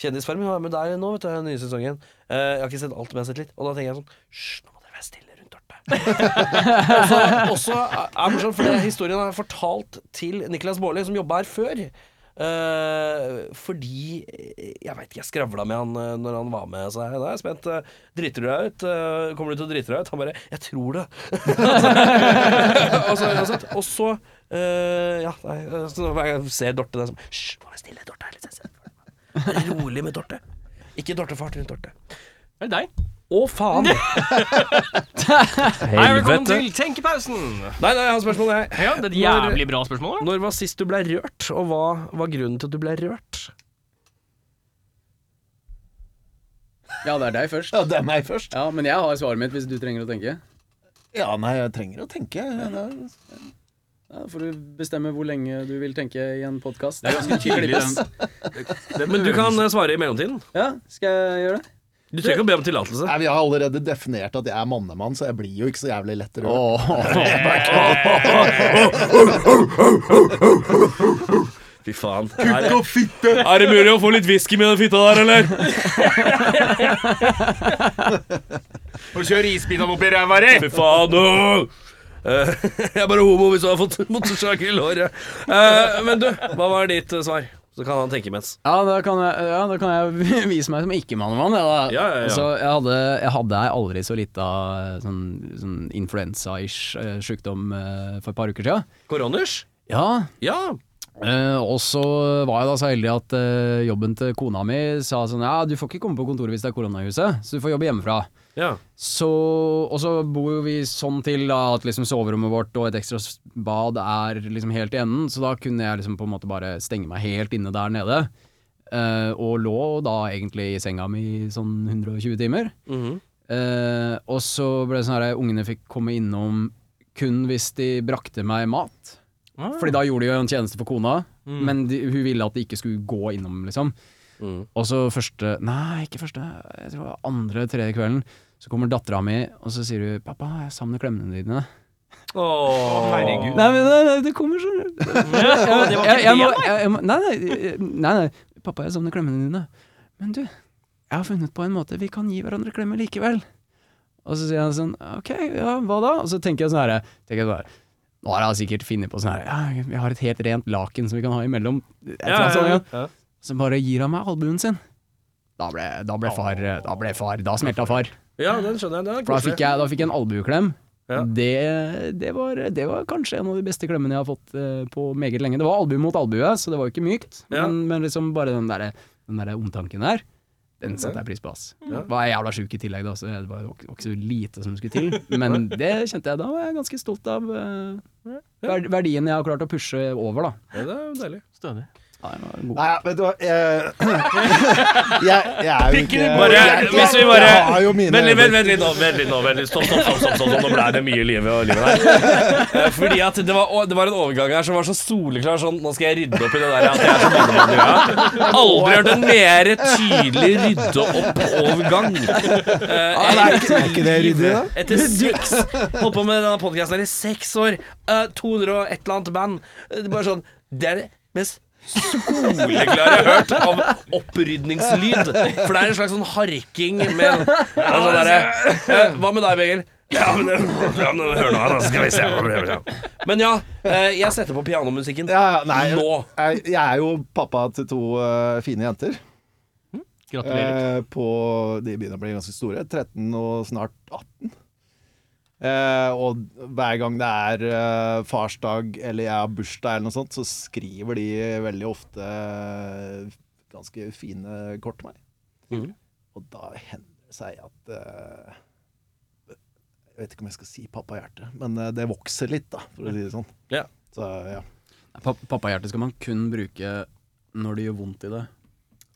A: Kjendisfarmen hun er med der nå, vet du, den nye sesongen. Eh, jeg har ikke sett alt, men jeg har sett litt. Og da tenker jeg sånn Hysj, nå må dere være stille rundt Dorte. også, Altså, også er morsomt, for det- historien er fortalt til Niklas Baarli, som jobba her før. Eh, fordi eh, Jeg vet ikke, jeg skravla med han eh, når han var med. Så jeg, da er jeg spent. eh, Driter du deg ut? Eh, kommer du til å drite deg ut? Han bare Jeg tror det. og så, og så, og så eh, Ja, nei, eh, så hver gang jeg ser Dorte der som Hysj, må være stille, Dorte. er Litt sensitiv. Rolig med Dorte. Ikke Dorte-fart rundt Dorte.
C: Er det deg?
A: Å, faen!
C: Hei, velkommen til Tenkepausen!
A: Nei, nei, jeg har spørsmål, jeg.
C: Ja, det er et
A: Når-
C: jævlig bra spørsmål. da.
A: Når var sist du ble rørt, og hva var grunnen til at du ble rørt?
F: Ja, det er deg først.
E: Ja, det er meg først.
F: Ja, men jeg har svaret mitt hvis du trenger å tenke.
E: Ja, nei, jeg trenger å tenke. Det er-
F: Da får du bestemme hvor lenge du vil tenke i en podkast.
B: Det er ganske tydelig, den.
A: Men du kan eh, svare i mellomtiden.
F: Ja, skal jeg gjøre det?
A: Du trenger ikke å be om tillatelse.
E: Nei, vi har allerede definert at jeg er mannemann, så jeg blir jo ikke så jævlig lett rørt.
A: Fy faen. Er det, er det mulig å få litt whisky med den fitta der, eller?
B: Og kjør isbitene opp i ræva di!
A: Fy faen, nå! Eh, jeg er bare homo hvis du har fått motorsag i låret. Eh, men du, hva var ditt eh, svar? Så kan han tenke imens.
F: Ja, da kan jeg, ja, da kan jeg vise meg som ikke-mannemann. Ja, da.
A: Ja, ja, ja.
F: Så jeg hadde, jeg hadde ei aldri så lita eh, sånn, sånn influensa-ish eh, sjukdom eh, for et par uker sia.
A: Koroners?
F: Ja,
A: Ja.
F: eh, og så var jeg da så heldig at eh, jobben til kona mi sa sånn Ja, du får ikke komme på kontoret hvis det er korona i huset, så du får jobbe hjemmefra.
A: ja.
F: Så, og så bor jo vi sånn til da, at liksom soverommet vårt og et ekstra s- bad er liksom helt i enden, så da kunne jeg liksom på en måte bare stenge meg helt inne der nede. eh, og lå da egentlig i senga mi i sånn 120 timer.
A: Mhm.
F: Eh, og så ble det sånn her ungene fikk komme innom kun hvis de brakte meg mat. Fordi da gjorde de jo en tjeneste for kona, men de, hun ville at de ikke skulle gå innom, liksom.
A: Mm.
F: Og så første Nei, ikke første. Jeg tror det var andre, tredje kvelden. Så kommer dattera mi, og så sier hun 'Pappa, jeg savner klemmene dine'.
A: Åh.
B: herregud.
F: Nei, men nei, nei, det kommer så
C: det var ikke
F: jeg må-
C: det,
F: jeg- jeg må- Nei, nei, nei, nei. 'Pappa, jeg savner klemmene dine'. Men du, jeg har funnet på en måte vi kan gi hverandre klemmer likevel. Og så sier han sånn 'Ok, ja, hva da?' Og så tenker jeg sånn her tenker jeg sånn her, Nå har han sikkert funnet på sånn her ja, 'Vi har et helt rent laken som vi kan ha imellom'. Et eller
A: Ja,
F: annet sånt,
A: ja,
F: ja.
A: ja. Ja.
F: Så bare gir han meg albuen sin. Da ble, da ble far eh, Da ble far, da smelta far.
A: ja, den skjønner jeg. Den er
F: For da fikk
A: koselig.
F: jeg, da fikk jeg en albueklem.
A: Ja.
F: Det, det, var, det var kanskje en av de beste klemmene jeg har fått eh, på meget lenge. Det var albue mot albue, så det var jo ikke mykt.
A: Ja.
F: Men, men liksom bare den derre den der omtanken der, den setter jeg pris på. ass. Var jeg jævla sjuk i tillegg, da, så det var jo ikke- var ikke så lite som skulle til. Men det kjente jeg da var jeg ganske stolt av. eh, verd- verdien jeg har klart å pushe over, da.
A: Ja, det er jo deilig.
C: Stødig.
F: Ja, den var god.
E: Nei, vet du hva jeg, jeg, jeg er jo ikke
A: Bare,
E: jeg, jeg,
A: hvis vi bare
E: jeg har jo mine
A: Vent litt, vent, vent litt nå, vent litt nå, vent litt. Stopp, stopp, stopp, stopp, stopp, stopp. Nå ble det mye liv i livet der. Eh, Fordi at det var, det var en overgang her som var så soleklar sånn Nå skal jeg rydde opp i det der at jeg er så mannemann du er. Aldri hørt en mer tydelig rydde opp-overgang.
E: Ja, Ah, det er ikke- det er ikke det ryddig, da.
A: Eh, Etter seks Holdt på med denne podkasten her i seks år. eh, 200 og et eller annet band. Eh, Det er bare sånn Det er det mest skoleklare jeg har hørt av opprydningslyd. For det er en slags sånn harking med en- det er sånn derre eh, Hva med deg, Begil? Ja, men, det- ja, men hør nå, her, da skal vi se. hva det blir. Men ja, eh, jeg setter på pianomusikken
E: Ja, ja, nei,
A: nå.
E: jeg, jeg er jo pappa til to eh, fine jenter.
C: Gratulerer.
E: Eh, på, de begynner å bli ganske store. 13 og snart 18. Eh, og hver gang det er eh, farsdag eller jeg har bursdag eller noe sånt, så skriver de veldig ofte eh, ganske fine kort til meg.
A: Mhm.
E: Og da hender det seg at eh, Jeg vet ikke om jeg skal si pappahjerte, men eh, det vokser litt, da, for å si det sånn.
A: Ja.
E: Så ja.
F: Pa- Pappahjerte skal man kun bruke når det gjør vondt i det.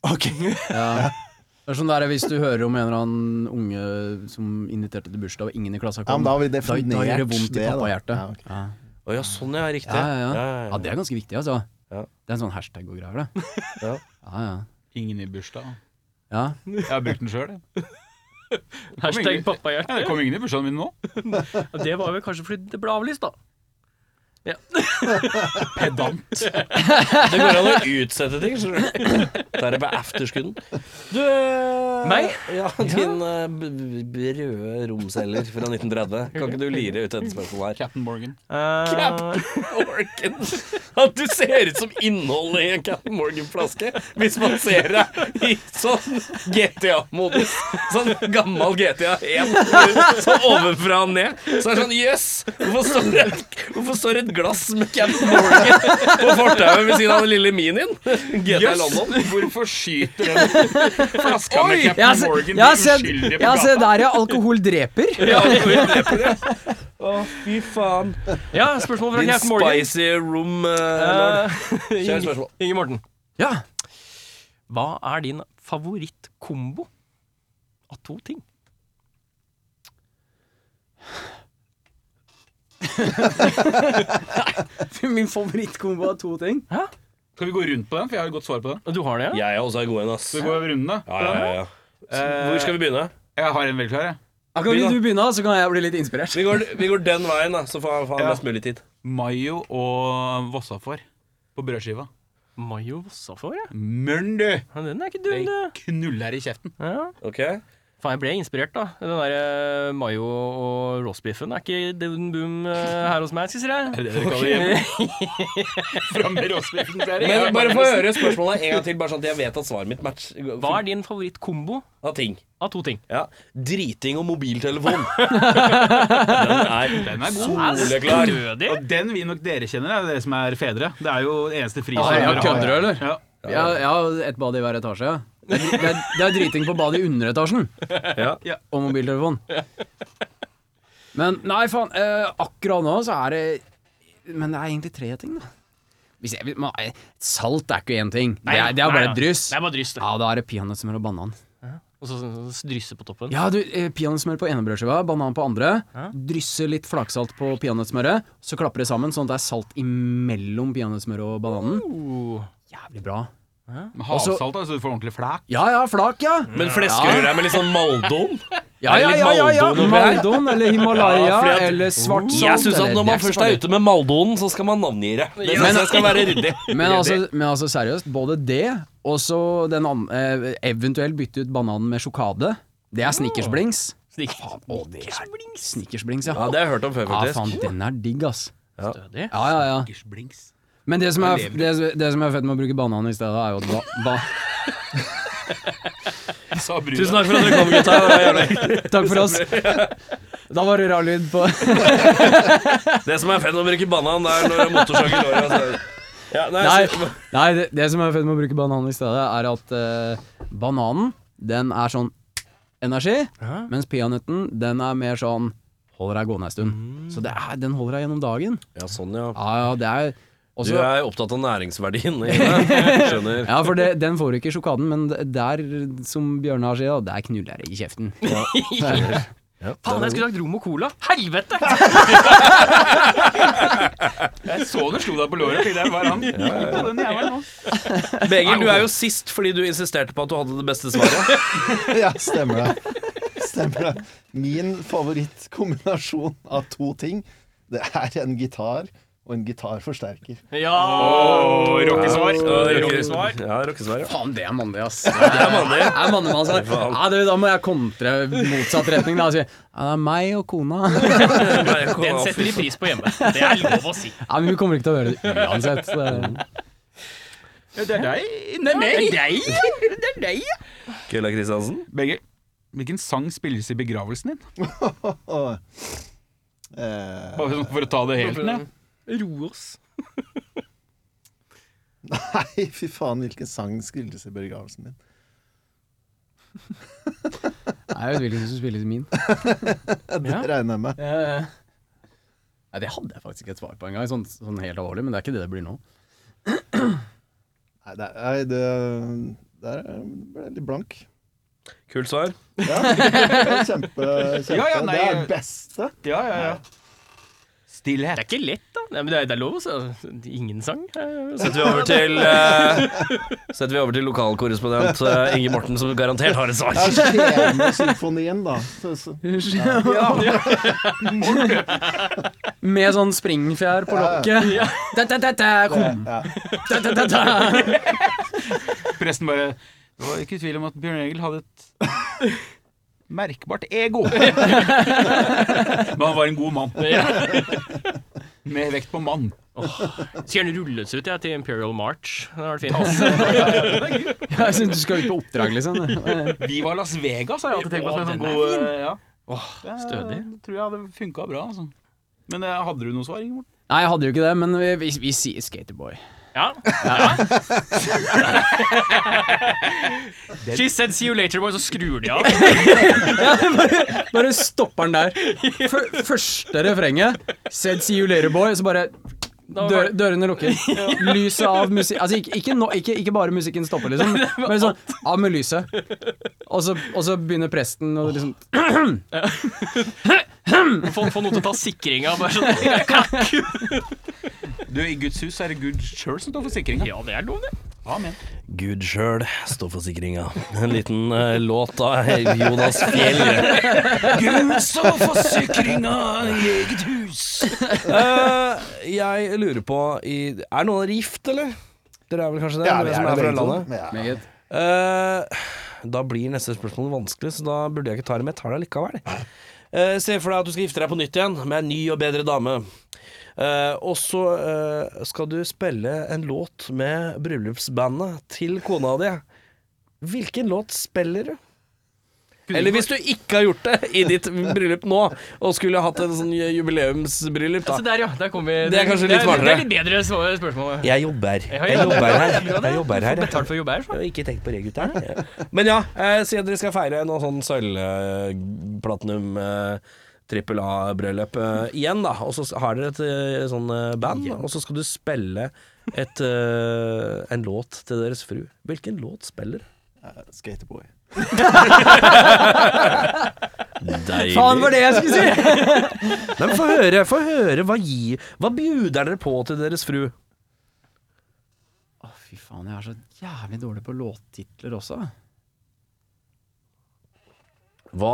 E: Ok.
F: Ja. Det er sånn der, Hvis du hører om en eller annen unge som inviterte til bursdag, og ingen i klassa
E: Ja,
F: kom,
E: men da har vi
F: da,
E: definert
F: da gjør det vondt
E: det,
F: i
E: da.
F: pappahjertet.
E: Ja, ok.
F: Ja,
A: Å ja, sånn ja, riktig.
F: ja, ja, ja. ja, det
A: ja.
F: er ganske viktig, altså.
A: Ja.
F: Det er en sånn hashtag og greier, det.
A: Ja.
F: Ja, ja.
B: Ingen i bursdag.
F: ja.
B: Jeg har brukt den sjøl.
C: Hashtag pappahjerte.
B: Det kom ingen i bursdagen min nå.
C: Det var vel kanskje fordi det ble avlyst, da. Ja.
B: Pedant.
A: Det går an å utsette ting, skjønner du. Da er det bare afterskuden. Du eh,
C: Meg?
A: Ja, din eh, b- b- røde romceller fra 1930. Kan ikke du lire ut et spørsmål her?
B: Captain Morgan.
A: Captain Morgan. At du ser ut som innholdet i en Captain Morgan-flaske hvis man ser deg i sånn GTA-modus. Sånn gammel GTA 1, sånn ovenfra og ned. Så er det sånn Jøss, hvorfor, står det- hvorfor står det et glass med Captain Morgan på fortauet ved siden av den lille minien? GTA London.
B: Hvorfor skyter den flaska med
F: Jeg har
B: Captain
F: se-
B: Morgan
F: jeg har sett
B: uskyldige
F: jeg har sett der, ja. Alkohol dreper.
A: Å, fy faen.
C: ja, spørsmål fra
A: Din
C: Captain Morgan.
A: spicy room eh, lord.
C: Eh,
A: Kjør spørsmål.
C: Inge Morten.
D: Ja.
C: Hva er din favorittkombo av to ting?
F: Min favorittkombo av to ting.
B: Skal vi gå rundt på den, for jeg har jo godt svar på den.
C: Du har det, ja?
A: Jeg er også god en, ass.
B: Så vi går rundt da.
A: Ja, ja, Eh. ja.
B: Eh,
A: Hvor skal vi begynne?
B: Jeg har en veldig klar, jeg.
F: Kan ikke du begynne, så kan jeg bli litt inspirert?
A: Vi går, vi går den veien, da, så får får han
B: Ja.
A: mest mulig tid.
B: Mayo og Vossafor på brødskiva.
C: Mayo Vossafor, ja.
B: Mørn, du!
C: Ja, Den er ikke dum, du.
B: Knuller i kjeften.
C: Ja.
A: Ok?
C: Faen, jeg ble inspirert, da. Den der eh, mayo og roastbiffen er ikke den boom eh, her hos meg, sier jeg.
B: Er det det dere kaller hjemme? Fram med råsbiffen, sier
A: Men
B: jeg.
A: bare få høre spørsmålet en gang til, bare sånn at jeg vet at svaret mitt matcher
C: Hva er din favorittkombo
A: av ting.
C: av to ting?
A: Ja. Driting og mobiltelefon. den er,
B: Den er god.
A: soleklar.
C: Stødig?
B: Og den vil nok dere kjenner, er dere som er fedre. Det er jo det eneste fri
F: Ah,
B: som
F: ja,
B: dere
F: kødder du, eller?
B: Ja.
F: Ja, jeg har ett bad i hver etasje. ja. Det er, det er, det er driting på badet i underetasjen.
A: Ja.
B: Ja.
F: Og mobiltelefon. Men nei, faen. eh, akkurat nå så er det Men det er egentlig tre ting, da. Hvis jeg, vil- man, eh, salt er ikke én ting. Det er, det er bare
C: Nei,
F: et dryss.
C: Det er bare dryss, det.
F: Ja, da er det peanøttsmør og banan.
C: Og så, så, så drysse på toppen.
F: Ja, du, eh, peanøttsmør på ene brødskiva, banan på andre. Drysse litt flaksalt på peanøttsmøret, så klapper det sammen sånn at det er salt imellom peanøttsmøret og bananen.
C: Oh.
F: Jævlig bra.
B: Men Havsalt, da, så du får ordentlig flæk.
F: Ja ja, flak, ja.
A: Men fleskerør er med litt sånn maldon.
F: Ja, ja, ja, ja, ja.
A: Maldon oppi her.
F: Maldon eller Himalaya
A: Ja, fordi at-
F: eller svart salt.
A: Jeg syns at
F: eller
A: når man
F: Jack
A: først er ute med maldonen, så skal man navngi det. Det synes jeg skal være ryddig.
F: Spaghetti. Men altså, men altså seriøst, både det og så den an- eh, eventuelt bytte ut bananen med sjokade. Det er snickersblings. Faen, å, det er snickersblings, ja.
A: Oh. Ja, Det har jeg hørt om før,
F: Ja,
A: faktisk.
F: faen, den er digg, ass.
C: Stødig.
F: Ja, ja, ja.
B: Gersblings.
F: Men det som er, det, det som er fett med å bruke banan i stedet, er jo at ba, ba,
B: Sa brua.
A: Tusen takk for at dere kom, gutta. Det var jævlig
F: Takk for oss. Da var det rar lyd på
A: Det som er fett med å bruke banan, det er når motorsagen går av. så- Ja, nei,
F: Nei,
A: så-
F: nei det, det som er fett med å bruke banan i stedet, er at eh, bananen, den er sånn energi, mens peanøtten, den er mer sånn holder deg gående en stund. Så det er, den holder deg gjennom dagen.
A: ja, sånn, ja.
F: Ja, ja, det er
A: Du
F: også,
A: er opptatt av næringsverdien. i det. Skjønner.
F: Ja, for det, den får du ikke i sjokaden, men d- der, som Bjørnar sier, da, der knuller jeg deg i kjeften.
C: Faen, jeg skulle lagd rom og cola. Helvete!
B: Jeg så du slo deg på låret. tenkte jeg, Hva er han? På den jævelen nå.
A: Begil, du er jo sist fordi du insisterte på at du hadde det beste svaret.
E: Ja, stemmer det. Stemmer det. Min favorittkombinasjon av to ting, det er en gitar og en gitarforsterker.
C: Ja!
B: Åh, rockesvar. Rockesvar.
A: Ja, rockesvar, ja.
F: Faen, det er mandig, ass. Det er mandig. Det er mandig, mann, så- Ja, du, da må jeg kontre motsatt retning, da. og Si, ja, det er meg og kona.
A: Nei, kom,
C: Den setter de pris på hjemme. Det er lov å si.
F: Ja, men vi kommer ikke til å høre det uansett. så det-
B: Ja, det er deg. Nei, nei. Det er deg. Det er deg, ja.
A: Kølla Kristiansen.
B: Begge. Hvilken sang spilles i begravelsen din?
E: Og, eh,
B: Bare sånn for å ta det helt ned.
C: Ro oss.
E: nei, fy faen, hvilken sang skrives i begravelsen din?
F: Det er jo et hvilken som spilles i min.
E: Det regner jeg med.
F: Nei, det hadde jeg faktisk ikke et svar på engang, sånn, sånn helt alvorlig, men det er ikke det det blir nå.
E: Nei, det, nei, det der ble jeg litt blank.
A: Kult svar.
E: Ja, kjempe, kjempe.
B: Ja, ja,
E: det er
B: nei.
E: det beste.
B: Ja, ja, ja. Stillhet.
C: Det er ikke lett, da. Nei, men det er, det er lov å si. Ingen sang. eh, så-
A: Setter vi over til, eh, setter vi over til lokalkorrespondent eh, Inge Morten, som garantert har et svar.
E: Det er Skjebnesymfonien, da. Så, så.
B: Ja.
F: Med sånn springfjær på lokket. Da, da, da, da, kom.
E: Ja.
F: Da, da, da, da.
B: Presten bare Det var ikke tvil om at Bjørn Egil hadde et merkbart ego. Men han var en god mann. Med vekt på mann.
C: Skulle gjerne rulles ut jeg, til Imperial March. Det hadde vært fint.
F: Jeg synes du skal ut på oppdrag, liksom.
B: Vi var Las Vegas, har jeg alltid tenkt på. som en
C: Å,
B: sånn
C: den
B: god, ja.
C: Åh, stødig.
B: Det tror jeg hadde funka bra. Altså. Men eh, hadde du noe svar, Ingeborg?
F: Nei, jeg hadde jo ikke det, men vi, vi, vi sier Skaterboy.
C: Ja. She said see you later, boy, så skrur de av.
F: Bare stopper den der. Fø- første refrenget, said see you later, boy, så bare
C: Da var
F: dør,
C: det-
F: dørene lukker. Lyset av musikk Altså, ikke, ikke, nå- ikke, ikke bare musikken stopper, liksom, men sånn av med lyset. Og så, og så begynner presten og liksom
C: Få, få noe til å ta sikringa. Bare sånn.
B: Du, I Guds hus er det Gud sjøl som står for sikringa.
C: Ja, det er lov, det.
B: Amen.
A: Gud sjøl står for sikringa. En liten eh, låt av Jonas Fjell.
B: Gud står for sikringa i eget hus.
A: Eh, jeg lurer på i, Er noen rift, eller? Dere er vel kanskje det?
E: Ja, vi
A: dere
E: er
A: som er
E: vel
A: fra
E: begge to.
A: landet?
E: Ja.
F: Meget.
A: Eh, da blir neste spørsmål vanskelig, så da burde jeg ikke ta det med. Jeg tar det likevel. Eh, se for deg at du skal gifte deg på nytt igjen med en ny og bedre dame. Eh, og så eh, skal du spille en låt med bryllupsbandet til kona di. Hvilken låt spiller du? Eller hvis du ikke har gjort det i ditt bryllup nå, og skulle hatt en sånn jubileumsbryllup,
C: Så
A: da.
C: der, ja. Der kom vi.
A: Det er kanskje litt
C: Det er
A: smartere.
C: litt bedre svar- spørsmål.
A: Jeg jobber.
C: Ja, ja.
A: Jeg jobber her. Jeg jobber her.
C: Betalt for å jobbe her, så.
A: Jeg har Ikke tenk på det, gutter. Men ja, eh, si at dere skal feire noe sånn sølvplatinum eh, trippel A-bryllup eh, igjen, da. Og så har dere et eh, sånn eh, band, og så skal du spille et, eh, en låt til deres fru. Hvilken låt spiller?
E: Skaterboy.
A: Deilig.
F: Faen, var det jeg skulle si!
A: Nei, men få høre, få høre. Hva, gi, hva bjuder dere på til deres fru?
F: Å, fy faen, jeg er så jævlig dårlig på låttitler også.
A: Hva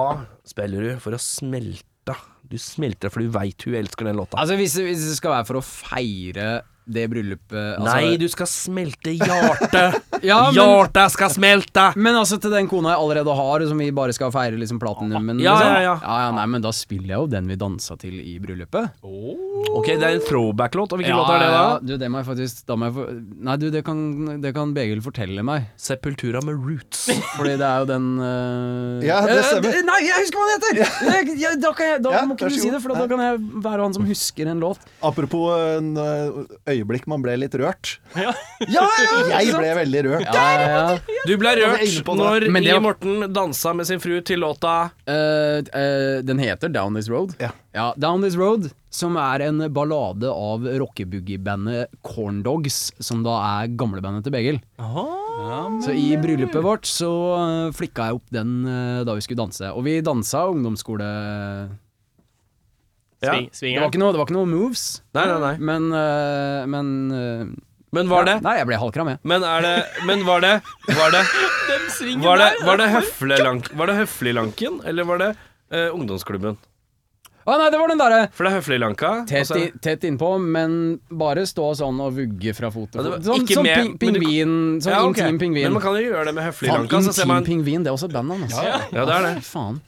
A: spiller du for å smelte? Du smelter fordi du veit hun elsker den låta.
F: Altså, hvis, hvis det skal være for å feire det bryllupet altså,
A: Nei, du skal smelte hjertet.
F: ja, men,
A: Hjertet skal smelte.
F: men altså til den kona jeg allerede har, som vi bare skal feire liksom platinumen
A: Ja,
F: liksom.
A: ja, ja.
F: ja, ja. Nei, men da spiller jeg jo den vi dansa til i bryllupet.
A: Ok, det er en throwback-låt, og hvilken
F: ja,
A: låt er det da?
F: ja, Du, det må jeg faktisk da må jeg få, Nei, du, det kan, det kan Begil fortelle meg.
A: Sepultura med Roots.
F: Fordi det er jo den øh,
E: Ja, det
F: øh,
E: stemmer.
F: d- Nei, jeg husker hva den heter! Jeg, jeg, da kan jeg, da
E: Ja,
F: må
E: vær
F: ikke du
E: så
F: si
E: god.
F: det, for da kan jeg være han som husker en låt.
E: Apropos en eh, øyeblikk man ble litt rørt. Jeg ble veldig
F: Ja,
E: rørt.
F: ja, ja.
A: Du ble
E: var
A: rørt
E: jeg inne på nå.
A: når
F: Men det
A: I.
F: var-
A: Morten dansa med sin fru til låta
F: Eh, eh, den heter Down This Road.
E: Ja.
F: Down This Road, som er en ballade av rockeboogie-bandet Corndogs, som da er gamlebandet til Begil. Så i bryllupet vårt så eh, flikka jeg opp den eh, da vi skulle danse. Og vi dansa ungdomsskole...
A: Ja.
C: Sving,
F: Det var
C: svinger.
F: ikke noe, det var ikke noe moves,
A: Nei, nei, nei.
F: men eh, Men, eh,
A: Men var det
F: Nei, jeg ble halvkram, jeg.
A: Men er det Men var det Var det Var det, var det, høflelank, var det Høflilanken, eller var det eh, ungdomsklubben?
F: Å nei, det var den derre
A: For det er Høflilanka.
F: Tett,
A: altså-
F: i- tett innpå, men bare stå sånn og vugge fra fot
A: Ja,
F: til
A: det var
F: fot. Sånn,
A: ikke
F: sånn
A: med-
F: ping,
A: men du-
F: pingvin, sånn
A: Ja, ok.
F: intim pingvin.
A: Men man kan jo gjøre det med
F: Faen,
A: Høflilanka. Så altså. ser
F: Intim
A: man,
F: Pingvin, det er også et band, altså.
A: ja, det er det.
F: Faen.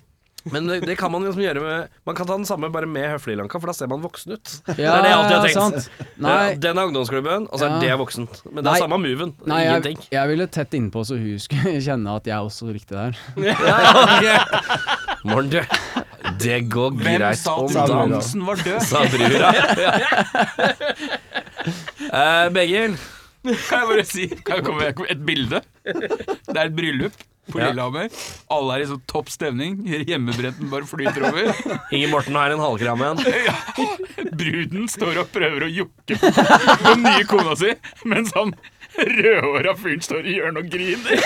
A: Men det, det kan man liksom gjøre med Man kan ta den samme bare med Høflilanka, for da ser man voksen ut. det
F: Ja,
A: er det jeg alltid har tenkt.
F: sant.
A: Ja,
F: Nei,
A: Eh, Den er ungdomsklubben, og så er
F: Ja.
A: det voksent. Men det
F: Nei.
A: er samme moven.
F: nei jeg,
A: Ingenting.
F: jeg ville tett innpå så hun skulle kjenne at jeg også likte det her.
A: Morn, du. Det går
B: Hvem
A: greit
B: sa
A: om
B: at
A: dagen,
B: dansen var død?
A: sa brura. Eh, Begil,
B: Kan jeg bare si kan jeg komme med et bilde? Det er et bryllup på
A: Ja.
B: Lillehammer. Alle er i sånn topp stemning. Hjemmebrenten bare flyter over.
A: Inge Morten har en halvkram igjen.
B: Bruden står og prøver å jokke på den nye kona si, mens han rødhåra fyren står i hjørnet og griner.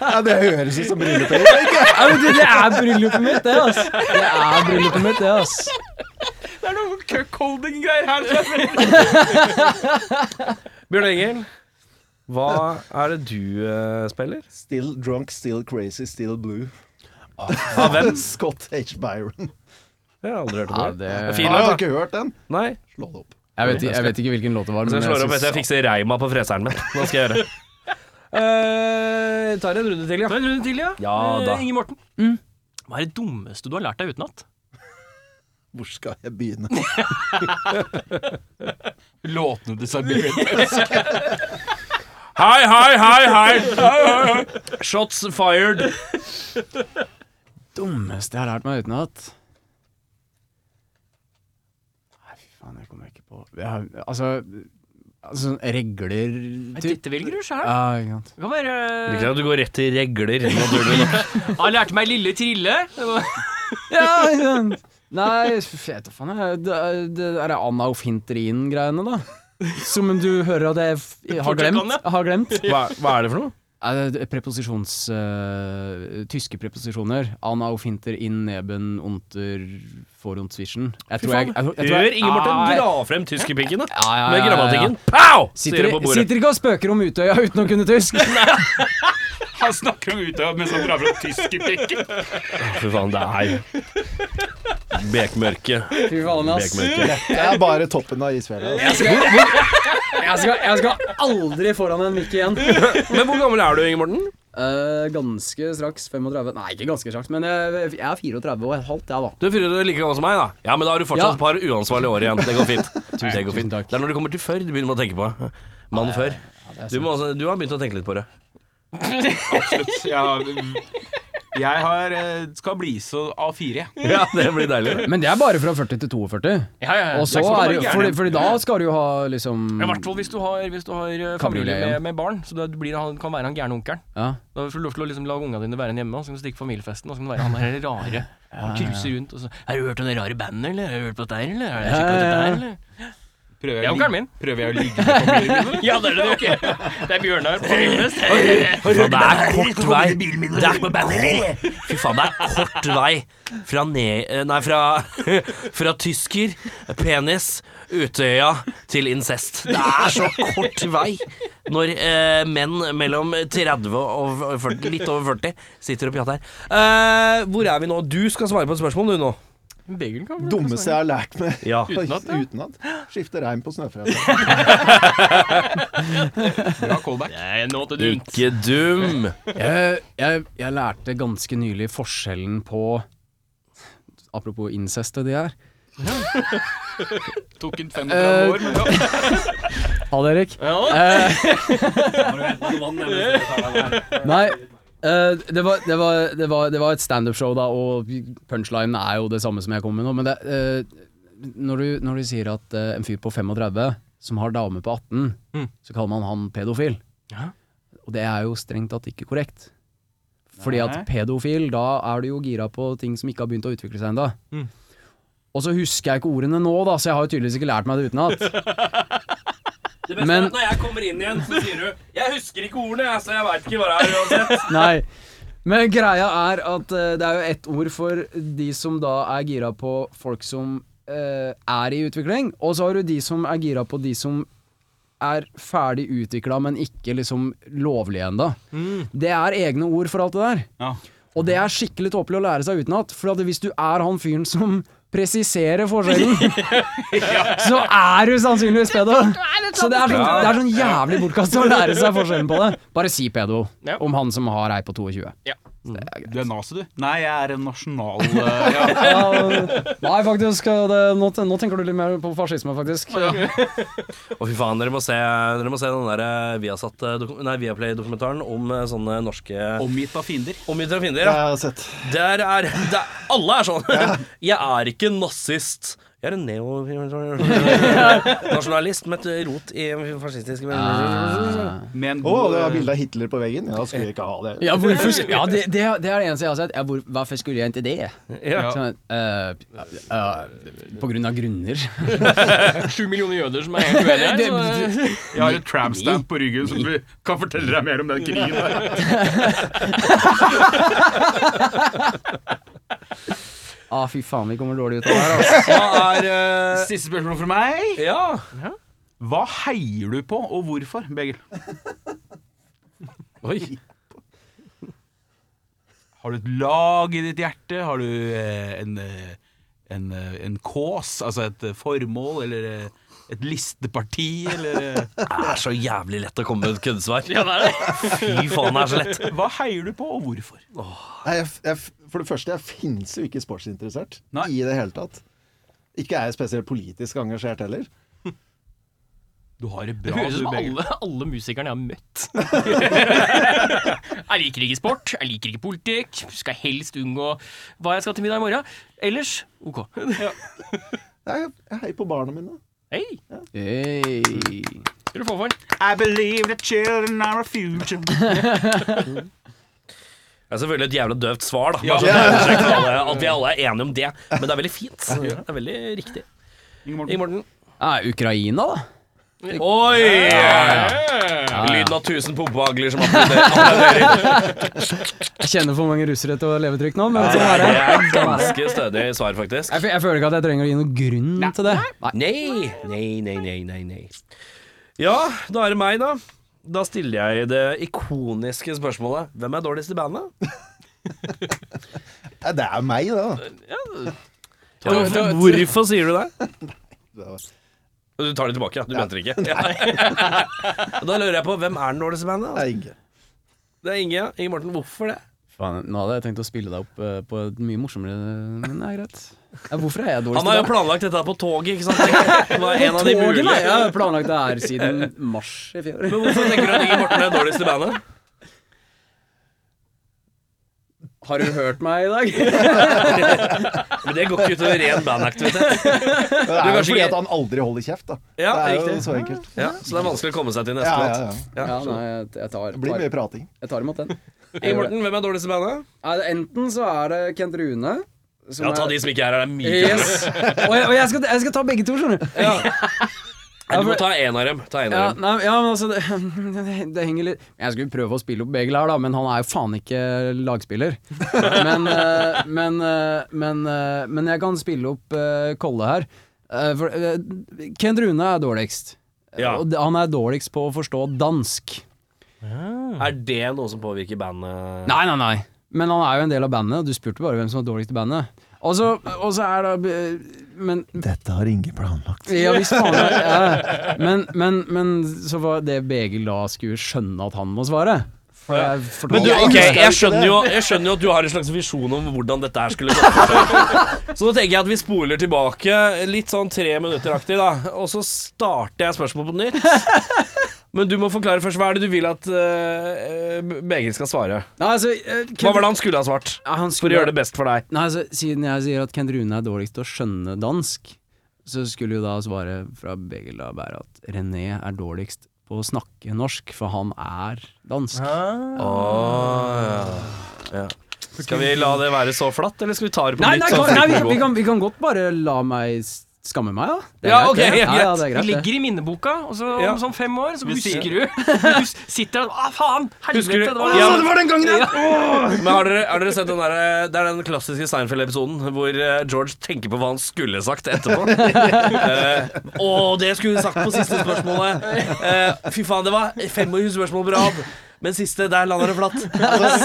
E: Ja, det høres ut som bryllupet ditt. ikke?
F: Ja, men du, det er bryllupet mitt, det, ass. Det er bryllupet mitt, det, ass.
B: Det er noe cuckolding-greier her. som er veldig-
A: Bjørn Engel, hva er det du eh, spiller?
E: Still drunk, still crazy, still blue.
A: Av hvem?
E: Scott H. Byron.
A: Jeg har aldri hørt
F: Ja,
A: om det.
F: det,
E: Jeg
A: Fin
E: har
A: låt, da.
E: ikke hørt den.
A: Nei.
F: jeg, vet, jeg vet ikke hvilken låt det var.
A: Så jeg slår opp
F: synes-
A: etter jeg fikser reima på freseren min. Hva skal jeg gjøre? Eh, tar en runde til, ja.
C: Ta en runde til, ja.
A: Ja,
C: Eh,
A: da.
C: Inge Morten. Hva er det dummeste du har lært deg utenat?
E: Hvor skal jeg begynne?
B: Låtene til Siberian
A: Hei, hei, hei, hei! Shots fired.
F: Dummeste jeg har lært meg utenat? Nei, fy faen, det kommer jeg ikke på. Jeg har, altså, altså sånn regler typ.
C: Dette velger du sjøl.
F: Ja, ikke sant.
C: Det kan være
A: Ikke sant, Du går rett til regler, naturlig nok.
C: Han lærte meg lille trille. Det var-
F: Ja, ikke sant. Nei, f- jeg vet da faen jeg. Det, er- det er Anna og Finterin-greiene, da. Som om du hører at jeg f- har
C: Fortsatt
F: glemt.
C: kan,
F: Har glemt.
A: Hva, hva er det for noe?
F: Eh, det er Preposisjons... eh, tyske preposisjoner. Anna og Finter in neben unter forundsvischen. Jeg tror jeg, jeg, tror- jeg, tror jeg
A: Hør Inge Morten
F: Nei.
A: dra frem tyskerpikkene
F: Ja, ja,
A: med
F: ja, ja, ja.
A: grammatikken. Pow! Sier
F: Sitter,
A: det på bordet.
F: sitter ikke og spøker om Utøya uten å kunne tysk.
B: Han snakker om Utøya mens han drar fra tyskerpikken.
A: Fy faen, det er Bekmørke.
H: Fy faen, ass.
A: Bekmørke.
E: Det er bare toppen av isfjellet. altså.
H: Jeg skal, jeg skal aldri foran en mic igjen.
A: Men hvor gammel er du, Inge Morten?
H: Eh, ganske straks 35 Nei, ikke ganske straks, men jeg, jeg er 34 og et halvt, jeg, da.
A: Du er fire år like gammel som meg, da. Ja, men da har du
H: Ja.
A: fortsatt et par uansvarlige år igjen. Det går fint. Det går
F: tusen
A: fint.
F: takk.
A: Det er når du kommer til før du begynner å tenke på. Mann før. Du, må også, du har begynt å tenke litt på det.
B: jeg har, eh, skal bli så A4. jeg.
A: Ja, det blir deilig.
F: Men det er bare fra 40 til 42.
C: Ja, ja, ja.
F: Og så
C: Det er ikke
F: er
C: bare
F: det,
C: gærne.
F: fordi, fordi da skal du jo ha liksom
C: I hvert fall hvis du har, hvis du har eh, familie
F: Kabrioleten.
C: med, med barn, så da blir, han kan være han gærne onkelen.
F: ja.
C: Da får du lov til å liksom la ungene dine være igjen hjemme, og så kan du stikke på familiefesten, og så kan du være han der rare. Han cruiser rundt og så 'Har du hørt om det rare bandet, eller? Har du hørt på dette her, eller? Har du sjekket på dette her, eller?'
B: Prøver
C: Det er
B: jeg, å
C: onkelen min.
B: ligge- prøver jeg å ligge med familien min? eller?
C: Ja, det er det. Det er Bjørnar på Filmfest.
A: Fy faen, det er kort vei Det er kort- Fy faen, det er kort vei fra, ne eh, nei, fra, fra tysker, penis, Utøya til incest. Det er så kort vei når eh, menn mellom 30 og 40, litt over 40 sitter og prater her. Eh, hvor er vi nå? Du skal svare på et spørsmål, du nå.
C: Begel kan
E: Dummeste jeg har lært meg
A: Ja.
E: utenat. Skifte reim på snøfreser.
B: Bra callback.
C: Nei, nå til dumt.
A: Ikke dum.
F: Eh, jeg, jeg, jeg lærte ganske nylig forskjellen på Apropos incest og de her. Eh,
B: Tok en 35 år, men ja.
F: Ha det, Erik. Nei, eh, det, var, det, var, det, var, det var et standup-show, da, og punchline er jo det samme som jeg kommer med nå. Men det, eh, når, du, når du sier at eh, en fyr på 35 som har dame på 18, så kaller man han pedofil.
C: Ja.
F: Og det er jo strengt tatt ikke korrekt. Fordi at pedofil, da er du jo gira på ting som ikke har begynt å utvikle seg ennå. Og så husker jeg ikke ordene nå, da, så jeg har jo tydeligvis ikke lært meg det utenat. Men-
A: når jeg kommer inn igjen, så sier du 'Jeg husker ikke ordene, jeg, så jeg veit ikke hva det er uansett'.
F: Nei. Men greia er at eh, det er jo ett ord for de som da er gira på folk som eh, er i utvikling, og så har du de som er gira på de som er ferdig utvikla, men ikke liksom lovlige ennå. Det er egne ord for alt det der.
B: Ja.
F: Og det er skikkelig tåpelig å lære seg utenat, for at hvis du er han fyren som presiserer forskjellen, så er du sannsynligvis pedo. Så det er sånn, det er sånn jævlig bortkastet å lære seg forskjellen på det. Bare si pedo
C: Ja.
F: om han som har ei på 22.
B: Du er nazi, du? Nei, jeg er en nasjonal eh, ja.
F: Nei, faktisk, det, nå, ten- nå tenker du litt mer på fascisme, faktisk.
A: Og fy faen, dere må se, dere må se den der eh, Viasat, eh, dokum- nei, Viaplay-dokumentaren om eh, sånne norske
B: Omgitt av fiender.
A: omgitte fiender.
E: Det
A: Ja.
E: har jeg sett.
A: Der er der, Alle er sånn. Jeg er ikke nazist. Jeg er en neo-nasjonalist med et rot i fascistiske Ah.
B: Med en
E: Å,
B: god
E: det var
B: eh,
E: bilde av Hitler på veggen? Ja, skulle jeg ikke ha det.
F: Ja, hvorfor, sk- ja det, det, det er det eneste jeg har sett. Ja, hvor, hvorfor skulle jeg ikke det?
A: Ja.
F: Sånn, eh, eh, på grunn av grunner.
C: Sju millioner jøder som er sånn- helt uenige her. så-
B: Jeg har et tramstamp på ryggen som du kan fortelle deg mer om den krigen. der.
F: ah, fy faen, vi kommer dårlig ut av det her, altså.
A: Hva er eh,
B: Siste spørsmål fra meg.
A: Ja.
B: Hva heier du på, og hvorfor, Begil?
A: Oi.
B: Har du et lag i ditt hjerte? Har du eh, en eh, en, eh, en kås, altså et eh, formål, eller eh, et listeparti, eller eh,
A: Det er så jævlig lett å komme med et køddesvar. Ja, det er det. Fy faen, det er så lett.
B: Hva heier du på, og hvorfor?
E: Nei, jeg, jeg, for det første, jeg finnes jo ikke sportsinteressert
B: Nei.
E: i det hele tatt. Ikke er jeg spesielt politisk engasjert heller.
B: Du har det
C: Det
B: bra,
C: høres ut
B: du,
C: som
B: Begge.
C: alle, alle musikerne jeg har møtt. jeg liker ikke sport, jeg liker ikke politikk, skal helst unngå hva jeg skal til middag i morgen. Ellers OK.
E: Jeg, jeg heier på barna mine.
C: Hei,
A: Mm.
C: skal du få for den?
B: I believe that children are a future.
A: Det er selvfølgelig et jævla døvt svar, da.
B: Ja.
A: Bare sånn at det er understreket at alle- At vi alle er enige om det. Men det er veldig fint. Det er veldig riktig. I morgen. Ah,
F: Er Ukraina, da?
A: Oi! Lyden av tusen pumpehagler som applauderer.
F: Jeg kjenner for mange russere til å leve trygt nå, men
A: Det
F: sånn er det.
A: er ganske stødig svar, faktisk.
F: Jeg, fø- jeg føler ikke at jeg trenger å gi noen grunn til det. Nei.
A: Nei, nei, nei, nei, nei, nei. Ja, da er det meg, da. Da stiller jeg det ikoniske spørsmålet Hvem er dårligst i bandet?
E: Nei, det er meg, det.
A: Hvorfor sier du det?
E: da.
A: Du tar det tilbake, ja. Du mente det ikke. da lurer jeg på hvem er den dårligste i bandet?
E: Det
A: Altså?
E: er Inge.
A: Det er Inge. ja. Inge Morten, hvorfor det?
F: Faen, nå hadde jeg tenkt å spille deg opp eh, på et mye morsommere Men det er greit. Ja, hvorfor er jeg dårlig
A: Han har jo planlagt dette på toget, ikke sant? Det var en av de mulige.
F: Jeg har planlagt det her siden mars i fjor.
A: Men hvorfor tenker du at Inge Morten er dårligst i bandet?
F: Har du hørt meg i dag?
A: Men det går ikke utover ren bandaktivitet.
E: Men Det er jo
A: kanskje
E: fordi
A: ikke-
E: at han aldri holder kjeft, da.
A: Ja,
E: det er jo
A: riktig.
E: så enkelt.
A: Ja, så det er vanskelig å komme seg til neste
E: Ja,
A: låt.
E: ja, ja.
F: Ja, nei, jeg, jeg, tar,
E: Det blir mye
F: tar,
E: prating.
F: jeg tar imot den. Eh,
A: Inge Morten, hvem er dårligst i bandet?
F: Nei, det- Enten så er det Kent Rune som
A: Ja, ta
F: er-
A: de som ikke er her. Det er mye kulere.
F: Yes. Og, jeg, og jeg, skal, jeg skal ta begge to, skjønner du.
A: Nei, Du må ta en av dem. Ta en av
F: Ja,
A: dem.
F: nei, ja, men altså det, det, det henger litt Jeg skulle prøve å spille opp Begel her, da, men han er jo faen ikke lagspiller. Men, eh, men, eh, men, eh, men jeg kan spille opp eh, Kolle her. Eh, for, eh, Kent Rune er dårligst.
A: Ja.
F: Og han er dårligst på å forstå dansk.
A: Er det noe som påvirker bandet?
F: Nei, nei, nei. Men han er jo en del av bandet, og du spurte bare hvem som var dårligst i bandet. Og så og så er det eh, Men
E: Dette har Inge planlagt.
F: Ja visst faen. Ja. Men, men, men så var det Begil da skulle skjønne at han må svare. For jeg fortalte-
A: Men du,
E: Jeg
A: ok,
E: husker
A: jeg
E: ikke
A: skjønner,
E: det.
A: jo, jeg skjønner jo at du har en slags visjon om hvordan dette her skulle gå. Så nå tenker jeg at vi spoler tilbake litt sånn tre minutter-aktig, da. Og så starter jeg spørsmålet på nytt. Men du må forklare først. Hva er det du vil at eh, Begil skal svare?
F: Nei, altså, eh, Kent-
A: Hva var det han skulle ha svart?
F: Ja, han
A: For
F: skulle,
A: å gjøre det best for deg.
F: Nei, altså, Siden jeg sier at Kent Rune er dårligst til å skjønne dansk, så skulle jo da svaret fra Begil da være at René er dårligst på å snakke norsk, for han er dansk.
A: Ah, ja. Skal vi la det være så flatt, eller skal vi ta det på
F: Nei,
A: nytt?
F: nei,
A: sånn
F: kan, nei vi,
A: fort
F: vi,
A: det går?
F: kan, vi kan godt bare la meg s- skamme meg, da. Det er
A: Ja, ok,
F: det.
A: helt
F: Ja, ja, det er
C: Det
F: greit. det.
C: ligger i minneboka, og så
A: Ja.
C: om sånn fem år så
B: Vi sier-
C: husker du. Du hus- sitter der og Å, faen!
A: Husker du-
C: Helvete! Det var
A: Ja,
C: det.
A: men-
E: var den gangen, ja!
A: Men har dere, har dere sett den der, Det er den klassiske Seinfeld-episoden hvor eh, George tenker på hva han skulle sagt etterpå. Eh, Å, det skulle hun sagt på siste spørsmålet! Eh, fy faen, det var 25 spørsmål på rad. Men siste, der lander det flatt.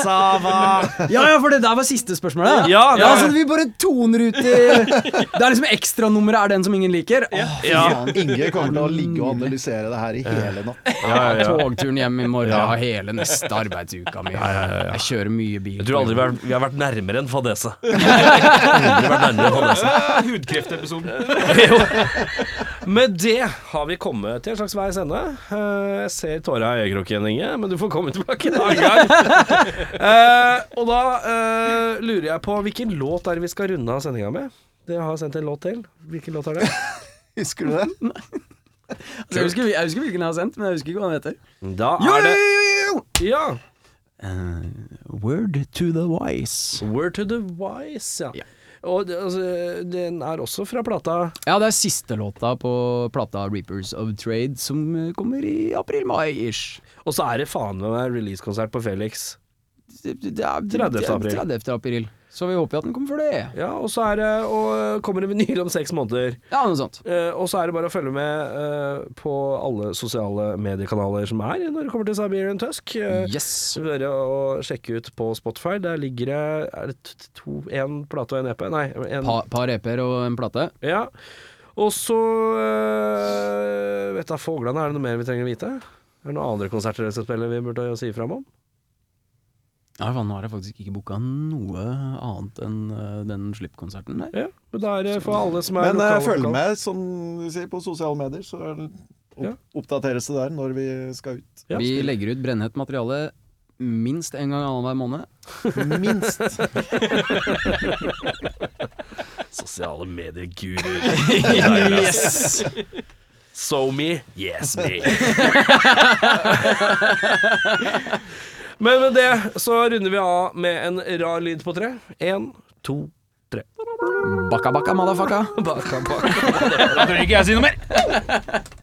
A: Sava.
F: Ja, ja, for det der var siste spørsmålet.
A: Ja, det
F: ja
A: var-
F: altså, Vi bare toner ut i Det er liksom ekstranummeret er den som ingen liker. Åh,
A: Ja.
E: Inge kommer til å ligge og analysere det her i hele natt.
F: Togturen hjem i morgen og hele neste arbeidsuka mi. Jeg kjører mye bil.
A: Jeg tror aldri vi har, vi har vært nærmere enn fadese. Aldri vært nærmere enn fadese.
B: Hudkreftepisoden.
A: Med det har vi kommet til en slags veis ende. Eh, Jeg ser tåra i øyekroken, Inge, men du får komme tilbake en annen gang. Eh, og da eh, lurer jeg på hvilken låt er det vi skal runde av sendinga med? Dere har sendt en låt til. Hvilken låt er det?
E: Husker du det?
F: jeg, husker, jeg husker hvilken jeg har sendt, men jeg husker ikke hva den heter.
A: Da er det Ja.
F: Word to the wise.
A: Word to the wise, ja.
F: Ja.
A: Og det- altså, den er også fra plata
F: Ja, det er siste låta på plata Reapers of Trade, som eh, kommer i april-mai-ish.
A: Og så er det faen meg releasekonsert på Felix
F: det er-
A: 30. april.
F: 30. april. Så vi håper jo at den kommer før det.
A: Ja, og så er det, og eh, kommer det vinyl om seks måneder.
F: Ja, noe sånt.
A: Eh, og så er det bare å følge med eh, på alle sosiale mediekanaler som er når det kommer til Siberian Tusk. Eh,
F: Yes.
A: Så bør dere å sjekke ut på Spotify. Der ligger det er det t- to, en plate og en EP. Nei, en,
F: Pa, par EP-er og en plate.
A: ja. Og så eh, Vet da foglene, er det noe mer vi trenger å vite? Er det noen andre konserter dere skal spille vi burde si ifra om?
F: Ja, faen, nå har jeg faktisk ikke booka noe annet enn eh, den slippkonserten der.
A: Ja, men da er det for alle som er
E: Men eh,
A: lokale-
E: følg
A: lokale.
E: med, som vi sier, på sosiale medier, så er det opp,
A: Ja.
E: oppdateres det der når vi skal ut.
A: Ja,
F: Vi
A: spiller.
F: legger ut brennhett materiale minst en gang annenhver måned.
E: Minst.
A: Sosiale medier-guru. yes! So me, yes me. Men med det så runder vi av med en rar lyd på tre. Én, to, tre.
F: Bakka bakka, motherfucka!
A: Baka, baka.
C: Da tør ikke jeg si noe mer!